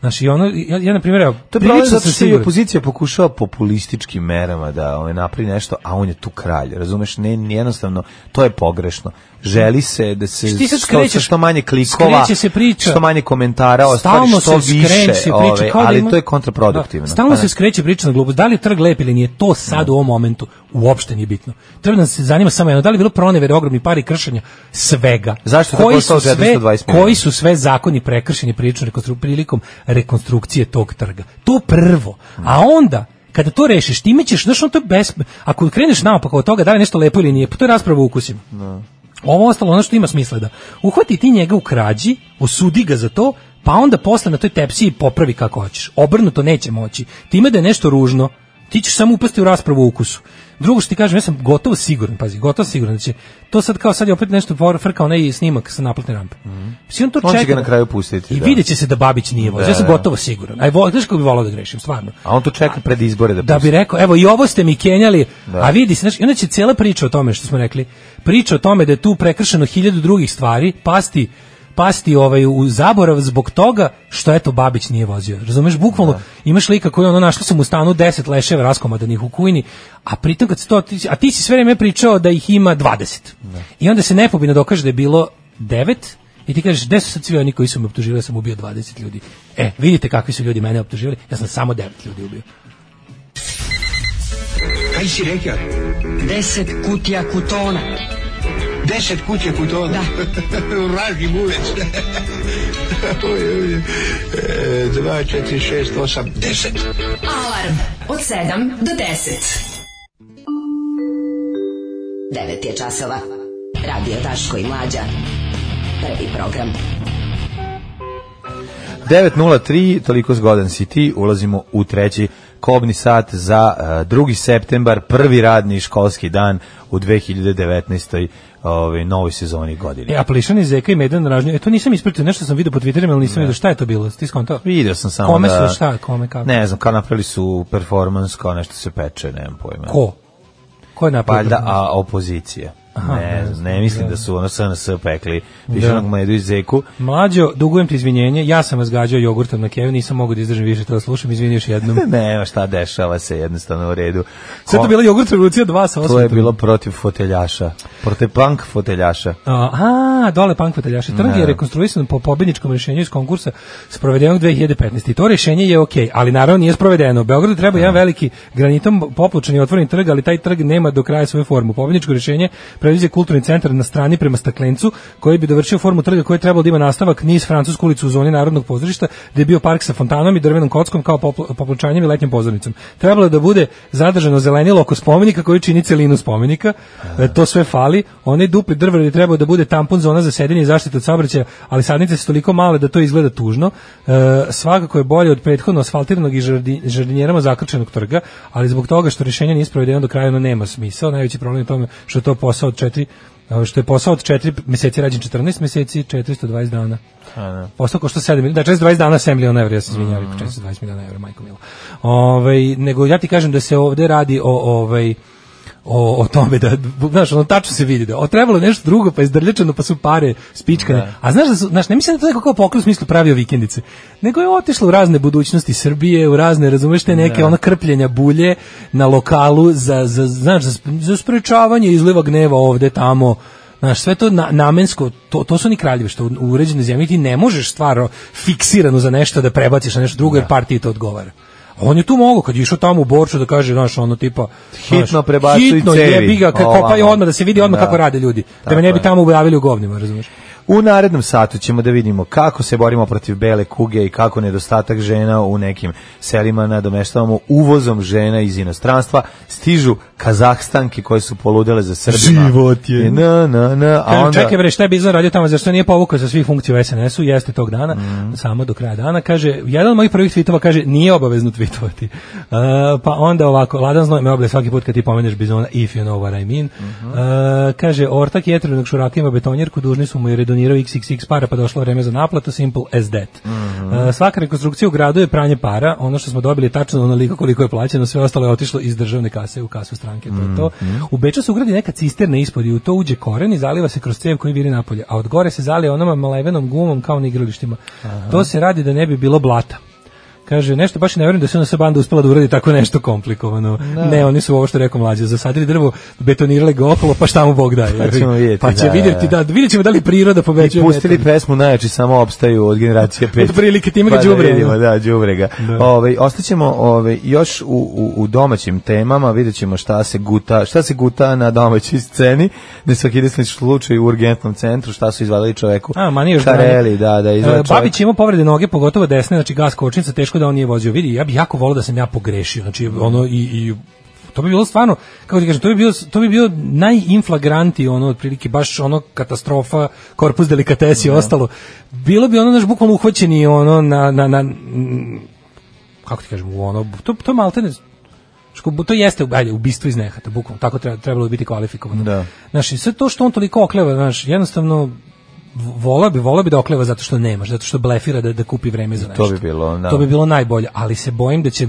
Speaker 7: Znaš, i ono, ja, ja na primjer, evo,
Speaker 6: To je problem
Speaker 7: prilično
Speaker 6: zato
Speaker 7: sam
Speaker 6: što je
Speaker 7: siguran.
Speaker 6: opozicija pokušava populističkim merama da ovaj, napravi nešto, a on je tu kralj, razumeš? Ne, ne, jednostavno, to je pogrešno. Želi se da se
Speaker 7: Ti sad
Speaker 6: što,
Speaker 7: skrećeš-
Speaker 6: što manje klikova,
Speaker 7: skreće se priča.
Speaker 6: što manje komentara, ostvari
Speaker 7: Stalno
Speaker 6: što
Speaker 7: se skreće
Speaker 6: više,
Speaker 7: priča,
Speaker 6: ove,
Speaker 7: kao da
Speaker 6: ali
Speaker 7: ima-
Speaker 6: to je kontraproduktivno.
Speaker 7: Da, stalno
Speaker 6: Pa ne.
Speaker 7: se skreće priča na glupost. Da li je trg lep ili nije, to sad u ovom momentu uopšte nije bitno. Treba da se zanima samo jedno, da li je bilo pronevere ogromni par i kršenja svega.
Speaker 6: Zašto je to
Speaker 7: koji
Speaker 6: koštalo
Speaker 7: su sve,
Speaker 6: 420 miliona?
Speaker 7: koji su sve zakoni prekršeni prilično rekonstru- prilikom rekonstrukcije tog trga. To prvo. A onda kada to rešiš, time ćeš, znaš, on to je bes... Ako kreneš naopako od toga, da li je nešto lepo ili nije, pa to je rasprava o ukusima. Ovo ostalo ono što ima smisla je da uhvati ti njega u krađi, osudi ga za to, pa onda posle na toj tepsiji popravi kako hoćeš. Obrnuto neće moći. Time da je nešto ružno, ti ćeš samo upasti u raspravu o ukusu. Drugo što ti kažem, ja sam gotovo siguran, pazi, gotovo siguran da će to sad kao sad je opet nešto for- frka onaj snimak sa naplatne rampe. Mm. on to
Speaker 6: Mhm. On će
Speaker 7: čeka
Speaker 6: ga na kraju pustiti,
Speaker 7: I
Speaker 6: da.
Speaker 7: vidjet će se da Babić nije vozio.
Speaker 6: Da,
Speaker 7: ja sam
Speaker 6: da.
Speaker 7: gotovo siguran. Aj, vo, znaš kako bi volao da grešim, stvarno.
Speaker 6: A on to čeka pred izbore da,
Speaker 7: Da
Speaker 6: pusti.
Speaker 7: bi rekao, evo i ovo ste mi kenjali,
Speaker 6: Da.
Speaker 7: a vidi se, znači, onda će cijela priča o tome što smo rekli, priča o tome da je tu prekršeno hiljadu drugih stvari, pasti pasti ovaj u zaborav zbog toga što eto Babić nije vozio. Razumeš, bukvalno
Speaker 6: Da.
Speaker 7: imaš lika koji ono našli su mu u stanu 10 leševa raskomadanih u kujni, a pritom kad se to ti- a ti si sve vreme pričao da ih ima 20.
Speaker 6: Da.
Speaker 7: I onda se nepobitno dokaže da je bilo 9 i ti kažeš, gde su sad svi oni koji su me optužili, ja sam ubio 20 ljudi. E, vidite kakvi su ljudi mene optužili, ja sam samo 9 ljudi ubio.
Speaker 13: Kaj si rekao? Deset kutija kutona. Deset kutija kutona? Da. Vraži buvec. Oj, oj, e, dva, četiri, šest, osam, deset.
Speaker 11: Alarm od 7 do 10.
Speaker 3: 9 je časova. Radio Daško i Mlađa. Prvi program.
Speaker 6: 9.03, toliko zgodan si ti, ulazimo u treći kobni sat za e, 2. septembar, prvi radni školski dan u 2019. Ovaj, novoj sezoni godine.
Speaker 7: E, a plišani zeka i medan na ražnju. E, to nisam ispratio, nešto sam vidio po Twitterima, ali nisam vidio šta je to bilo. Ti skontao?
Speaker 6: Vidio sam samo
Speaker 7: Kome
Speaker 6: da...
Speaker 7: su, šta, kome, kako?
Speaker 6: Ne znam, kao napravili su performans, kao nešto se peče, nemam pojma.
Speaker 7: Ko? Ko je napravio?
Speaker 6: Valjda,
Speaker 7: performans?
Speaker 6: a opozicija.
Speaker 7: Aha,
Speaker 6: ne,
Speaker 7: ne
Speaker 6: znam,
Speaker 7: znam,
Speaker 6: ne mislim
Speaker 7: da.
Speaker 6: da su ono SNS pekli više
Speaker 7: Da.
Speaker 6: onog medu i zeku.
Speaker 7: Mlađo, dugujem ti izvinjenje, ja sam vas gađao jogurtom na kevu, nisam mogao da izdržim više to da slušam, izvini još jednom.
Speaker 6: Nema šta dešava se jednostavno u redu.
Speaker 7: Sve to
Speaker 6: Ko-
Speaker 7: bila jogurt revolucija 2 sa 8.
Speaker 6: To je bilo protiv foteljaša. Protiv punk foteljaša.
Speaker 7: A, dole pankvataljaši. Trg
Speaker 6: Ne.
Speaker 7: je rekonstruisan po pobedničkom rješenju iz konkursa sprovedenog 2015. I to rješenje je ok, ali naravno nije sprovedeno. U Beogradu treba jedan veliki granitom popločeni otvoreni trg, ali taj trg nema do kraja svoju formu. Pobedničko rješenje predviđa kulturni centar na strani prema Staklencu, koji bi dovršio formu trga koji je trebalo da ima nastavak niz Francusku ulicu u zoni Narodnog pozorišta, gde je bio park sa fontanom i drvenom kockom kao poplo- popločanjem i letnjom pozornicom. Trebalo je da bude zadržano zelenilo oko spomenika koji čini celinu spomenika. E, to sve fali. Onaj dupli drvar je trebao da bude tampon zona za sedenje i zaštita od saobraćaja, ali sadnice su toliko male da to izgleda tužno. E, svakako je bolje od prethodno asfaltiranog i žardi- žardinjerama zakrčenog trga, ali zbog toga što rješenje nije sprovedeno do kraja ono nema smisao. Najveći problem je u tome što je to posao od četiri e, što je posao od 4 meseci rađen 14 meseci 420 dana. Posao košta 7 miliona, da Mhm. 420 dana 7 miliona evra, ja se izvinjavam, 420 miliona evra, majko milo. Ovaj, nego ja ti kažem da se ovde radi o, ovaj, o, o tome da, znaš, ono tačno se vidi da o, trebalo je nešto drugo, pa je zdrljačeno, pa su pare spičkane. A znaš, da su, znaš, ne mislim da to neko kao poklon u smislu pravio vikendice, nego je otišlo u razne budućnosti Srbije, u razne, razumeš, te neke ono krpljenja bulje na lokalu za, za, znaš, za, sp- za sprečavanje izliva gneva ovde, tamo, Znaš, sve to na, namensko, to, to su oni kraljevi što u u uređenoj zemlji ti ne možeš stvarno fiksirano za nešto da prebaciš na nešto drugo jer partiji to odgovara. A On je tu mogao kad je išao tamo u Borču da kaže, znaš, ono tipa
Speaker 6: Hitno
Speaker 7: znaš,
Speaker 6: prebacuj
Speaker 7: hitno,
Speaker 6: cevi.
Speaker 7: jebi ga, kad
Speaker 6: Ovamo.
Speaker 7: kopaju odmah da se vidi odmah
Speaker 6: Da.
Speaker 7: kako rade ljudi. Da
Speaker 6: Tako
Speaker 7: me ne bi
Speaker 6: je.
Speaker 7: tamo ujavili u govnima, razumiješ?
Speaker 6: U narednom satu ćemo da vidimo kako se borimo protiv bele kuge i kako nedostatak žena u nekim selima nadomeštavamo uvozom žena iz inostranstva. Stižu Kazahstanke koje su poludele za Srbima.
Speaker 7: Život je.
Speaker 6: Na, na, na. A
Speaker 7: Kaže,
Speaker 6: onda,
Speaker 7: Čekaj bre, šta je Bizon radio tamo, zašto nije povukao sa svih funkcija u SNS-u, jeste tog dana,
Speaker 6: Mhm.
Speaker 7: samo do kraja dana, kaže, jedan od mojih prvih tvitova kaže, nije obavezno tvitovati. E, pa onda ovako, Ladan Znoj me oblje svaki put kad ti pomeneš Bizona, if you know what I mean.
Speaker 6: Mhm.
Speaker 7: E, kaže, ortak jetrenog šuraka ima betonjerku, dužni su mu jer je donirao xxx para, pa došlo vreme za naplatu, simple as that.
Speaker 6: Mhm.
Speaker 7: E, svaka rekonstrukcija u gradu je pranje para, ono što smo dobili je tačno onoliko koliko je plaćeno, sve ostalo je otišlo iz državne kase u kasu stranke, to je to.
Speaker 6: Mhm.
Speaker 7: U Beču se ugradi neka cisterna ispod i u to uđe koren i zaliva se kroz cev koji viri napolje, a od gore se zalije onom malevenom gumom kao na igralištima. To se radi da ne bi bilo blata. Kaže, nešto baš i ne vjerujem da se ona sa banda uspela da uradi tako nešto komplikovano.
Speaker 6: Da.
Speaker 7: Ne, oni su ovo što je rekao mlađe, zasadili drvo, betonirali ga okolo, pa šta mu Bog daje.
Speaker 6: Pa ćemo vidjeti,
Speaker 7: Pa će
Speaker 6: da, da,
Speaker 7: vidjeti, da, vidjet ćemo da li priroda
Speaker 6: I
Speaker 7: pobeđuje.
Speaker 6: pustili
Speaker 7: metalom.
Speaker 6: pesmu Najjači samo opstaju od generacije 5.
Speaker 7: Otprilike, time ga
Speaker 6: pa
Speaker 7: đubre,
Speaker 6: Da, vidimo,
Speaker 7: ono.
Speaker 6: da, đubrega.
Speaker 7: Da.
Speaker 6: Ovaj ostaćemo ovaj još u, u, u domaćim temama, videćemo šta se guta, šta se guta na domaćoj sceni. Ne svaki desni slučaj u urgentnom centru, šta su izvadili čoveku.
Speaker 7: A, mani još
Speaker 6: Kareli,
Speaker 7: znanje.
Speaker 6: da, da, izvadili
Speaker 7: E, Babić ima povrede noge, pogotovo desne, znači gas kočnica, teško da on nije vozio. Vidi, ja bih jako volio da sam ja pogrešio. Znači, ono, i, i to bi bilo stvarno, kako ti kažem, to bi bio, to bi bio najinflagranti, ono, otprilike, baš ono katastrofa, korpus delikatesi i
Speaker 6: Da.
Speaker 7: ostalo. Bilo bi ono, naš bukvalno uhvaćeni, ono, na, na, na, mm, kako ti kažem, u ono, to, to malte ne, Što to jeste ajde ubistvo iz nehata, bukvalno tako treba trebalo bi biti kvalifikovano.
Speaker 6: Da.
Speaker 7: Znači sve to što on toliko okleva, znaš, jednostavno vola bi, vola bi da okleva zato što nemaš, zato što blefira da, da kupi vreme za
Speaker 6: To
Speaker 7: nešto.
Speaker 6: bi bilo, da.
Speaker 7: To bi bilo najbolje, ali se bojim da će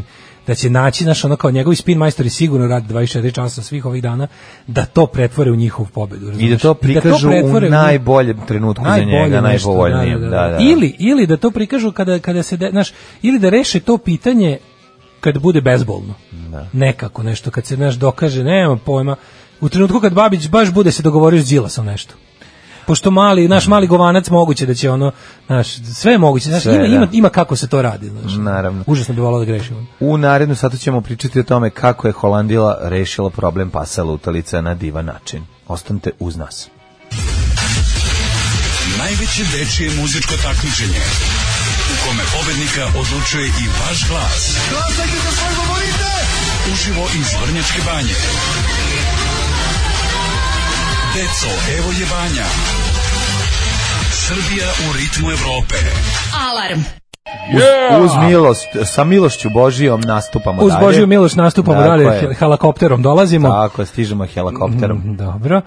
Speaker 7: da će naći naš ono kao njegovi spin majstori sigurno radi 24 časa svih ovih dana da to pretvore u njihovu pobedu.
Speaker 6: I da
Speaker 7: razumeš?
Speaker 6: to prikažu u
Speaker 7: pretvore njih-
Speaker 6: najboljem trenutku za
Speaker 7: najbolje
Speaker 6: njega,
Speaker 7: nešto,
Speaker 6: najpovoljnijem. Da, da, da.
Speaker 7: Ili, ili da to prikažu kada, kada se, de, znaš, ili da reše to pitanje kad bude bezbolno. Da. Nekako nešto, kad se, znaš, dokaže, nema pojma, u trenutku kad Babić baš bude se dogovorio s Đilasom nešto. Pošto mali, naš mali govanac moguće da će ono, znaš, sve je moguće, znaš,
Speaker 6: Sve,
Speaker 7: ima,
Speaker 6: da.
Speaker 7: ima, ima kako se to radi, znaš.
Speaker 6: Naravno.
Speaker 7: Užasno bi volao da grešimo.
Speaker 6: U narednu satu ćemo pričati o tome kako je Holandila rešila problem pasa lutalica na divan način. Ostanite uz nas.
Speaker 14: Najveće dečije muzičko takmičenje u kome pobednika odlučuje i vaš glas. Glasajte za svoj govorite! Uživo iz Vrnjačke banje. Deco, evo je banja. Srbija u ritmu Evrope.
Speaker 11: Alarm.
Speaker 6: Uz, uz milost, sa milošću Božijom nastupamo
Speaker 7: Uz
Speaker 6: Pa dalje.
Speaker 7: Božiju miloš nastupamo
Speaker 6: Tako
Speaker 7: dalje,
Speaker 6: je.
Speaker 7: hel- helikopterom dolazimo.
Speaker 6: Tako, stižemo helikopterom.
Speaker 7: Mm, Dobro.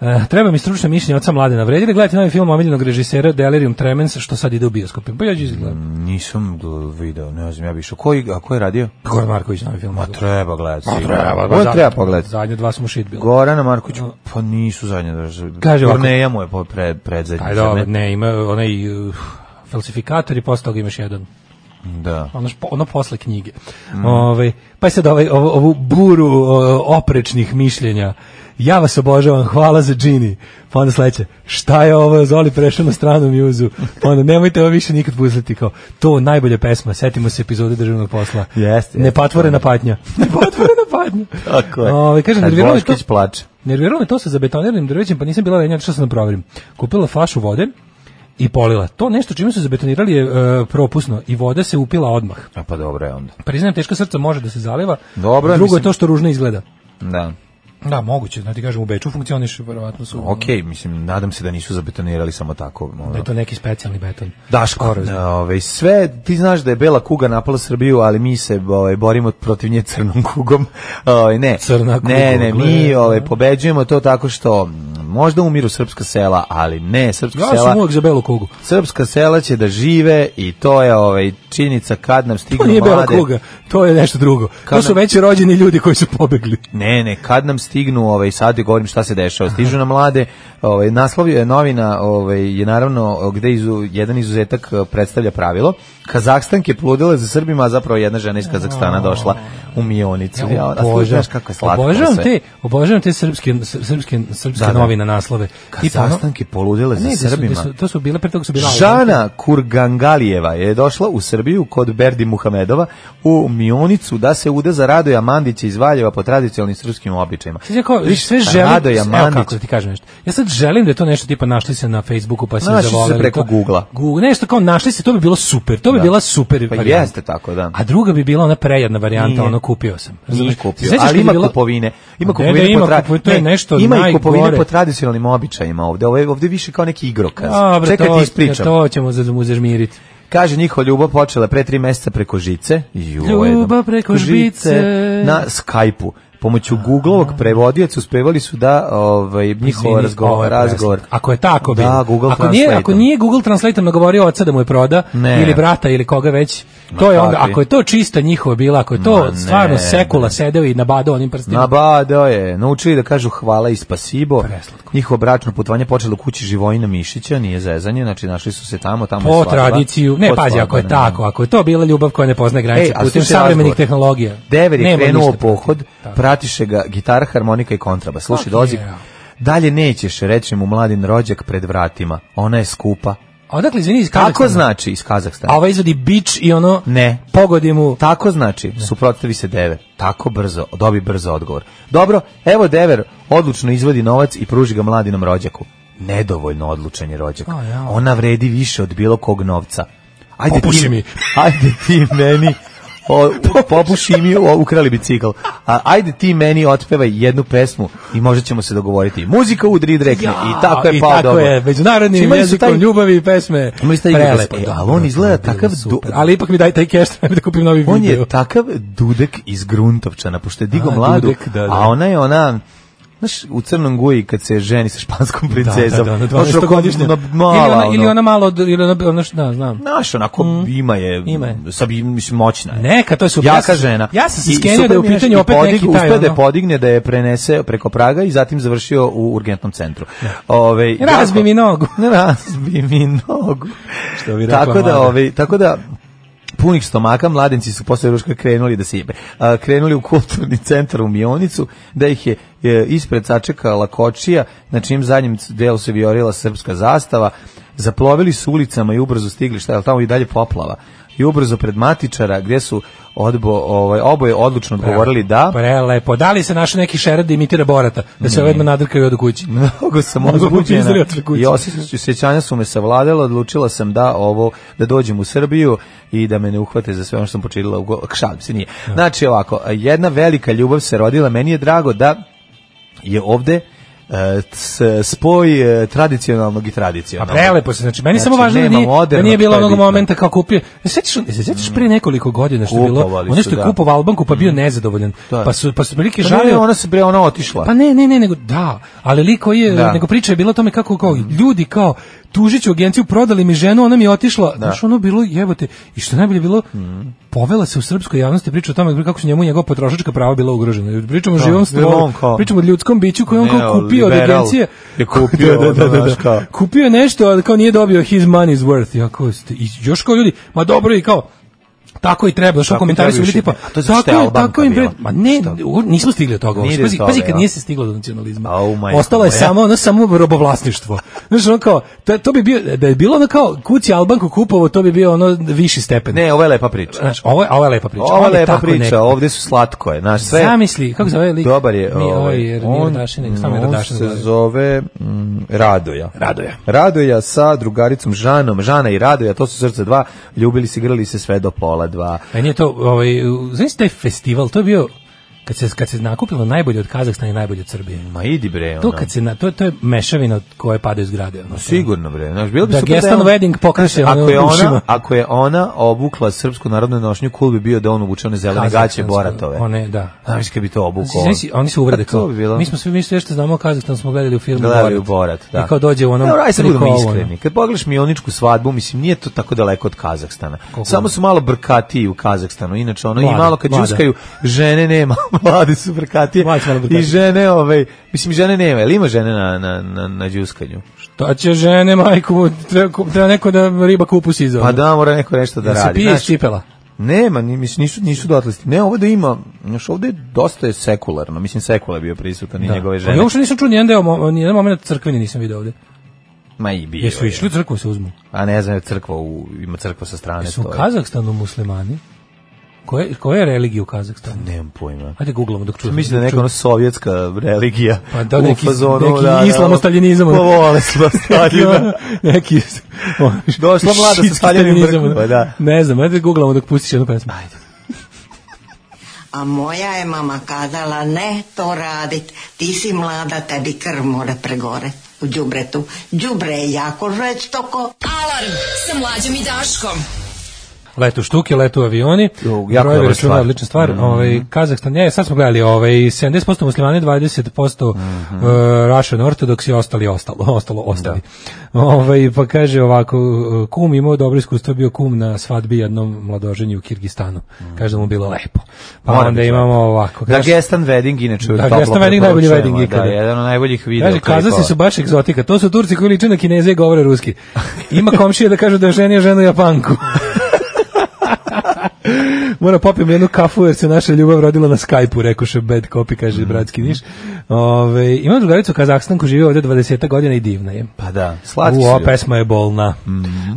Speaker 7: E, treba mi stručno mišljenje oca Mladena Vredira. Gledajte da novi film omiljenog režisera Delirium Tremens, što sad ide u bioskopima. Pa ja ću izgledati.
Speaker 6: Mm. Nisam video, ne znam, ja bi išao. Koji, a ko je radio?
Speaker 7: Goran Marković novi film.
Speaker 6: Ma treba gledati. Ma
Speaker 7: ba, zadnje-
Speaker 6: treba pogledati.
Speaker 7: Zadnje dva smo shit bili.
Speaker 6: Gorana Marković, pa nisu zadnje. da-
Speaker 7: Kaže ovako.
Speaker 6: Korneja mu je po- pred, predzadnji.
Speaker 7: Ajde,
Speaker 6: za
Speaker 7: dobro,
Speaker 6: mene.
Speaker 7: ne, ima onaj uh, falsifikator i posle toga imaš jedan.
Speaker 6: Da.
Speaker 7: Ono, špo- ono posle knjige. Ovaj, pa je sad ovaj, ovu, ovu buru o, oprečnih mišljenja. Ja vas obožavam, hvala za džini. Pa onda sledeće, šta je ovo, Zoli prešao na stranu mjuzu. Pa onda, nemojte ovo više nikad pustiti kao, to najbolja pesma, setimo se epizode državnog posla.
Speaker 6: Jeste, jeste.
Speaker 7: Nepatvorena patnja. Nepatvorena patnja.
Speaker 6: Tako je.
Speaker 7: Ovaj, kaže,
Speaker 6: Kad
Speaker 7: nerviralo me
Speaker 6: Boškić
Speaker 7: to-
Speaker 6: plače.
Speaker 7: Nerviralo me to sa zabetoniranim drvećem, pa nisam bila lenja, što sam da proverim. Kupila flašu vode i polila. To nešto čime su zabetonirali je e, propusno i voda se upila odmah.
Speaker 6: A pa dobro je onda.
Speaker 7: Priznajem, teška srca može da se zaliva.
Speaker 6: Dobro je,
Speaker 7: Drugo je
Speaker 6: mislim-
Speaker 7: to što ružno izgleda.
Speaker 6: Da.
Speaker 7: Da, moguće. Znači, kažem, u Beču funkcioniše, verovatno su...
Speaker 6: Ok, mislim, nadam se da nisu zabetonirali samo tako. ono.
Speaker 7: Da je to neki specijalni beton.
Speaker 6: Daško,
Speaker 7: Skoro,
Speaker 6: da, ovaj, sve, ti znaš da je bela kuga napala Srbiju, ali mi se ovaj, borimo protiv nje crnom kugom. Ovaj, ne,
Speaker 7: Crna kuga,
Speaker 6: ne, ne, mi
Speaker 7: gle, da.
Speaker 6: ovaj, pobeđujemo to tako što mm, možda umiru srpska sela, ali ne, srpska
Speaker 7: Ja sam
Speaker 6: sela...
Speaker 7: uvek za belu kugu.
Speaker 6: Srpska sela će da žive i to je ovaj činjenica kad nam stignu
Speaker 7: To nije bela
Speaker 6: mlade.
Speaker 7: kuga, to je nešto drugo.
Speaker 6: Kao
Speaker 7: To su
Speaker 6: ne-
Speaker 7: već rođeni ljudi koji su pobegli.
Speaker 6: Ne, ne, kad nam stignu, ovaj sad govorim šta se dešava, stižu nam mlade, ovaj naslov je novina, ovaj je naravno gde izu, jedan izuzetak eh, predstavlja pravilo. Kazahstanke plodile za Srbima, a zapravo jedna žena iz Kazahstana došla u Mionicu. Ja, a slušaj, znaš kako je slatko
Speaker 7: obožavam
Speaker 6: sve.
Speaker 7: te, obožavam te srpske, sr- srpske, srpske
Speaker 6: Da, da.
Speaker 7: novine naslove. Tipa pa ono-
Speaker 6: Kazahstanke poludele za
Speaker 7: Ne, da su- da
Speaker 6: Srbima.
Speaker 7: su- to su bile, pre toga su bile
Speaker 6: Žana Kurgangalijeva je došla u Srbiju kod Berdi Muhamedova u Mionicu da se ude za Radoja Mandića iz Valjeva po tradicionalnim srpskim običajima.
Speaker 7: Sad ja kao,
Speaker 6: Viš,
Speaker 7: sve želim,
Speaker 6: Radoja
Speaker 7: evo
Speaker 6: Mandić,
Speaker 7: kako da ti kažem nešto. Ja sad želim da je to nešto tipa našli se na Facebooku pa se
Speaker 6: Našli
Speaker 7: zavoleli.
Speaker 6: su se preko
Speaker 7: to-
Speaker 6: Googla.
Speaker 7: Google, nešto kao našli se, to bi bilo super. To bi
Speaker 6: Da.
Speaker 7: bila super
Speaker 6: Pa
Speaker 7: varijanta.
Speaker 6: jeste tako, da.
Speaker 7: A druga bi bila ona prejadna varijanta,
Speaker 6: Nije.
Speaker 7: ono kupio sam.
Speaker 6: Nije
Speaker 7: Razumeš?
Speaker 6: kupio,
Speaker 7: Se sjećaš kad
Speaker 6: ali
Speaker 7: je
Speaker 6: ima
Speaker 7: bila-
Speaker 6: kupovine. Ima
Speaker 7: Ne, da
Speaker 6: kupovine,
Speaker 7: ima
Speaker 6: po tra-
Speaker 7: kupovine, to je
Speaker 6: ne,
Speaker 7: nešto
Speaker 6: ima i kupovine
Speaker 7: najgore.
Speaker 6: po tradicionalnim običajima ovde. Ovo je ovde više kao neki igrokaz.
Speaker 7: Dobro,
Speaker 6: Čekaj
Speaker 7: to,
Speaker 6: ti ispričam.
Speaker 7: To ćemo za mu zažmiriti.
Speaker 6: Kaže njihova ljubav počela pre tri meseca preko žice. Ju,
Speaker 7: Ljubav
Speaker 6: jednom.
Speaker 7: preko žbice.
Speaker 6: Na Skype-u. Pomoću Googlovog prevodioca uspevali su da ovaj, njihov
Speaker 7: Da. Pa Izvini, ovo
Speaker 6: razgovor,
Speaker 7: je
Speaker 6: razgovor.
Speaker 7: presno. Ako je tako bilo.
Speaker 6: Da, Google
Speaker 7: ako nije, ako
Speaker 6: Translate-om.
Speaker 7: nije Google Translate nagovorio oca da mu je proda,
Speaker 6: Ne.
Speaker 7: ili brata, ili koga već, to
Speaker 6: Ma
Speaker 7: je onda,
Speaker 6: kakvi.
Speaker 7: ako je to čista njihova bila, ako je to
Speaker 6: Ma
Speaker 7: stvarno
Speaker 6: ne,
Speaker 7: sekula
Speaker 6: ne.
Speaker 7: sedeo i nabadao onim prstima,
Speaker 6: Nabadao je. Naučili da kažu hvala i spasibo.
Speaker 7: Preslatko.
Speaker 6: Njihovo bračno putovanje počelo u kući Živojina Mišića, nije zezanje, znači našli su se tamo, tamo je
Speaker 7: po
Speaker 6: svadba.
Speaker 7: tradiciju, ne
Speaker 6: Po
Speaker 7: pazi,
Speaker 6: svadba,
Speaker 7: ako je
Speaker 6: ne.
Speaker 7: tako, ako je to bila ljubav koja ne poznaje granice,
Speaker 6: Ej, a
Speaker 7: putem
Speaker 6: slušaj
Speaker 7: savremenih
Speaker 6: razgovor.
Speaker 7: tehnologija.
Speaker 6: Dever je
Speaker 7: Nema
Speaker 6: krenuo u
Speaker 7: ništa protiv.
Speaker 6: pohod,
Speaker 7: Tako.
Speaker 6: pratiše ga gitara, harmonika i kontrabas. Slušaj,
Speaker 7: Fuck
Speaker 6: dozi,
Speaker 7: yeah.
Speaker 6: dalje nećeš, reče mu mladin rođak pred vratima. Ona je skupa.
Speaker 7: A Odakle, izvini, iz
Speaker 6: Tako
Speaker 7: Kazahstana?
Speaker 6: znači iz Kazahstana.
Speaker 7: A ovaj izvodi bič i ono,
Speaker 6: Ne.
Speaker 7: pogodi mu,
Speaker 6: Tako znači,
Speaker 7: Da.
Speaker 6: suprotstavi se Dever. Tako brzo, dobi brzo odgovor. Dobro, evo Dever odlučno izvodi novac i pruži ga mladinom rođaku. Nedovoljno odlučan je rođak.
Speaker 7: A, ja.
Speaker 6: Ona vredi više od bilo kog novca. Ajde
Speaker 7: Popuši
Speaker 6: ti,
Speaker 7: mi.
Speaker 6: ajde ti meni o, popu Šimiju o, ukrali bicikl. A, ajde ti meni otpevaj jednu pesmu i možda ćemo se dogovoriti. Muzika udri i drekne. I tako je
Speaker 7: I
Speaker 6: pao
Speaker 7: tako
Speaker 6: dobro.
Speaker 7: je, međunarodnim
Speaker 6: Znači, imali su
Speaker 7: jezikom
Speaker 6: taj-
Speaker 7: ljubavi i pesme.
Speaker 6: Imali su taj
Speaker 7: prelepe.
Speaker 6: igrokaz, pa da, on izgleda takav do-
Speaker 7: Ali ipak mi daj taj keš, da kupim novi
Speaker 6: on
Speaker 7: video.
Speaker 6: je takav dudek iz Gruntovčana, pošto je digo
Speaker 7: A,
Speaker 6: mladu,
Speaker 7: Dudek, da, da.
Speaker 6: a ona je ona Znaš, u Crnom Guji kad se ženi sa španskom princezom,
Speaker 7: Da, da, da,
Speaker 6: znaš, onako,
Speaker 7: 12-godišnja.
Speaker 6: ona mala,
Speaker 7: Ili ona,
Speaker 6: ono.
Speaker 7: ili ona malo, od- ili ona, ona, da, znam.
Speaker 6: Znaš, onako ima je,
Speaker 7: Ima je.
Speaker 6: Sad, bi- mislim, moćna je.
Speaker 7: Neka, to je super. Ja
Speaker 6: Jaka
Speaker 7: sam-
Speaker 6: žena.
Speaker 7: ja sam se
Speaker 6: I
Speaker 7: skenio
Speaker 6: super
Speaker 7: da je u
Speaker 6: mi znaš,
Speaker 7: pitanju
Speaker 6: i
Speaker 7: opet neki taj,
Speaker 6: Uspe da je
Speaker 7: ono-
Speaker 6: podigne, da je prenese preko Praga i zatim završio u urgentnom centru. Ove,
Speaker 7: Da. Razbi mi nogu.
Speaker 6: Razbi mi nogu.
Speaker 7: Što bi rekla
Speaker 6: tako da,
Speaker 7: mlada.
Speaker 6: ovaj, tako da, punih stomaka, mladenci su posle ruška krenuli da se jebe. A, krenuli u kulturni centar u Mionicu, da ih je e, ispred sačekala kočija, na čijem zadnjem delu se vijorila srpska zastava, zaplovili su ulicama i ubrzo stigli, šta je ali tamo i dalje poplava, i ubrzo pred matičara, gdje su odbo, ovaj, oboje odlučno odgovorili da,
Speaker 7: Prelepo. Da li se našao neki šerad da imitira Borata? Da se ovaj nadrkaju od kući.
Speaker 6: Mnogo sam
Speaker 7: Mnogo bi
Speaker 6: uzbuđena
Speaker 7: pizdali od kuće.
Speaker 6: i osjeća- osjećanja su me savladala, odlučila sam da ovo da dođem u Srbiju i da me ne uhvate za sve ono što sam počinila u go... šalim se nije.
Speaker 7: Da.
Speaker 6: Znači ovako, jedna velika ljubav se rodila, meni je drago da je ovde e, s- spoj e, tradicionalnog i
Speaker 7: A
Speaker 6: tradicionalnog.
Speaker 7: prelepo se, znači, meni je samo
Speaker 6: Znači,
Speaker 7: važno da
Speaker 6: nema
Speaker 7: nije, da
Speaker 6: modernog,
Speaker 7: nije bilo
Speaker 6: to je
Speaker 7: onog
Speaker 6: bitno.
Speaker 7: momenta kao kupio. Ne sećaš, ne sećaš pre nekoliko godina što je bilo,
Speaker 6: Kupovali
Speaker 7: ono
Speaker 6: su,
Speaker 7: što je
Speaker 6: da.
Speaker 7: kupovao Albanku pa bio nezadovoljan.
Speaker 6: To je.
Speaker 7: Pa su pa su prilike
Speaker 6: Pa ne,
Speaker 7: žalio.
Speaker 6: ona se bre ona otišla.
Speaker 7: Pa ne, ne, ne, nego da, ali lik koji je,
Speaker 6: Da.
Speaker 7: nego priča je bila o tome kako kao ljudi kao tužiću agenciju, prodali mi ženu, ona mi je
Speaker 6: Da.
Speaker 7: otišla. Znaš, ono bilo jebote. I što je najbolje bilo, povela se u srpskoj javnosti priča o tome kako su njemu njegova potrošačka prava bila ugrožena. Pričamo o
Speaker 6: Da,
Speaker 7: živom
Speaker 6: jer
Speaker 7: stvoru,
Speaker 6: on kao-
Speaker 7: pričamo o ljudskom biću koji on kao kupio od
Speaker 6: Neoliberal
Speaker 7: agencije.
Speaker 6: Je kupio,
Speaker 7: Da, da, da, da, da.
Speaker 6: znaš, kao.
Speaker 7: Kupio je nešto, ali kao nije dobio his money's worth. Ja, kao, ste- i još kao ljudi, ma dobro i kao, tako i treba, što
Speaker 6: Tako i
Speaker 7: komentari su
Speaker 6: treba
Speaker 7: bili
Speaker 6: još i-
Speaker 7: tipa,
Speaker 6: a to je zato što je
Speaker 7: tako,
Speaker 6: Albanka
Speaker 7: tako im bre,
Speaker 6: bila.
Speaker 7: ma Pa ne, u- nismo stigli do toga.
Speaker 6: Nije
Speaker 7: uopšte.
Speaker 6: do
Speaker 7: Pazi,
Speaker 6: toga,
Speaker 7: pazi kad
Speaker 6: ja.
Speaker 7: nije se stiglo do nacionalizma.
Speaker 6: Au, majko
Speaker 7: Ostalo je
Speaker 6: moja.
Speaker 7: samo ono samo robovlasništvo. Znaš, ono kao, to, to bi bio, da je bilo ono kao kuci Albanku kupovo, to bi bio ono viši stepen.
Speaker 6: Ne, ovo je lepa priča.
Speaker 7: Znaš, ovo je, ovo je lepa priča.
Speaker 6: Ovo je lepa
Speaker 7: tako
Speaker 6: priča,
Speaker 7: neka.
Speaker 6: ovde su slatko je. Znaš, sve,
Speaker 7: Zamisli, kako se zove lik?
Speaker 6: Dobar je.
Speaker 7: Nije, ovaj,
Speaker 6: ovaj,
Speaker 7: jer nije Radašin, nego samo je
Speaker 6: on
Speaker 7: Radašin
Speaker 6: se
Speaker 7: glavi.
Speaker 6: zove mm, Radoja.
Speaker 7: Radoja.
Speaker 6: Radoja sa drugaricom Žanom. Žana i Radoja, to su srce dva. Ljubili se, igrali se sve do pola dva.
Speaker 7: Meni je to, ovaj, znaš taj festival, to je bio, kad se, kad se nakupilo najbolje od Kazahstana i najbolje od Srbije.
Speaker 6: Ma idi bre, ono.
Speaker 7: To kad se na to to je mešavina od koje padaju zgrade. ono.
Speaker 6: Da. Sigurno bre, znaš, bilo bi
Speaker 7: Da
Speaker 6: super
Speaker 7: Gestan
Speaker 6: je on-
Speaker 7: Wedding pokreće
Speaker 6: Znaš,
Speaker 7: ono
Speaker 6: ako je
Speaker 7: ušima.
Speaker 6: ona, ako je ona obukla srpsku narodnu nošnju, cool bi bio da on obuče one zelene gaće
Speaker 7: Kazahstansko,
Speaker 6: boratove.
Speaker 7: One, da.
Speaker 6: Znaš kad bi to obukao.
Speaker 7: Znači, znači, oni se uvrede
Speaker 6: Pa to
Speaker 7: kao.
Speaker 6: bi bilo.
Speaker 7: Mi smo svi mi sve što znamo o Kazahstanu smo gledali u filmu
Speaker 6: Gledali u Borat, da.
Speaker 7: I kao dođe u onom
Speaker 6: Evo, aj sad budemo
Speaker 7: Nikolu, ono.
Speaker 6: iskreni. Kad pogledaš mioničku svadbu, mislim, nije to tako daleko od Kazahstana.
Speaker 7: Koliko?
Speaker 6: Samo su malo brkatiji u Kazahstanu. Inače, ono,
Speaker 7: Mlade,
Speaker 6: i malo kad
Speaker 7: mlade.
Speaker 6: džuskaju, žene nema. Mladi su brkatije.
Speaker 7: Mladi su malo brkatiji.
Speaker 6: I žene, ovaj, mislim, žene nema. Jel ima žene na, na, na, na džuskanju?
Speaker 7: Šta će žene majku, treba, ku- treba neko da riba kupu sizo.
Speaker 6: Pa da, mora neko nešto da
Speaker 7: da se
Speaker 6: radi.
Speaker 7: pije iz
Speaker 6: znaš.
Speaker 7: cipela.
Speaker 6: Nema, ni- mislim, nisu, nisu dotle sti- Ne, ovde ima, znaš, ovde je dosta je sekularno. Mislim, sekula je bio prisutan i njegove
Speaker 7: Pa ja
Speaker 6: žene.
Speaker 7: uopšte nisam čuo ni jedan deo, mo- ni jedan moment crkveni nisam video ovde.
Speaker 6: Ma i bio
Speaker 7: Jesu
Speaker 6: je.
Speaker 7: išli u crkvu da se uzmu.
Speaker 6: A ne znam, je crkva u, ima crkva sa strane.
Speaker 7: Jesu u
Speaker 6: stoji.
Speaker 7: Kazahstanu muslimani? Koje, koja je religija u Kazahstanu?
Speaker 6: Nemam pojma.
Speaker 7: Ajde googlamo dok čujemo.
Speaker 6: Mislim da je neka ono sovjetska religija.
Speaker 7: Pa da, neki-
Speaker 6: u fazonu, da,
Speaker 7: neki islamostaljinizam.
Speaker 6: Povole Pa su na
Speaker 7: Neki
Speaker 6: Staljina.
Speaker 7: ono- neki
Speaker 6: Došla mlada sa Staljinim
Speaker 7: šitstanizam,
Speaker 6: brkom, pa da.
Speaker 7: Ne znam, ajde googlamo dok pustiš jednu pesmu. Ajde.
Speaker 2: A moja je mama kazala, ne to radit, ti si mlada, tebi krv mora pregore u džubretu. Džubre je jako žveć toko.
Speaker 11: Alarm sa mlađom i Daškom.
Speaker 7: Letu štuke, letu avioni.
Speaker 6: Jo, jako
Speaker 7: brojevi
Speaker 6: dobra
Speaker 7: računa,
Speaker 6: stvar. Mhm.
Speaker 7: odlična stvar. Ovaj Kazahstan, je, sad smo gledali, ovaj 70% muslimani, 20%
Speaker 6: Mhm.
Speaker 7: e, Russian Orthodox i ostali ostalo, ostalo ostali.
Speaker 6: Da.
Speaker 7: Ovaj pa kaže ovako, e, kum imao dobro iskustvo, bio kum na svadbi jednom mladoženju u Kirgistanu. Kaže da mu bilo lepo. Pa
Speaker 6: Mhm. Mora
Speaker 7: onda
Speaker 6: biti
Speaker 7: imamo
Speaker 6: lepo.
Speaker 7: ovako. kaže-
Speaker 6: Dagestan da. Wedding, inače
Speaker 7: Da,
Speaker 6: toplo
Speaker 7: Dagestan Wedding, najbolji
Speaker 6: preporučujemo,
Speaker 7: wedding ikada.
Speaker 6: Da, jedan od najboljih videa.
Speaker 7: Kaže, kazasi su baš egzotika. To su Turci koji liče na Kineze i govore ruski. Ima komšije da kažu da je ženio ženu Japanku. Moram popim jednu kafu jer se naša ljubav rodila na Skype-u, rekoše bad copy,
Speaker 6: Mhm.
Speaker 7: kaže bratski niš. Ove, imam drugaricu u Kazahstanu koja živi ovde 20 godina i divna je.
Speaker 6: Pa da, slatki su
Speaker 7: Uo,
Speaker 6: ljudi.
Speaker 7: pesma je bolna.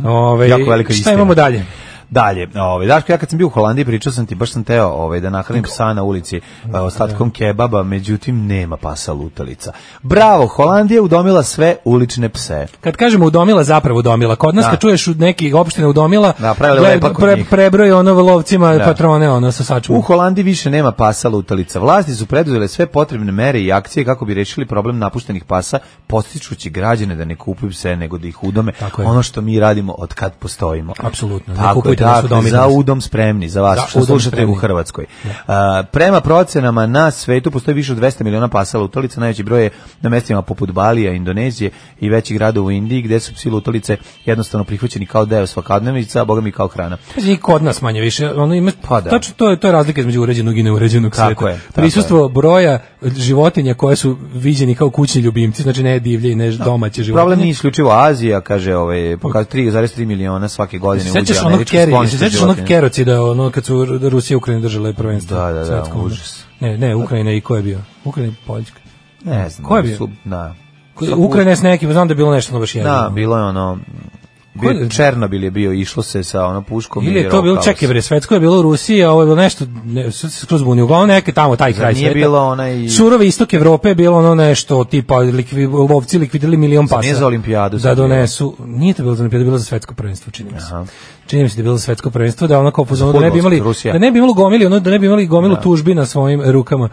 Speaker 7: Ove,
Speaker 6: Mhm. Jako velika
Speaker 7: šta
Speaker 6: istina.
Speaker 7: imamo dalje?
Speaker 6: Dalje, ovaj Daško, ja kad sam bio u Holandiji, pričao sam ti, baš sam teo ovaj da nahranim psa na ulici
Speaker 7: Da,
Speaker 6: eh, ostatkom kebaba, međutim nema pasa lutalica. Bravo, Holandija udomila sve ulične pse.
Speaker 7: Kad kažemo udomila, zapravo udomila. Kod nas
Speaker 6: Da.
Speaker 7: kad čuješ od nekih opština udomila,
Speaker 6: Da, pravili lepak od njih.
Speaker 7: prebroje ono lovcima
Speaker 6: Da.
Speaker 7: patrone, ono sa sačvom.
Speaker 6: U Holandiji više nema pasa lutalica. Vlasti su preduzele sve potrebne mere i akcije kako bi rešili problem napuštenih pasa, postičući građane da ne kupuju pse nego da ih udome.
Speaker 7: Tako je.
Speaker 6: Ono što mi radimo od kad postojimo.
Speaker 7: Apsolutno, ne
Speaker 6: Tako je,
Speaker 7: kupujte, nas
Speaker 6: dakle,
Speaker 7: udomite
Speaker 6: za
Speaker 7: nas.
Speaker 6: udom spremni, za vas
Speaker 7: Za
Speaker 6: što
Speaker 7: udom
Speaker 6: slušate
Speaker 7: spremni. Da.
Speaker 6: u Hrvatskoj. A, prema procenama na svetu postoji više od 200 miliona pasa lutalica, najveći broj je na mestima poput Balija, Indonezije i većih gradova u Indiji, gde su psi lutalice jednostavno prihvaćeni kao deo svakodnevica, a boga mi kao hrana.
Speaker 7: I kod nas manje više, ono ima
Speaker 6: Pa da.
Speaker 7: tačno to je to je razlika između uređenog i neuređenog
Speaker 6: Tako
Speaker 7: sveta.
Speaker 6: je, tako
Speaker 7: Prisustvo broja životinja koje su viđeni kao kućni ljubimci, znači ne divlje i ne domaće životinje.
Speaker 6: Da. Problem je isključivo Azija, kaže, ovaj, pokaz 3,3 miliona svake godine
Speaker 7: Se
Speaker 6: uđe
Speaker 7: Sećaš onog
Speaker 6: američkih
Speaker 7: Kerry, se
Speaker 6: skloništa
Speaker 7: sećaš onog
Speaker 6: životinja.
Speaker 7: Kerocida, ono kad su Ru- Rusija i Ukrajina držale prvenstvo.
Speaker 6: Da, da, da,
Speaker 7: svetsko, ono.
Speaker 6: užas.
Speaker 7: Ne, ne, Ukrajina i ko je bio? Ukrajina i Poljska.
Speaker 6: Ne znam.
Speaker 7: Ko je bio?
Speaker 6: su- da.
Speaker 7: Ko- Ukrajina je s nekim, znam da je bilo nešto ono baš jedno.
Speaker 6: Da, bilo je ono...
Speaker 7: Ko
Speaker 6: Bio,
Speaker 7: je-
Speaker 6: Černobil je bio, išlo se sa ono puškom
Speaker 7: Ili je to
Speaker 6: rokalo
Speaker 7: bilo,
Speaker 6: se.
Speaker 7: čekaj bre, svetsko je bilo u Rusiji, a ovo je bilo nešto, ne, sad se skroz bunio, uglavnom neke tamo, taj
Speaker 6: Zar
Speaker 7: kraj
Speaker 6: nije
Speaker 7: sveta.
Speaker 6: bilo onaj-
Speaker 7: Surove istok Evrope je bilo ono nešto, tipa, likvi, lovci likvidirali milion
Speaker 6: Zar
Speaker 7: pasa.
Speaker 6: nije za olimpijadu
Speaker 7: Da
Speaker 6: sad bilo?
Speaker 7: donesu, nije to bilo za olimpijadu, bilo za svetsko prvenstvo, čini mi se.
Speaker 6: Aha.
Speaker 7: Čini mi se da je bilo za svetsko prvenstvo, da ono kao pozvano, da ne bi
Speaker 6: fudbalsko,
Speaker 7: imali,
Speaker 6: Rusija.
Speaker 7: da ne bi imali gomili, ono, da ne bi imali gomilu tužbi na svojim rukama.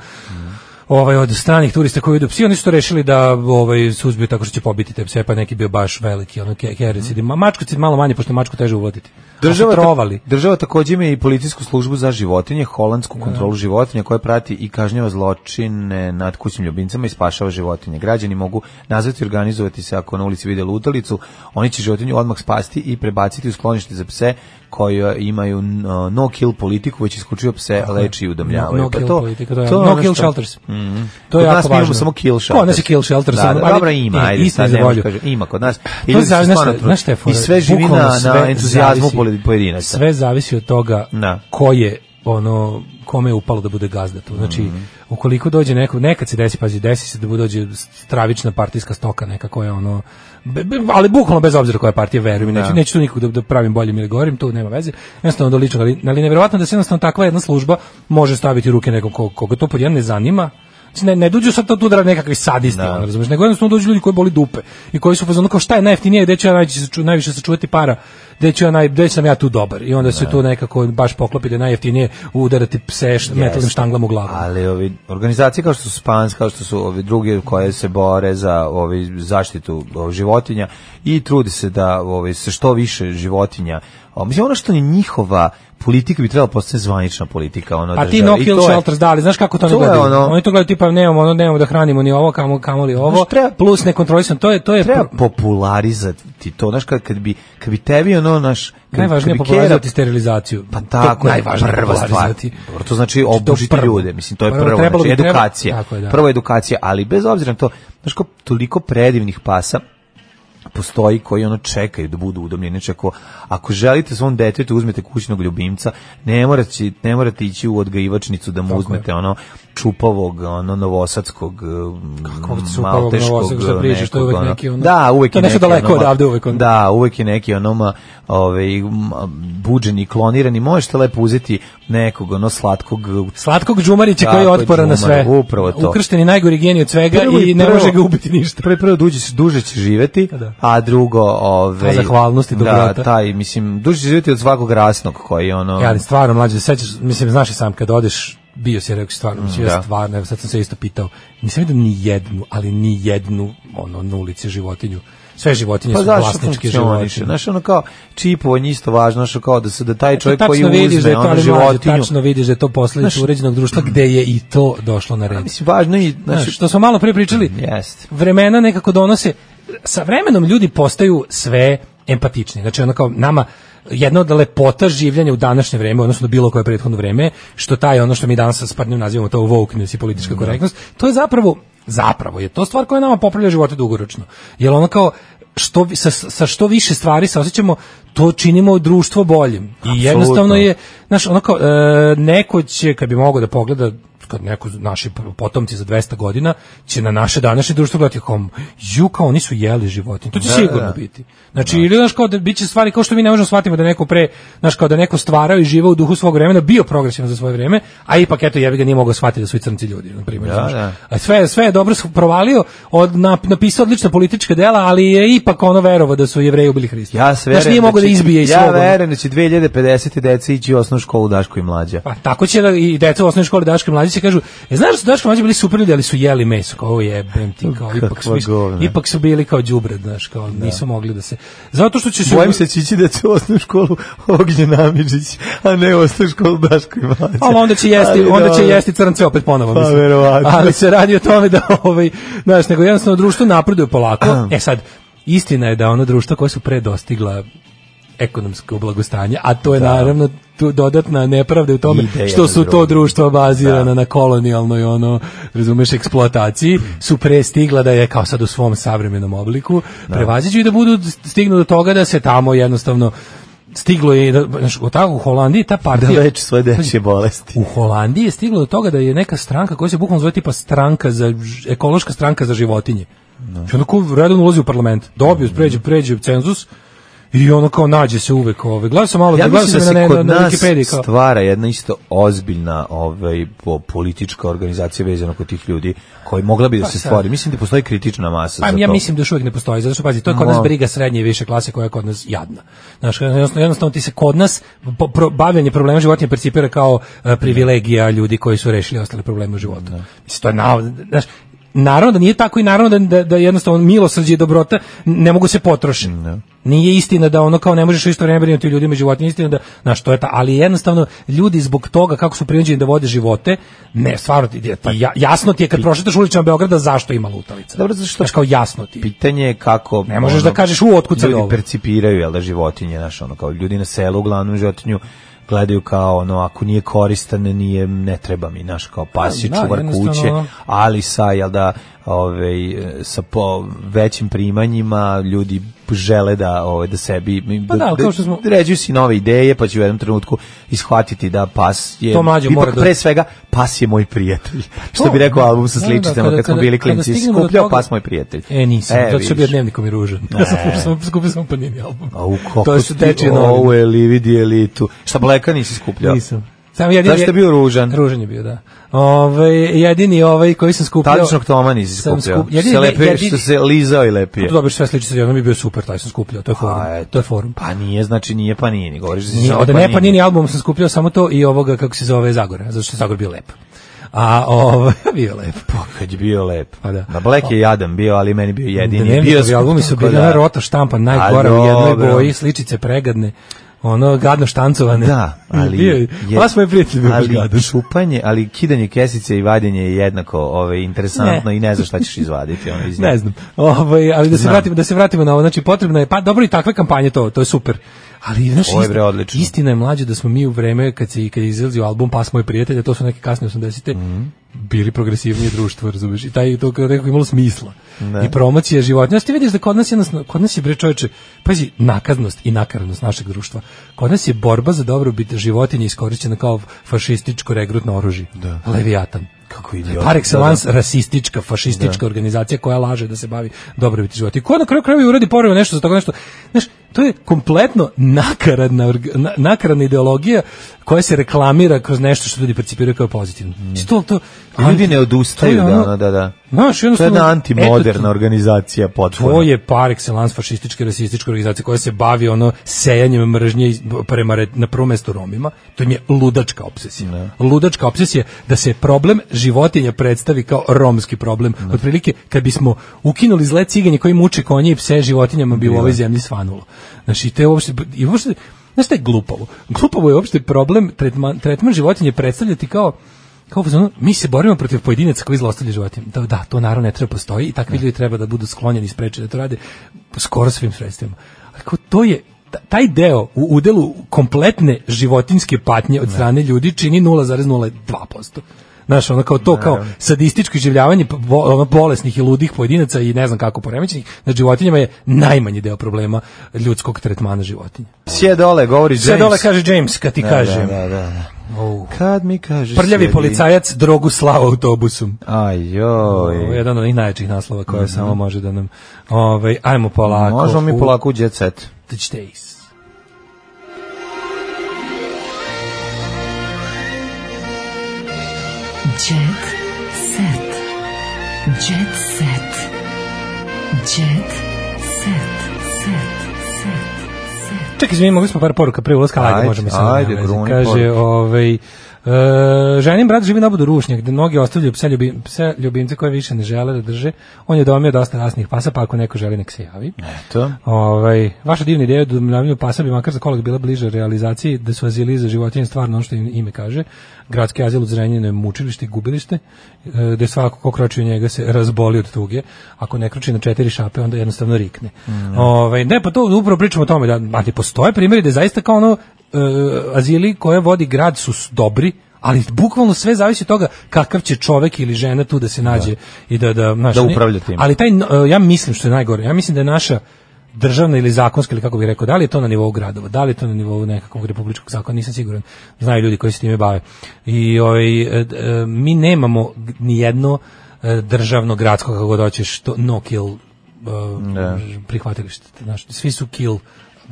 Speaker 7: Ovaj od stranih turista koji idu psi, oni su to rešili da ovaj suzbiju tako što će pobiti te pse, pa neki bio baš veliki, ono ke- kericid. Ma mačkocid malo manje pošto je mačku teže uvoditi.
Speaker 6: Država,
Speaker 7: A su
Speaker 6: ta-
Speaker 7: trovali.
Speaker 6: država takođe ima i policijsku službu za životinje, holandsku
Speaker 7: Da.
Speaker 6: kontrolu životinja koja prati i kažnjava zločine nad kućnim ljubimcama i spašava životinje. Građani mogu nazvati i organizovati se ako na ulici vide lutalicu, oni će životinju odmah spasti i prebaciti u sklonište za pse koje imaju no no kill politiku, već isključivo pse leči i udomljavaju. Pa
Speaker 7: No- no kill politika, to je-
Speaker 6: je
Speaker 7: no
Speaker 6: ono
Speaker 7: kill
Speaker 6: što-
Speaker 7: shelters.
Speaker 6: Mhm.
Speaker 7: To
Speaker 6: Kod
Speaker 7: je jako
Speaker 6: nas mi imamo
Speaker 7: važno.
Speaker 6: samo kill
Speaker 7: Kod
Speaker 6: shelters.
Speaker 7: nas je kill shelters,
Speaker 6: Da,
Speaker 7: samo-
Speaker 6: da,
Speaker 7: ali-
Speaker 6: dobro, ima,
Speaker 7: e,
Speaker 6: ajde,
Speaker 7: istini
Speaker 6: sad
Speaker 7: za
Speaker 6: ne možeš
Speaker 7: volju.
Speaker 6: kažem, ima kod nas. I
Speaker 7: To
Speaker 6: ljudi se
Speaker 7: zavisi, Pa znaš
Speaker 6: stvarno
Speaker 7: šta-
Speaker 6: trude.
Speaker 7: znaš šta je
Speaker 6: I
Speaker 7: fora?
Speaker 6: sve živi
Speaker 7: Bukvalno
Speaker 6: na, na
Speaker 7: sve
Speaker 6: entuzijazmu
Speaker 7: zavisi.
Speaker 6: poli- pojedinaca.
Speaker 7: Sve zavisi od toga
Speaker 6: Da.
Speaker 7: ko je ono kome je upalo da bude gazda tu. Znači,
Speaker 6: Mhm.
Speaker 7: ukoliko dođe neko, nekad se desi, pazi, desi se da bude dođe stravična partijska stoka neka koja ono, be- be- ali bukvalno bez obzira koja je partija, verujem,
Speaker 6: Da.
Speaker 7: neću, neću tu nikog da, da pravim boljim ili gorim, tu nema veze, jednostavno do ličnog, ali, ali nevjerovatno da se jednostavno takva jedna služba može staviti u ruke nekom ko- koga to pod jedan ne zanima, Znači, ne, ne dođu sad to tu da rade nekakvi sadisti,
Speaker 6: Da.
Speaker 7: ono, razumeš, nego jednostavno dođu ljudi koji boli dupe i koji su fazonu kao šta je najjeftinije, gde ću ja najviše, saču- najviše sačuvati para, gde ću ja naj, gde sam ja tu dobar i onda
Speaker 6: Da.
Speaker 7: se tu nekako baš poklopi da je najjeftinije udarati pse št, metalnim štanglama u glavu.
Speaker 6: Ali ovi organizacije kao što su Spans, kao što su ovi druge koje se bore za ovi zaštitu ovi, životinja i trude se da ovi se što više životinja. O, mislim ono što je njihova politika bi trebala postati zvanična politika ono
Speaker 7: A Pa ti
Speaker 6: države.
Speaker 7: no
Speaker 6: I
Speaker 7: kill
Speaker 6: to je-
Speaker 7: shelters, da, ali znaš kako to,
Speaker 6: to
Speaker 7: ne
Speaker 6: je
Speaker 7: gledaju?
Speaker 6: ono-
Speaker 7: Oni to gledaju tipa nemamo, ono, nemamo da hranimo ni ovo, kamo, kamo li ovo,
Speaker 6: Znaš, treba-
Speaker 7: plus nekontrolisan, to je, to je
Speaker 6: treba
Speaker 7: pro-
Speaker 6: popularizati to, znaš, kad, kad, bi, kad bi tebi ono, naš... kad- kad
Speaker 7: najvažnije je
Speaker 6: bi Kera-
Speaker 7: popularizovati sterilizaciju.
Speaker 6: Pa tako,
Speaker 7: je
Speaker 6: je prva stvar.
Speaker 7: popularizovati.
Speaker 6: Dobro, to znači
Speaker 7: Znači, to
Speaker 6: obučiti
Speaker 7: prvo.
Speaker 6: ljude, mislim, to je
Speaker 7: Prvo,
Speaker 6: prvo,
Speaker 7: trebalo
Speaker 6: znači
Speaker 7: bi- treba-
Speaker 6: edukacija.
Speaker 7: tako je, da.
Speaker 6: Prvo edukacija, ali bez obzira na to, znaš kao toliko predivnih pasa, postoji koji ono čekaju da budu udomljeni. Znači ako, ako želite svom detetu da uzmete kućnog ljubimca, ne morate, ne morate ići u odgajivačnicu da mu uzmete ono čupavog, ono novosadskog,
Speaker 7: Kako
Speaker 6: mm,
Speaker 7: čupavog
Speaker 6: malteškog,
Speaker 7: novosadskog, šta pričaš, to
Speaker 6: nekog,
Speaker 7: je uvek
Speaker 6: ono.
Speaker 7: neki ono-
Speaker 6: Da, uvek
Speaker 7: To je
Speaker 6: je
Speaker 7: nešto
Speaker 6: neki
Speaker 7: daleko
Speaker 6: ono ma-
Speaker 7: odavde, uvek ono.
Speaker 6: Da, uvek je neki ono ma, ovaj, ma, buđeni, klonirani, možete lepo uzeti nekog ono slatkog
Speaker 7: Slatkog džumarića koji je
Speaker 6: Tako je,
Speaker 7: otporan na
Speaker 6: džumar,
Speaker 7: sve.
Speaker 6: upravo to.
Speaker 7: Ukršteni najgori genij od svega
Speaker 6: Prvo
Speaker 7: i ne
Speaker 6: prvo-
Speaker 7: može ga ubiti ništa.
Speaker 6: Prvo, prvo duže, će- duže će živeti,
Speaker 7: Da.
Speaker 6: a drugo... Ove,
Speaker 7: Ta zahvalnost i dobrota.
Speaker 6: Da, taj, mislim, duže će živeti od svakog rasnog koji je ono...
Speaker 7: Ja, ali stvarno mlađe, da sećaš, mislim, znaš i sam kad odeš bio si rekao si stvarno, mislim, ja
Speaker 6: da.
Speaker 7: stvarno, evo sad sam se isto pitao, nisam vidio ni jednu, ali ni jednu, ono, na ulici životinju. Sve životinje
Speaker 6: pa
Speaker 7: da su
Speaker 6: zašto
Speaker 7: vlasničke
Speaker 6: funkcioniše?
Speaker 7: životinje.
Speaker 6: Znaš, ono kao čipovanje isto važno, znaš, kao da se da taj čovjek
Speaker 7: Tačno
Speaker 6: koji
Speaker 7: vidiš da
Speaker 6: uzme
Speaker 7: je to,
Speaker 6: ono
Speaker 7: ali mlađe,
Speaker 6: životinju...
Speaker 7: tačno vidiš da je to posledica
Speaker 6: Znaš-
Speaker 7: uređenog društva gde je i to došlo na red.
Speaker 6: Mislim, važno je,
Speaker 7: Znaš,
Speaker 6: znaš,
Speaker 7: što smo malo pre pričali,
Speaker 6: Jeste.
Speaker 7: vremena nekako donose, sa vremenom ljudi postaju sve empatični. Znači, ono kao nama, jedna od lepota življenja u današnje vreme, odnosno bilo koje prethodno vreme, što taj ono što mi danas sa spadnjom nazivamo to wokeness i politička korektnost, to je zapravo, zapravo je to stvar koja nama popravlja živote dugoročno. Jer ono kao, što, vi- sa, sa što više stvari se osjećamo, to činimo društvo boljim. I jednostavno je, znaš, ono kao, e, neko će, kad bi mogao da pogleda kad neko naši potomci za 200 godina će na naše današnje društvo gledati kao ju kao oni su jeli životinje. To će
Speaker 6: Da,
Speaker 7: sigurno
Speaker 6: da.
Speaker 7: biti. Znači ili znaš kao da biće stvari kao što mi ne možemo shvatiti da neko pre znaš kao da neko stvarao i živeo u duhu svog vremena, bio progresivan za svoje vreme, a ipak eto jebi ga nije mogao shvatiti da su i crnci ljudi, na primjer.
Speaker 6: Da,
Speaker 7: znaš.
Speaker 6: da.
Speaker 7: A sve sve je dobro su provalio, od nap- napisao odlična politička dela, ali je ipak ono verovao da su Jevreji ubili Hrista.
Speaker 6: Ja sve
Speaker 7: Znaš, nije mogao da izbije iz
Speaker 6: Ja
Speaker 7: svog, ono.
Speaker 6: verujem da će 2050. deca ići u osnovnu školu Daško i mlađa.
Speaker 7: Pa tako će da i deca u osnovnoj školi Daško i mlađi će kažu, e, znaš da su Daško i mlađi bili super ljudi, ali su jeli meso, kao "O, jebem ti, kao ipak su,
Speaker 6: Kakva govna."
Speaker 7: ipak su bili kao đubre, znaš, kao nisu mogli da se. Zato što će se
Speaker 6: Bojim se Čići da će u osnovnu školu Ognjen Amidžić, a ne u osnovnu školu Daško i Mlađa.
Speaker 7: Ali onda će jesti,
Speaker 6: Ali
Speaker 7: onda će
Speaker 6: dobro.
Speaker 7: jesti crnce opet ponovo,
Speaker 6: Pa,
Speaker 7: mislim.
Speaker 6: verovatno.
Speaker 7: Ali se radi o tome da ovaj, znaš, nego jednostavno društvo napreduje polako. e sad, istina je da ono društvo koje su pre dostigla ekonomsko blagostanje, a to je
Speaker 6: Da.
Speaker 7: naravno tu dodatna nepravda u tome
Speaker 6: Ide
Speaker 7: što
Speaker 6: jedno
Speaker 7: su to
Speaker 6: drugom.
Speaker 7: društva bazirana
Speaker 6: Da.
Speaker 7: na kolonijalnoj ono, razumeš, eksploataciji, su pre stigla da je kao sad u svom savremenom obliku prevaziđu i da budu stignu do toga da se tamo jednostavno stiglo je, da, znaš, u ta- u Holandiji ta
Speaker 6: Da
Speaker 7: partija
Speaker 6: leči svoje dečje bolesti.
Speaker 7: u Holandiji je stiglo do toga da je neka stranka koja se bukvalno zove tipa stranka za ž- ekološka stranka za životinje.
Speaker 6: Da.
Speaker 7: No. I onda ko redovno ulazi u parlament, dobio, pređe, pređe cenzus i ono kao nađe se uvek ove. Gledao sam
Speaker 6: Ja
Speaker 7: malo, gledao
Speaker 6: mislim
Speaker 7: sam
Speaker 6: da se
Speaker 7: na, na,
Speaker 6: kod
Speaker 7: na
Speaker 6: nas
Speaker 7: Wikipediji kao.
Speaker 6: stvara jedna isto ozbiljna ovaj, po- politička organizacija vezana kod tih ljudi koji mogla bi da
Speaker 7: Pa
Speaker 6: se
Speaker 7: sad.
Speaker 6: stvori. Mislim da postoji kritična masa
Speaker 7: Pa
Speaker 6: za
Speaker 7: ja
Speaker 6: to.
Speaker 7: mislim da još uvijek ne postoji, zato što pazi, to je kod nas
Speaker 6: No.
Speaker 7: briga srednje i više klase koja je kod nas jadna. Znaš, jednostavno, jednostavno ti se kod nas po- pro- bavljanje problema životinja percipira kao e, privilegija ljudi koji su rešili ostale probleme u životu.
Speaker 6: Da.
Speaker 7: Mislim, to je nav- znaš, naravno da nije tako i naravno da, da, da jednostavno milosrđe i dobrota ne mogu se potrošiti. Nije istina da ono kao ne možeš u isto vreme brinuti o ljudima i životinjama, istina da, znaš, to je ta, ali jednostavno ljudi zbog toga kako su prinuđeni da vode živote, ne, stvarno ti, ti- ja- jasno ti je kad prošetaš uličama Beograda zašto ima lutalica.
Speaker 6: Dobro, zato što
Speaker 7: Znaš, kao jasno ti. je.
Speaker 6: pitanje je kako
Speaker 7: Ne možeš da kažeš, u, otkud sad
Speaker 6: ljudi
Speaker 7: ovo?
Speaker 6: percipiraju jel da životinje naš ono kao ljudi na selu uglavnom životinju gledaju kao ono ako nije koristan nije ne treba mi naš kao pas je
Speaker 7: Da,
Speaker 6: čuvar
Speaker 7: jednostavno.
Speaker 6: kuće ali sa jel da ovaj e, sa po većim primanjima ljudi žele da ovaj da sebi
Speaker 7: Pa da, ali kao što smo-
Speaker 6: da ređuju si nove ideje pa će u jednom trenutku ishvatiti da pas je
Speaker 7: To mlađe
Speaker 6: ipak
Speaker 7: mora da-
Speaker 6: pre svega pas je moj prijatelj što bi rekao
Speaker 7: da.
Speaker 6: album sa
Speaker 7: Da, da,
Speaker 6: sličicama
Speaker 7: kada-
Speaker 6: kad smo
Speaker 7: kada-
Speaker 6: bili
Speaker 7: kada
Speaker 6: klinci
Speaker 7: stignemo do
Speaker 6: skupljao
Speaker 7: toga-
Speaker 6: pas moj prijatelj
Speaker 7: E, nisam, zato
Speaker 6: vidiš. E.
Speaker 7: što bio dnevnikom i ružan.
Speaker 6: Ne.
Speaker 7: Skupio sam- Skupio sam panini album.
Speaker 6: A u kako
Speaker 7: to
Speaker 6: to
Speaker 7: je stečaj
Speaker 6: Ovo
Speaker 7: novina.
Speaker 6: je li vidi elitu. Šta bleka nisi skupljao?
Speaker 7: Nisam. Sam jedini,
Speaker 6: Zašto je bio ružan?
Speaker 7: Ružan je bio, da. Ove, jedini ovaj koji sam skupljao...
Speaker 6: Tadičnog Toma nisi
Speaker 7: sam
Speaker 6: skupljao.
Speaker 7: skup- jedini-
Speaker 6: se lepio,
Speaker 7: jedini-
Speaker 6: što se lizao i lepio.
Speaker 7: Tu dobiješ sve sličice, jednom je bio super, taj sam skupljao, to je forum.
Speaker 6: A, eto.
Speaker 7: to je forum.
Speaker 6: Pa nije, znači nije Panini, govoriš da si
Speaker 7: Nije,
Speaker 6: samo
Speaker 7: od ne Panini album sam skupljao samo to i ovoga, kako se zove, Zagora, zato što je Zagor bio lep. A ovo bio je lep.
Speaker 6: Pa, Kad je bio lep.
Speaker 7: Pa da.
Speaker 6: Na Black je jadan bio, ali meni bio jedini.
Speaker 7: Ne,
Speaker 6: bio
Speaker 7: bio albumi su
Speaker 6: skup-
Speaker 7: bili
Speaker 6: da.
Speaker 7: ona rota štampa najgora
Speaker 6: A,
Speaker 7: u jednoj
Speaker 6: dobro.
Speaker 7: boji, sličice pregadne, ono gadno štancovane.
Speaker 6: Da, ali
Speaker 7: bio je,
Speaker 6: je-
Speaker 7: vas moj prijatelj bio baš
Speaker 6: ali
Speaker 7: gadan.
Speaker 6: šupanje, ali kidanje kesice i vadjenje je jednako ovaj interesantno i ne znaš šta ćeš izvaditi, ono iz nje.
Speaker 7: Ne znam. Ovaj, ali da se
Speaker 6: Znam.
Speaker 7: vratimo da se vratimo na ovo, znači potrebno je pa dobro i takve kampanje to, to je super. Ali znaš,
Speaker 6: Ovo je,
Speaker 7: isti-
Speaker 6: bre, odlično.
Speaker 7: istina je mlađe da smo mi u vreme kad se kad je izlazio album Pas moj prijatelj, a to su neke kasne 80-te,
Speaker 6: Mhm.
Speaker 7: bili progresivnije društvo, razumeš? I taj to kao rekao imalo smisla.
Speaker 6: Da.
Speaker 7: I promocija životinja. Ti vidiš da kod nas jednostavno, kod nas je bre čoveče, pazi, nakaznost i nakaradnost našeg društva. Kod nas je borba za dobrobit životinja iskorišćena kao fašističko regrutno oružje. Da. Leviatan.
Speaker 6: Kako idiot. Da,
Speaker 7: Par excellence rasistička, fašistička organizacija koja laže da se bavi dobrobiti života. I ko na kraju krajeva i uradi porevo nešto za tako nešto. Znaš, to je kompletno nakaradna, org- na- nakaradna ideologija koja se reklamira kroz nešto što ljudi percipiraju kao pozitivno. Mislim, To, to,
Speaker 6: Mm. Ljudi
Speaker 7: anti-
Speaker 6: ne odustaju,
Speaker 7: to je
Speaker 6: da,
Speaker 7: ono-
Speaker 6: ono, da, da.
Speaker 7: Znaš,
Speaker 6: To je
Speaker 7: jednostavno-
Speaker 6: jedna
Speaker 7: eto
Speaker 6: antimoderna
Speaker 7: ti-
Speaker 6: organizacija potpuno.
Speaker 7: to je par excellence fašističke i rasističke organizacije koja se bavi ono sejanjem mržnje iz- prema re- na prvo mesto Romima. To im je ludačka obsesija. Ludačka obsesija da se problem životinja predstavi kao romski problem. Otprilike kad bismo ukinuli zle ciganje koji muče konje i pse životinjama bi u ovoj zemlji svanulo. Znači te uopšte i uopšte Znaš šta je glupavo? Glupavo je uopšte problem tretman, tretman životinje predstavljati kao kao u fazonu, mi se borimo protiv pojedinaca koji zlostavljaju životinje. Da, da, to naravno ne treba postoji i takvi ljudi treba da budu sklonjeni i sprečeni da to rade skoro svim sredstvima. Ali kao to je ta- taj deo u
Speaker 6: Da.
Speaker 7: udelu kompletne životinske patnje od strane ljudi čini 0,02%. Znaš, ono kao to, kao sadističko življavanje ono, bolesnih i ludih pojedinaca i ne znam kako poremećenih nad životinjama je najmanji deo problema ljudskog tretmana životinja.
Speaker 6: Sje dole, govori James.
Speaker 7: Sve dole kaže James, kad ti
Speaker 6: Da,
Speaker 7: kažem.
Speaker 6: da, da, da.
Speaker 7: Oh.
Speaker 6: Kad mi kažeš...
Speaker 7: Prljavi
Speaker 6: sjedi-
Speaker 7: policajac drogu slao autobusom.
Speaker 6: Aj,
Speaker 7: Ovo je
Speaker 6: joj.
Speaker 7: jedan od onih najjačih naslova koje samo može da nam... Ovaj, ajmo polako.
Speaker 6: Mhm. Možemo mi
Speaker 7: u
Speaker 6: polako u jet set.
Speaker 7: The Stays.
Speaker 11: Jet set. Jet set. Jet set. Set. Set.
Speaker 7: Čekaj, izvini, mogli smo par poruka pre ulaska, ali
Speaker 6: Ajde,
Speaker 7: ajde, možemo i sad. da
Speaker 6: ajde, gruni
Speaker 7: Kaže,
Speaker 6: poruke.
Speaker 7: ovaj, e, ženin brat živi na obodu rušnjak, gde mnogi ostavljaju pse, ljubi, pse ljubimce koje više ne žele da drže. On je domio dosta rasnih pasa, pa ako neko želi, nek se javi.
Speaker 6: To?
Speaker 7: Ovaj, vaša divna ideja o domljavanju pasa bi makar za kolik bila bliže realizaciji da su azili za životinje stvarno ono što im ime kaže. Gradski azil u Zrenjaninu je mučilište i gubilište, e, gde svako ko kroči u njega se razboli od tuge. Ako ne kroči na četiri šape, onda jednostavno rikne.
Speaker 6: Mm, da.
Speaker 7: Ovaj, ne, pa to upravo pričamo o tome, da, ali postoje primjeri da je zaista kao ono e, azili koje vodi grad su s- dobri, ali bukvalno sve zavisi od toga kakav će čovek ili žena tu da se nađe i da da, znaš,
Speaker 6: Da
Speaker 7: ne-
Speaker 6: upravlja tim.
Speaker 7: Ali taj e, ja mislim što je najgore. Ja mislim da je naša državna ili zakonska ili kako bih rekao, da li je to na nivou gradova, da li je to na nivou nekakvog republičkog zakona, nisam siguran. Znaju ljudi koji se time bave. I ovaj, e, d- e, mi nemamo g- ni jedno e, državno gradsko kako god hoćeš to no kill e,
Speaker 6: Da.
Speaker 7: prihvatilište. Znaš, svi su kill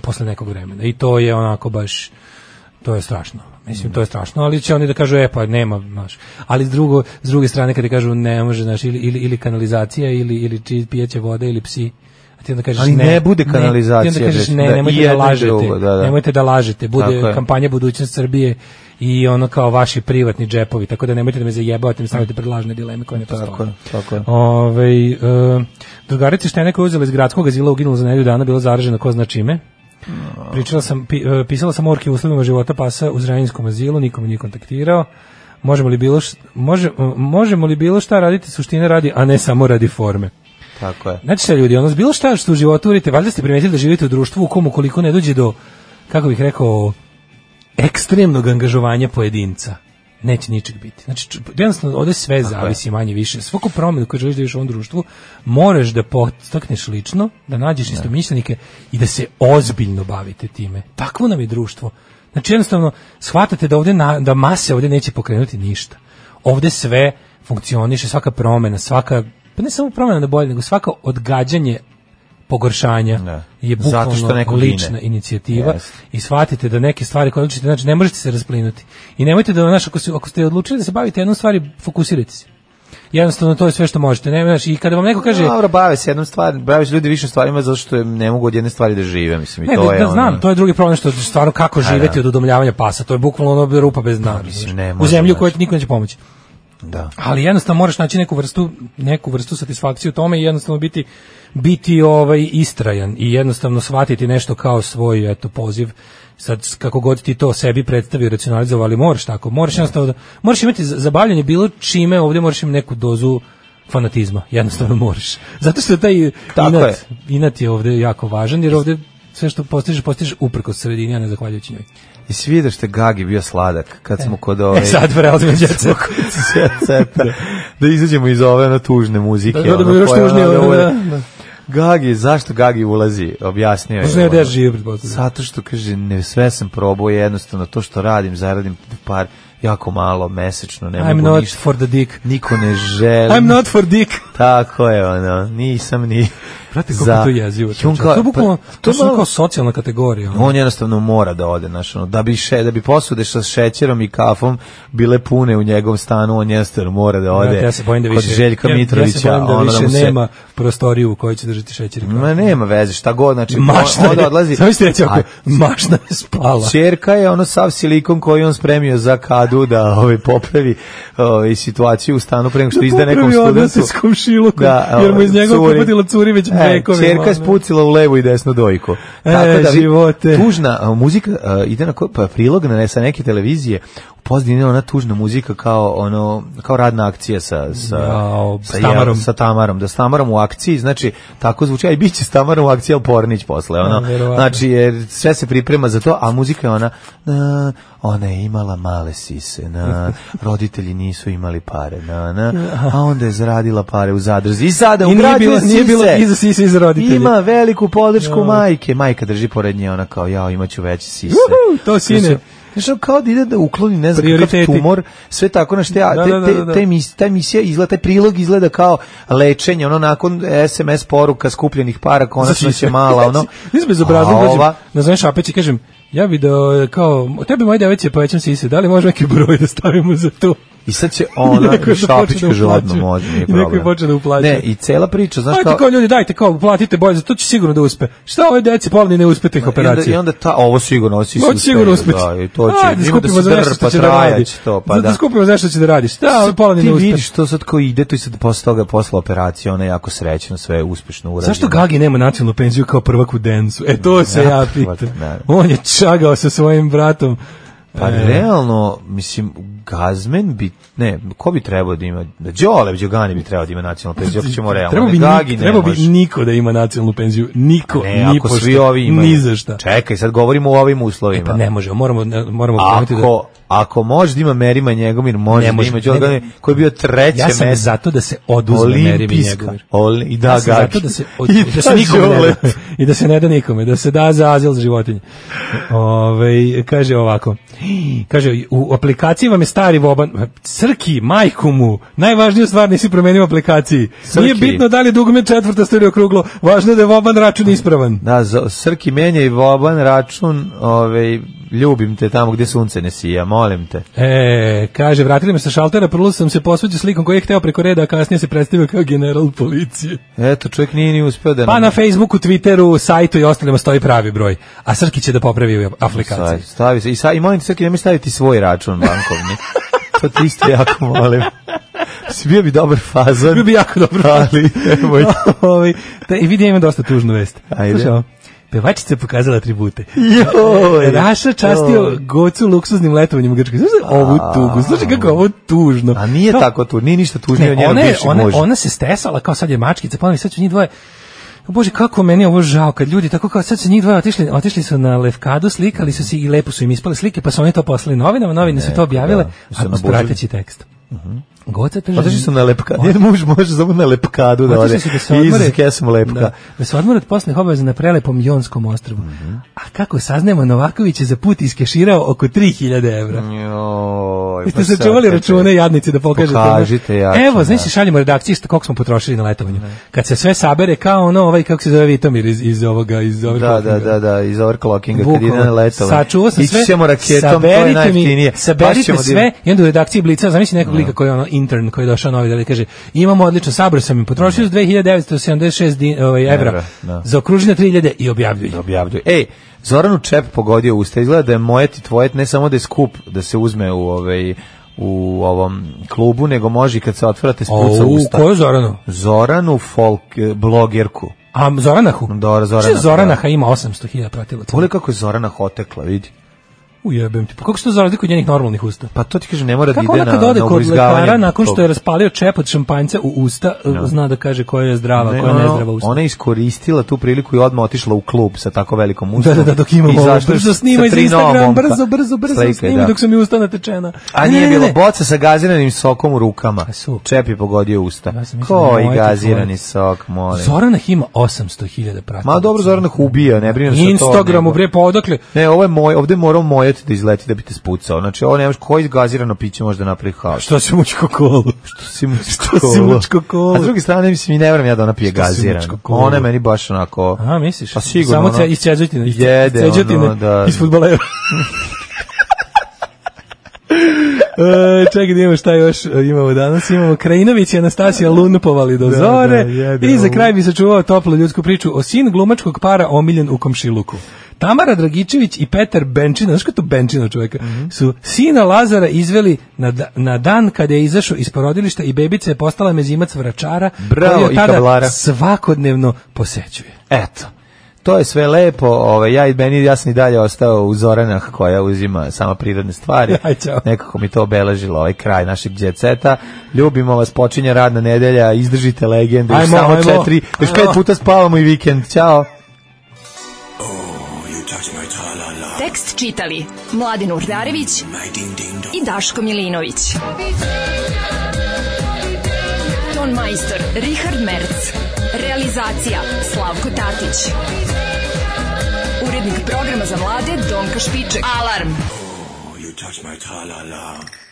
Speaker 7: posle nekog vremena i to je onako baš to je strašno. Mislim, to je strašno, ali će oni da kažu, e, pa nema, znaš. Ali s, drugo, s druge strane, kada kažu, ne može, znaš, ili, ili, ili kanalizacija, ili, ili či, pijeće vode, ili psi, a ti onda kažeš,
Speaker 6: Ali ne bude
Speaker 7: ti
Speaker 6: kanalizacija,
Speaker 7: onda kažeš,
Speaker 6: već,
Speaker 7: ne,
Speaker 6: da, i
Speaker 7: nemojte da,
Speaker 6: jedno i
Speaker 7: lažete,
Speaker 6: drugo, da, da.
Speaker 7: nemojte da lažete, bude
Speaker 6: Tako je.
Speaker 7: kampanja budućnost Srbije i ono kao vaši privatni džepovi, tako da nemojte da me zajebavate, mi stavite pred lažne dileme koje ne postoje.
Speaker 6: Tako je, tako je.
Speaker 7: Ove, e, drugarica Štene koja je uzela iz gradskog azila uginula za nedelju dana, bila zaražena ko zna čime. Pričala sam, pi, e, pisala sam orke u uslovima života pasa u Zrenjaninskom azilu, nikome nije kontaktirao. Možemo li bilo šta, može, e, možemo li bilo šta raditi suštine radi, a ne samo radi forme.
Speaker 6: Tako je.
Speaker 7: Znači šta ljudi, ono bilo šta što u životu uradite, valjda ste primetili da živite u društvu u komu koliko ne dođe do, kako bih rekao, ekstremnog angažovanja pojedinca neće ničeg biti. Znači, ču- jednostavno, ovde sve zavisi manje više. Svaku promenu koju želiš da vidiš u ovom društvu, moraš da potakneš lično, da nađeš istomišljenike i da se ozbiljno bavite time. Takvo nam je društvo. Znači, jednostavno, shvatate da, ovde na, da mase ovde neće pokrenuti ništa. Ovde sve funkcioniše, svaka promena, svaka, pa ne samo promena na bolje, nego svaka odgađanje pogoršanja
Speaker 6: Da.
Speaker 7: je
Speaker 6: Zato što
Speaker 7: bukvalno
Speaker 6: neko
Speaker 7: lična
Speaker 6: gine.
Speaker 7: inicijativa
Speaker 6: Jeste.
Speaker 7: i shvatite da neke stvari koje odlučite, znači ne možete se rasplinuti. I nemojte da, znaš, ako, se, ako ste odlučili da se bavite jednom stvari, fokusirajte se. Jednostavno, to je sve što možete. Ne, znaš, I kada vam neko kaže...
Speaker 6: Dobro, bave se jednom stvari, bave se ljudi više stvarima zato što ne mogu od jedne stvari da žive, mislim, i
Speaker 7: Ne,
Speaker 6: to
Speaker 7: da,
Speaker 6: je
Speaker 7: da,
Speaker 6: ono- da.
Speaker 7: znam, to je drugi problem što stvarno kako živeti od udomljavanja pasa. To je bukvalno ono rupa bez dna.
Speaker 6: Pa mislim, ne
Speaker 7: u
Speaker 6: može,
Speaker 7: zemlju u
Speaker 6: znaš.
Speaker 7: kojoj ti niko neće pomoći.
Speaker 6: Da.
Speaker 7: ali jednostavno moraš naći neku vrstu neku vrstu satisfakcije u tome i jednostavno biti biti ovaj istrajan i jednostavno shvatiti nešto kao svoj eto poziv sad s- kako god ti to sebi predstavio racionalizovao ali moraš tako moraš jednostavno da, moraš imati za- zabavljanje bilo čime ovdje moraš im neku dozu fanatizma jednostavno moraš zato što taj
Speaker 6: Tako je.
Speaker 7: inat, inat je ovdje jako važan jer ovdje sve što postižeš postižeš uprkos sredini a ne zahvaljujući njoj
Speaker 6: I svi vidiš da je Gagi bio sladak kad smo kod ove...
Speaker 7: e sad prelazimo na jet set.
Speaker 6: Jet seta. da izađemo iz ove ono, tužne muzike.
Speaker 7: Da, da, da,
Speaker 6: ono,
Speaker 7: da, još
Speaker 6: koja, ono,
Speaker 7: tužnije, ono,
Speaker 6: ovo je-
Speaker 7: da, da.
Speaker 6: Gagi, zašto Gagi ulazi? Objasnio je.
Speaker 7: Možda ne
Speaker 6: ono.
Speaker 7: da ja živim, pretpostavljam.
Speaker 6: Zato što kaže ne sve sam probao jednostavno to što radim zaradim par jako malo mesečno ne
Speaker 7: I'm
Speaker 6: mogu
Speaker 7: not
Speaker 6: ništa.
Speaker 7: for the dick
Speaker 6: Niko ne želi.
Speaker 7: I'm not for dick
Speaker 6: Tako je ono, nisam ni
Speaker 7: Brate, kako to jezivo.
Speaker 6: I on
Speaker 7: čoveče.
Speaker 6: kao-
Speaker 7: To je bukvalno,
Speaker 6: pa,
Speaker 7: to je
Speaker 6: malo-
Speaker 7: kao socijalna kategorija. ono.
Speaker 6: on jednostavno mora da ode, znaš, ono, da bi še, da bi posude sa šećerom i kafom bile pune u njegovom stanu, on jednostavno mora da ode.
Speaker 7: Brate, ja se bojim da više,
Speaker 6: kod Željka
Speaker 7: ja, ja se
Speaker 6: Mitrovića,
Speaker 7: bojim da
Speaker 6: ono
Speaker 7: više
Speaker 6: mu se-
Speaker 7: nema prostoriju u kojoj će držati šećer i kafu.
Speaker 6: Ma nema veze, šta god, znači
Speaker 7: Mašna
Speaker 6: on, onda
Speaker 7: je,
Speaker 6: odlazi.
Speaker 7: Samo ćete reći ovako,
Speaker 6: A
Speaker 7: mašna je spala.
Speaker 6: Čerka je ono sav silikon koji je on spremio za kadu da ovaj, popravi ovaj, situaciju u stanu prema što izde nekom
Speaker 7: Da Popravi odnose
Speaker 6: studentu.
Speaker 7: s komšilukom, jer mu iz
Speaker 6: ovaj,
Speaker 7: njegovog
Speaker 6: curi.
Speaker 7: kupatila curi već vekovima,
Speaker 6: E, čerka je
Speaker 7: ono.
Speaker 6: spucila u levu i desnu dojku. da
Speaker 7: E,
Speaker 6: vi-
Speaker 7: živote.
Speaker 6: Tužna a, muzika a, ide na ko- pa, prilog na ne, sa neke televizije, u pozdini je ona tužna muzika kao ono kao radna akcija sa sa,
Speaker 7: Jao,
Speaker 6: sa
Speaker 7: s Tamarom.
Speaker 6: sa Tamarom, da s Tamarom u akciji, znači tako zvuči, a i bit će s Tamarom u akciji, ali Pornić posle, ono,
Speaker 7: A, verovatno.
Speaker 6: znači jer sve se priprema za to, a muzika je ona, na, ona je imala male sise, na, roditelji nisu imali pare, na, na, a onda je zaradila pare u zadrzi. I sada
Speaker 7: I nije
Speaker 6: ugrađuje
Speaker 7: bilo, nije bilo
Speaker 6: sise.
Speaker 7: i za sise i za roditelje.
Speaker 6: Ima veliku podršku
Speaker 7: Joj.
Speaker 6: majke. Majka drži pored nje, ona kao, ja imaću veće sise.
Speaker 7: Juhu, to sine.
Speaker 6: Znaš, Znaš, ono kao da ide da ukloni, ne znam, kakav
Speaker 7: Prioriteti.
Speaker 6: tumor, sve tako, znaš, te,
Speaker 7: Da,
Speaker 6: te,
Speaker 7: da, da,
Speaker 6: te,
Speaker 7: da, da.
Speaker 6: te mis- ta emisija izgleda, taj prilog izgleda kao lečenje, ono, nakon SMS poruka skupljenih para, konačno će mala, ono,
Speaker 7: Znači, Nisam bez
Speaker 6: A
Speaker 7: obrazno,
Speaker 6: ova?
Speaker 7: dođem na zovem Šapeć i kažem, ja bi da, e, kao, tebi moje djevojče povećam sise, da li može neki broj da stavimo za to?
Speaker 6: I sad će ona,
Speaker 7: Neko je da
Speaker 6: Šapić
Speaker 7: počne
Speaker 6: kaže,
Speaker 7: da
Speaker 6: ladno,
Speaker 7: uplaćuje.
Speaker 6: može, nije
Speaker 7: I neko je
Speaker 6: problem.
Speaker 7: počeo da uplaćuje.
Speaker 6: Ne, i cela priča, znaš,
Speaker 7: Ajde
Speaker 6: kao,
Speaker 7: kao ljudi, dajte kao, platite boje, za to će sigurno da uspe. Šta ove deci polni ne uspe tih
Speaker 6: I onda,
Speaker 7: operacija?
Speaker 6: I onda ta, ovo sigurno, ovo si
Speaker 7: Moći sigurno uspeti.
Speaker 6: Da, i to će,
Speaker 7: Ajde,
Speaker 6: ima da
Speaker 7: skupimo
Speaker 6: se
Speaker 7: za nešto
Speaker 6: drpa,
Speaker 7: što će da radi.
Speaker 6: trajaće to, pa
Speaker 7: Za-
Speaker 6: da.
Speaker 7: da skupimo za nešto što će da radi. Šta, ove pola ni ne
Speaker 6: Ti
Speaker 7: uspe.
Speaker 6: vidiš to sad ko ide, to i sad posle toga, posle operacije, ona je jako srećna, sve je uspešno urađeno.
Speaker 7: Zašto Gagi nema nacionalnu penziju kao prvak u densu? E, to se ja pitam.
Speaker 6: da.
Speaker 7: On je čagao sa svojim bratom.
Speaker 6: Pa
Speaker 7: E,
Speaker 6: realno, mislim, Gazmen bi, ne, ko bi trebao da ima, da Đole Đogani bi trebao da ima nacionalnu penziju, ako ćemo realno,
Speaker 7: Trebao bi,
Speaker 6: ne,
Speaker 7: nik-
Speaker 6: Gagi ne
Speaker 7: trebao bi
Speaker 6: može.
Speaker 7: niko da ima nacionalnu penziju. Niko,
Speaker 6: Ne,
Speaker 7: ni
Speaker 6: ako
Speaker 7: pošto,
Speaker 6: svi ovi imaju.
Speaker 7: Ni za šta.
Speaker 6: Čekaj, sad govorimo o ovim uslovima.
Speaker 7: Pa ne može, moramo, ne, moramo pomenuti da...
Speaker 6: Ako, ako može da ima Merima Njegomir, može,
Speaker 7: Ne može,
Speaker 6: da ima Đole
Speaker 7: ne,
Speaker 6: Gani, koji je bio treće
Speaker 7: Ja sam
Speaker 6: mesto.
Speaker 7: zato da se oduzme Merimi
Speaker 6: Olimpijska.
Speaker 7: Njegomir.
Speaker 6: Oli, I da,
Speaker 7: ja sam
Speaker 6: Gagi.
Speaker 7: zato da se, od,
Speaker 6: I
Speaker 7: da se
Speaker 6: da
Speaker 7: nikome ne
Speaker 6: Đole.
Speaker 7: da, i da se ne da nikome, da se da za azil za životinje. Ove, kaže ovako, kaže, u aplikaciji vam je stari voban, srki, majku mu, najvažniju stvar nisi promenio u aplikaciji. Nije
Speaker 6: Srki.
Speaker 7: bitno da li je dugme četvrta stoji okruglo, važno je da je voban račun ispravan.
Speaker 6: Da, za- Srki menja i Voban račun, ovaj, ljubim te tamo gdje sunce ne sija, molim te.
Speaker 7: E, kaže, vratili me sa šaltera, prvo sam se posveđao slikom koji je hteo preko reda, a kasnije se predstavio kao general policije.
Speaker 6: Eto, čovjek nije ni uspio da...
Speaker 7: Pa
Speaker 6: nam-
Speaker 7: na Facebooku, Twitteru, sajtu i ostalima stoji pravi broj. A Srki će da popravi aplikaciju.
Speaker 6: Stavi, stavi se. I, sa, i molim te, Srki, nemoj staviti svoj račun bankovni. to ti isto jako molim. Si bio bi dobar fazon.
Speaker 7: Bio bi jako dobro.
Speaker 6: Ali, nemoj.
Speaker 7: Ovaj, da, I vidim ima dosta tužnu vest.
Speaker 6: Ajde.
Speaker 7: Slušaj ovo. Pevačica je pokazala atribute.
Speaker 6: Joj.
Speaker 7: Raša častio
Speaker 6: Joj.
Speaker 7: gocu luksuznim letovanjem u Grčkoj. Slušaj ovu tugu, slušaj kako je ovo tužno.
Speaker 6: A nije
Speaker 7: To-
Speaker 6: tako tu, nije ništa tužnije od
Speaker 7: Ne,
Speaker 6: njenog
Speaker 7: ona, je,
Speaker 6: bivšeg
Speaker 7: ona,
Speaker 6: muža.
Speaker 7: ona se stesala kao sad je mačkica, pa mi sad ću njih dvoje Bože, kako meni je ovo žao, kad ljudi tako kao sad su njih dvoje otišli, otišli su na Levkadu, slikali su se i lepo su im ispale slike, pa su oni to poslali novinama, novine su to objavile,
Speaker 6: da, su
Speaker 7: a uz
Speaker 6: nabužili.
Speaker 7: prateći tekst. Goca kaže...
Speaker 6: Otišli su na lepkadu. Njen muž može samo na lepkadu da ode.
Speaker 7: Otišli su da se odmore.
Speaker 6: Iz kesom lepka.
Speaker 7: Da, da se odmore od posnih obaveza na prelepom Jonskom ostrvu.
Speaker 6: Mhm.
Speaker 7: A kako saznajemo, Novaković je za put iskeširao oko 3000 evra.
Speaker 6: Joj,
Speaker 7: Vi ste
Speaker 6: pa sad
Speaker 7: sačuvali
Speaker 6: kad-
Speaker 7: račune jadnici da pokažete.
Speaker 6: Pokažite da. ja.
Speaker 7: Evo, znači šaljemo redakciji što koliko smo potrošili na letovanju. Kad se sve sabere kao ono ovaj kako se zove Vitomir iz iz ovoga iz ovoga.
Speaker 6: Da, da, da, da, iz overclockinga kad ide na letovanje.
Speaker 7: Sačuvao sam sve.
Speaker 6: Ići ćemo raketom, to je
Speaker 7: saberite mi-
Speaker 6: najjeftinije. Baš
Speaker 7: Saberite
Speaker 6: ćemo da idemo.
Speaker 7: sve i onda u redakciji Blica, zamisli nekog lika koji je ono intern koji je došao novi da li kaže imamo odlično sabor sam im potrošio 2976 din, ovaj, evra.
Speaker 6: Evra, da.
Speaker 7: Za okružene 3000 i objavljuj.
Speaker 6: objavljuju. Ej, Zoranu Čep pogodio usta. Izgleda da je mojet i tvojet ne samo da je skup da se uzme u ovaj u ovom klubu, nego može i kad se otvarate spuca
Speaker 7: O,
Speaker 6: usta.
Speaker 7: koju Zoranu?
Speaker 6: Zoranu folk, eh, blogerku.
Speaker 7: A Zoranahu?
Speaker 6: Dora da. Zoranaha,
Speaker 7: Što je Zoranaha ima 800.000 pratilaca?
Speaker 6: Pogledaj kako je Zorana hotekla, vidi.
Speaker 7: Ujebem ti. Pa kako se to za razliku od njenih normalnih usta?
Speaker 6: Pa to ti kažem, ne mora da
Speaker 7: Kako
Speaker 6: ide
Speaker 7: ona
Speaker 6: na,
Speaker 7: kad ode
Speaker 6: na
Speaker 7: kod
Speaker 6: ubrizgavanje
Speaker 7: lekara nakon što
Speaker 6: tog-
Speaker 7: je raspalio čep od šampanjca u usta, zna da kaže koja je zdrava,
Speaker 6: Ne,
Speaker 7: koja je
Speaker 6: ona-
Speaker 7: nezdrava usta.
Speaker 6: Ona je iskoristila tu priliku i odmah otišla u klub sa tako velikom ustom.
Speaker 7: Da, da, da, dok imamo
Speaker 6: I
Speaker 7: ovo,
Speaker 6: zašto-
Speaker 7: brzo snima
Speaker 6: sa
Speaker 7: iz
Speaker 6: tri nova
Speaker 7: Instagram,
Speaker 6: momka.
Speaker 7: brzo, brzo, brzo
Speaker 6: Slika je,
Speaker 7: snima
Speaker 6: da.
Speaker 7: dok su mi usta natečena.
Speaker 6: A
Speaker 7: Ne,
Speaker 6: nije
Speaker 7: ne, ne,
Speaker 6: bilo
Speaker 7: ne.
Speaker 6: boca sa gaziranim sokom u rukama.
Speaker 7: su.
Speaker 6: Čep je pogodio usta.
Speaker 7: Ja sam mislio da
Speaker 6: Koji
Speaker 7: mojete
Speaker 6: gazirani
Speaker 7: tvoje.
Speaker 6: sok, molim.
Speaker 7: Zoranah ima 800.000 pratilaca.
Speaker 6: Ma dobro, Zoran ih ubija, ne brinem se o to.
Speaker 7: Instagramu,
Speaker 6: nego-
Speaker 7: bre, pa odakle?
Speaker 6: Ne, ovo je moj, ovde je morao mojati da izleti da bi te spucao. Znači, ovo nemaš, koji gazirano piće može da napravi haos?
Speaker 7: Što si mučko kolu?
Speaker 6: Što si mučko
Speaker 7: Što si mučko kolo?
Speaker 6: A s druge strane, mislim, i ne moram ja da ona pije
Speaker 7: Što si
Speaker 6: gaziran.
Speaker 7: mučko kolo?
Speaker 6: Ona je meni baš onako...
Speaker 7: Aha, misliš?
Speaker 6: Pa sigurno,
Speaker 7: Samo
Speaker 6: ono-
Speaker 7: tre, iz Čeđutine. iz
Speaker 6: Jede,
Speaker 7: Čeđutine,
Speaker 6: ono, da.
Speaker 7: Iz futbolera. e, čekaj, da imamo šta još e, imamo danas. Imamo Krajinović i Anastasija Lunpovali do
Speaker 6: Da,
Speaker 7: zore.
Speaker 6: da, jede,
Speaker 7: I za
Speaker 6: ono.
Speaker 7: kraj bi sačuvao toplu ljudsku priču o sin glumačkog para omiljen u komšiluku. Tamara Dragičević i Petar Benčina, znaš kako je to Benčina čovjeka,
Speaker 6: Mhm.
Speaker 7: su sina Lazara izveli na, da- na dan kada je izašao iz porodilišta i bebica je postala mezimac vračara,
Speaker 6: Bravo,
Speaker 7: koji
Speaker 6: i
Speaker 7: je tada
Speaker 6: kavlara.
Speaker 7: svakodnevno posećuje.
Speaker 6: Eto. To je sve lepo, ovaj, ja i meni ja sam i dalje ostao u Zoranah koja uzima sama prirodne stvari.
Speaker 7: Aj, ćao.
Speaker 6: Nekako mi to obeležilo ovaj kraj našeg djeceta. Ljubimo vas, počinje radna nedelja, izdržite legende, još
Speaker 7: Ajmo,
Speaker 6: samo
Speaker 7: ajmo.
Speaker 6: četiri, još pet
Speaker 7: Ajmo.
Speaker 6: puta spavamo i vikend. Ćao!
Speaker 11: Tek
Speaker 3: Tekst čitali Mladin Urdarević i Daško Milinović. Ton majstor Richard Merc. Realizacija Slavko Tatić. Urednik programa za mlade Donka Špiček. Alarm!
Speaker 15: You touch my tra-la-la.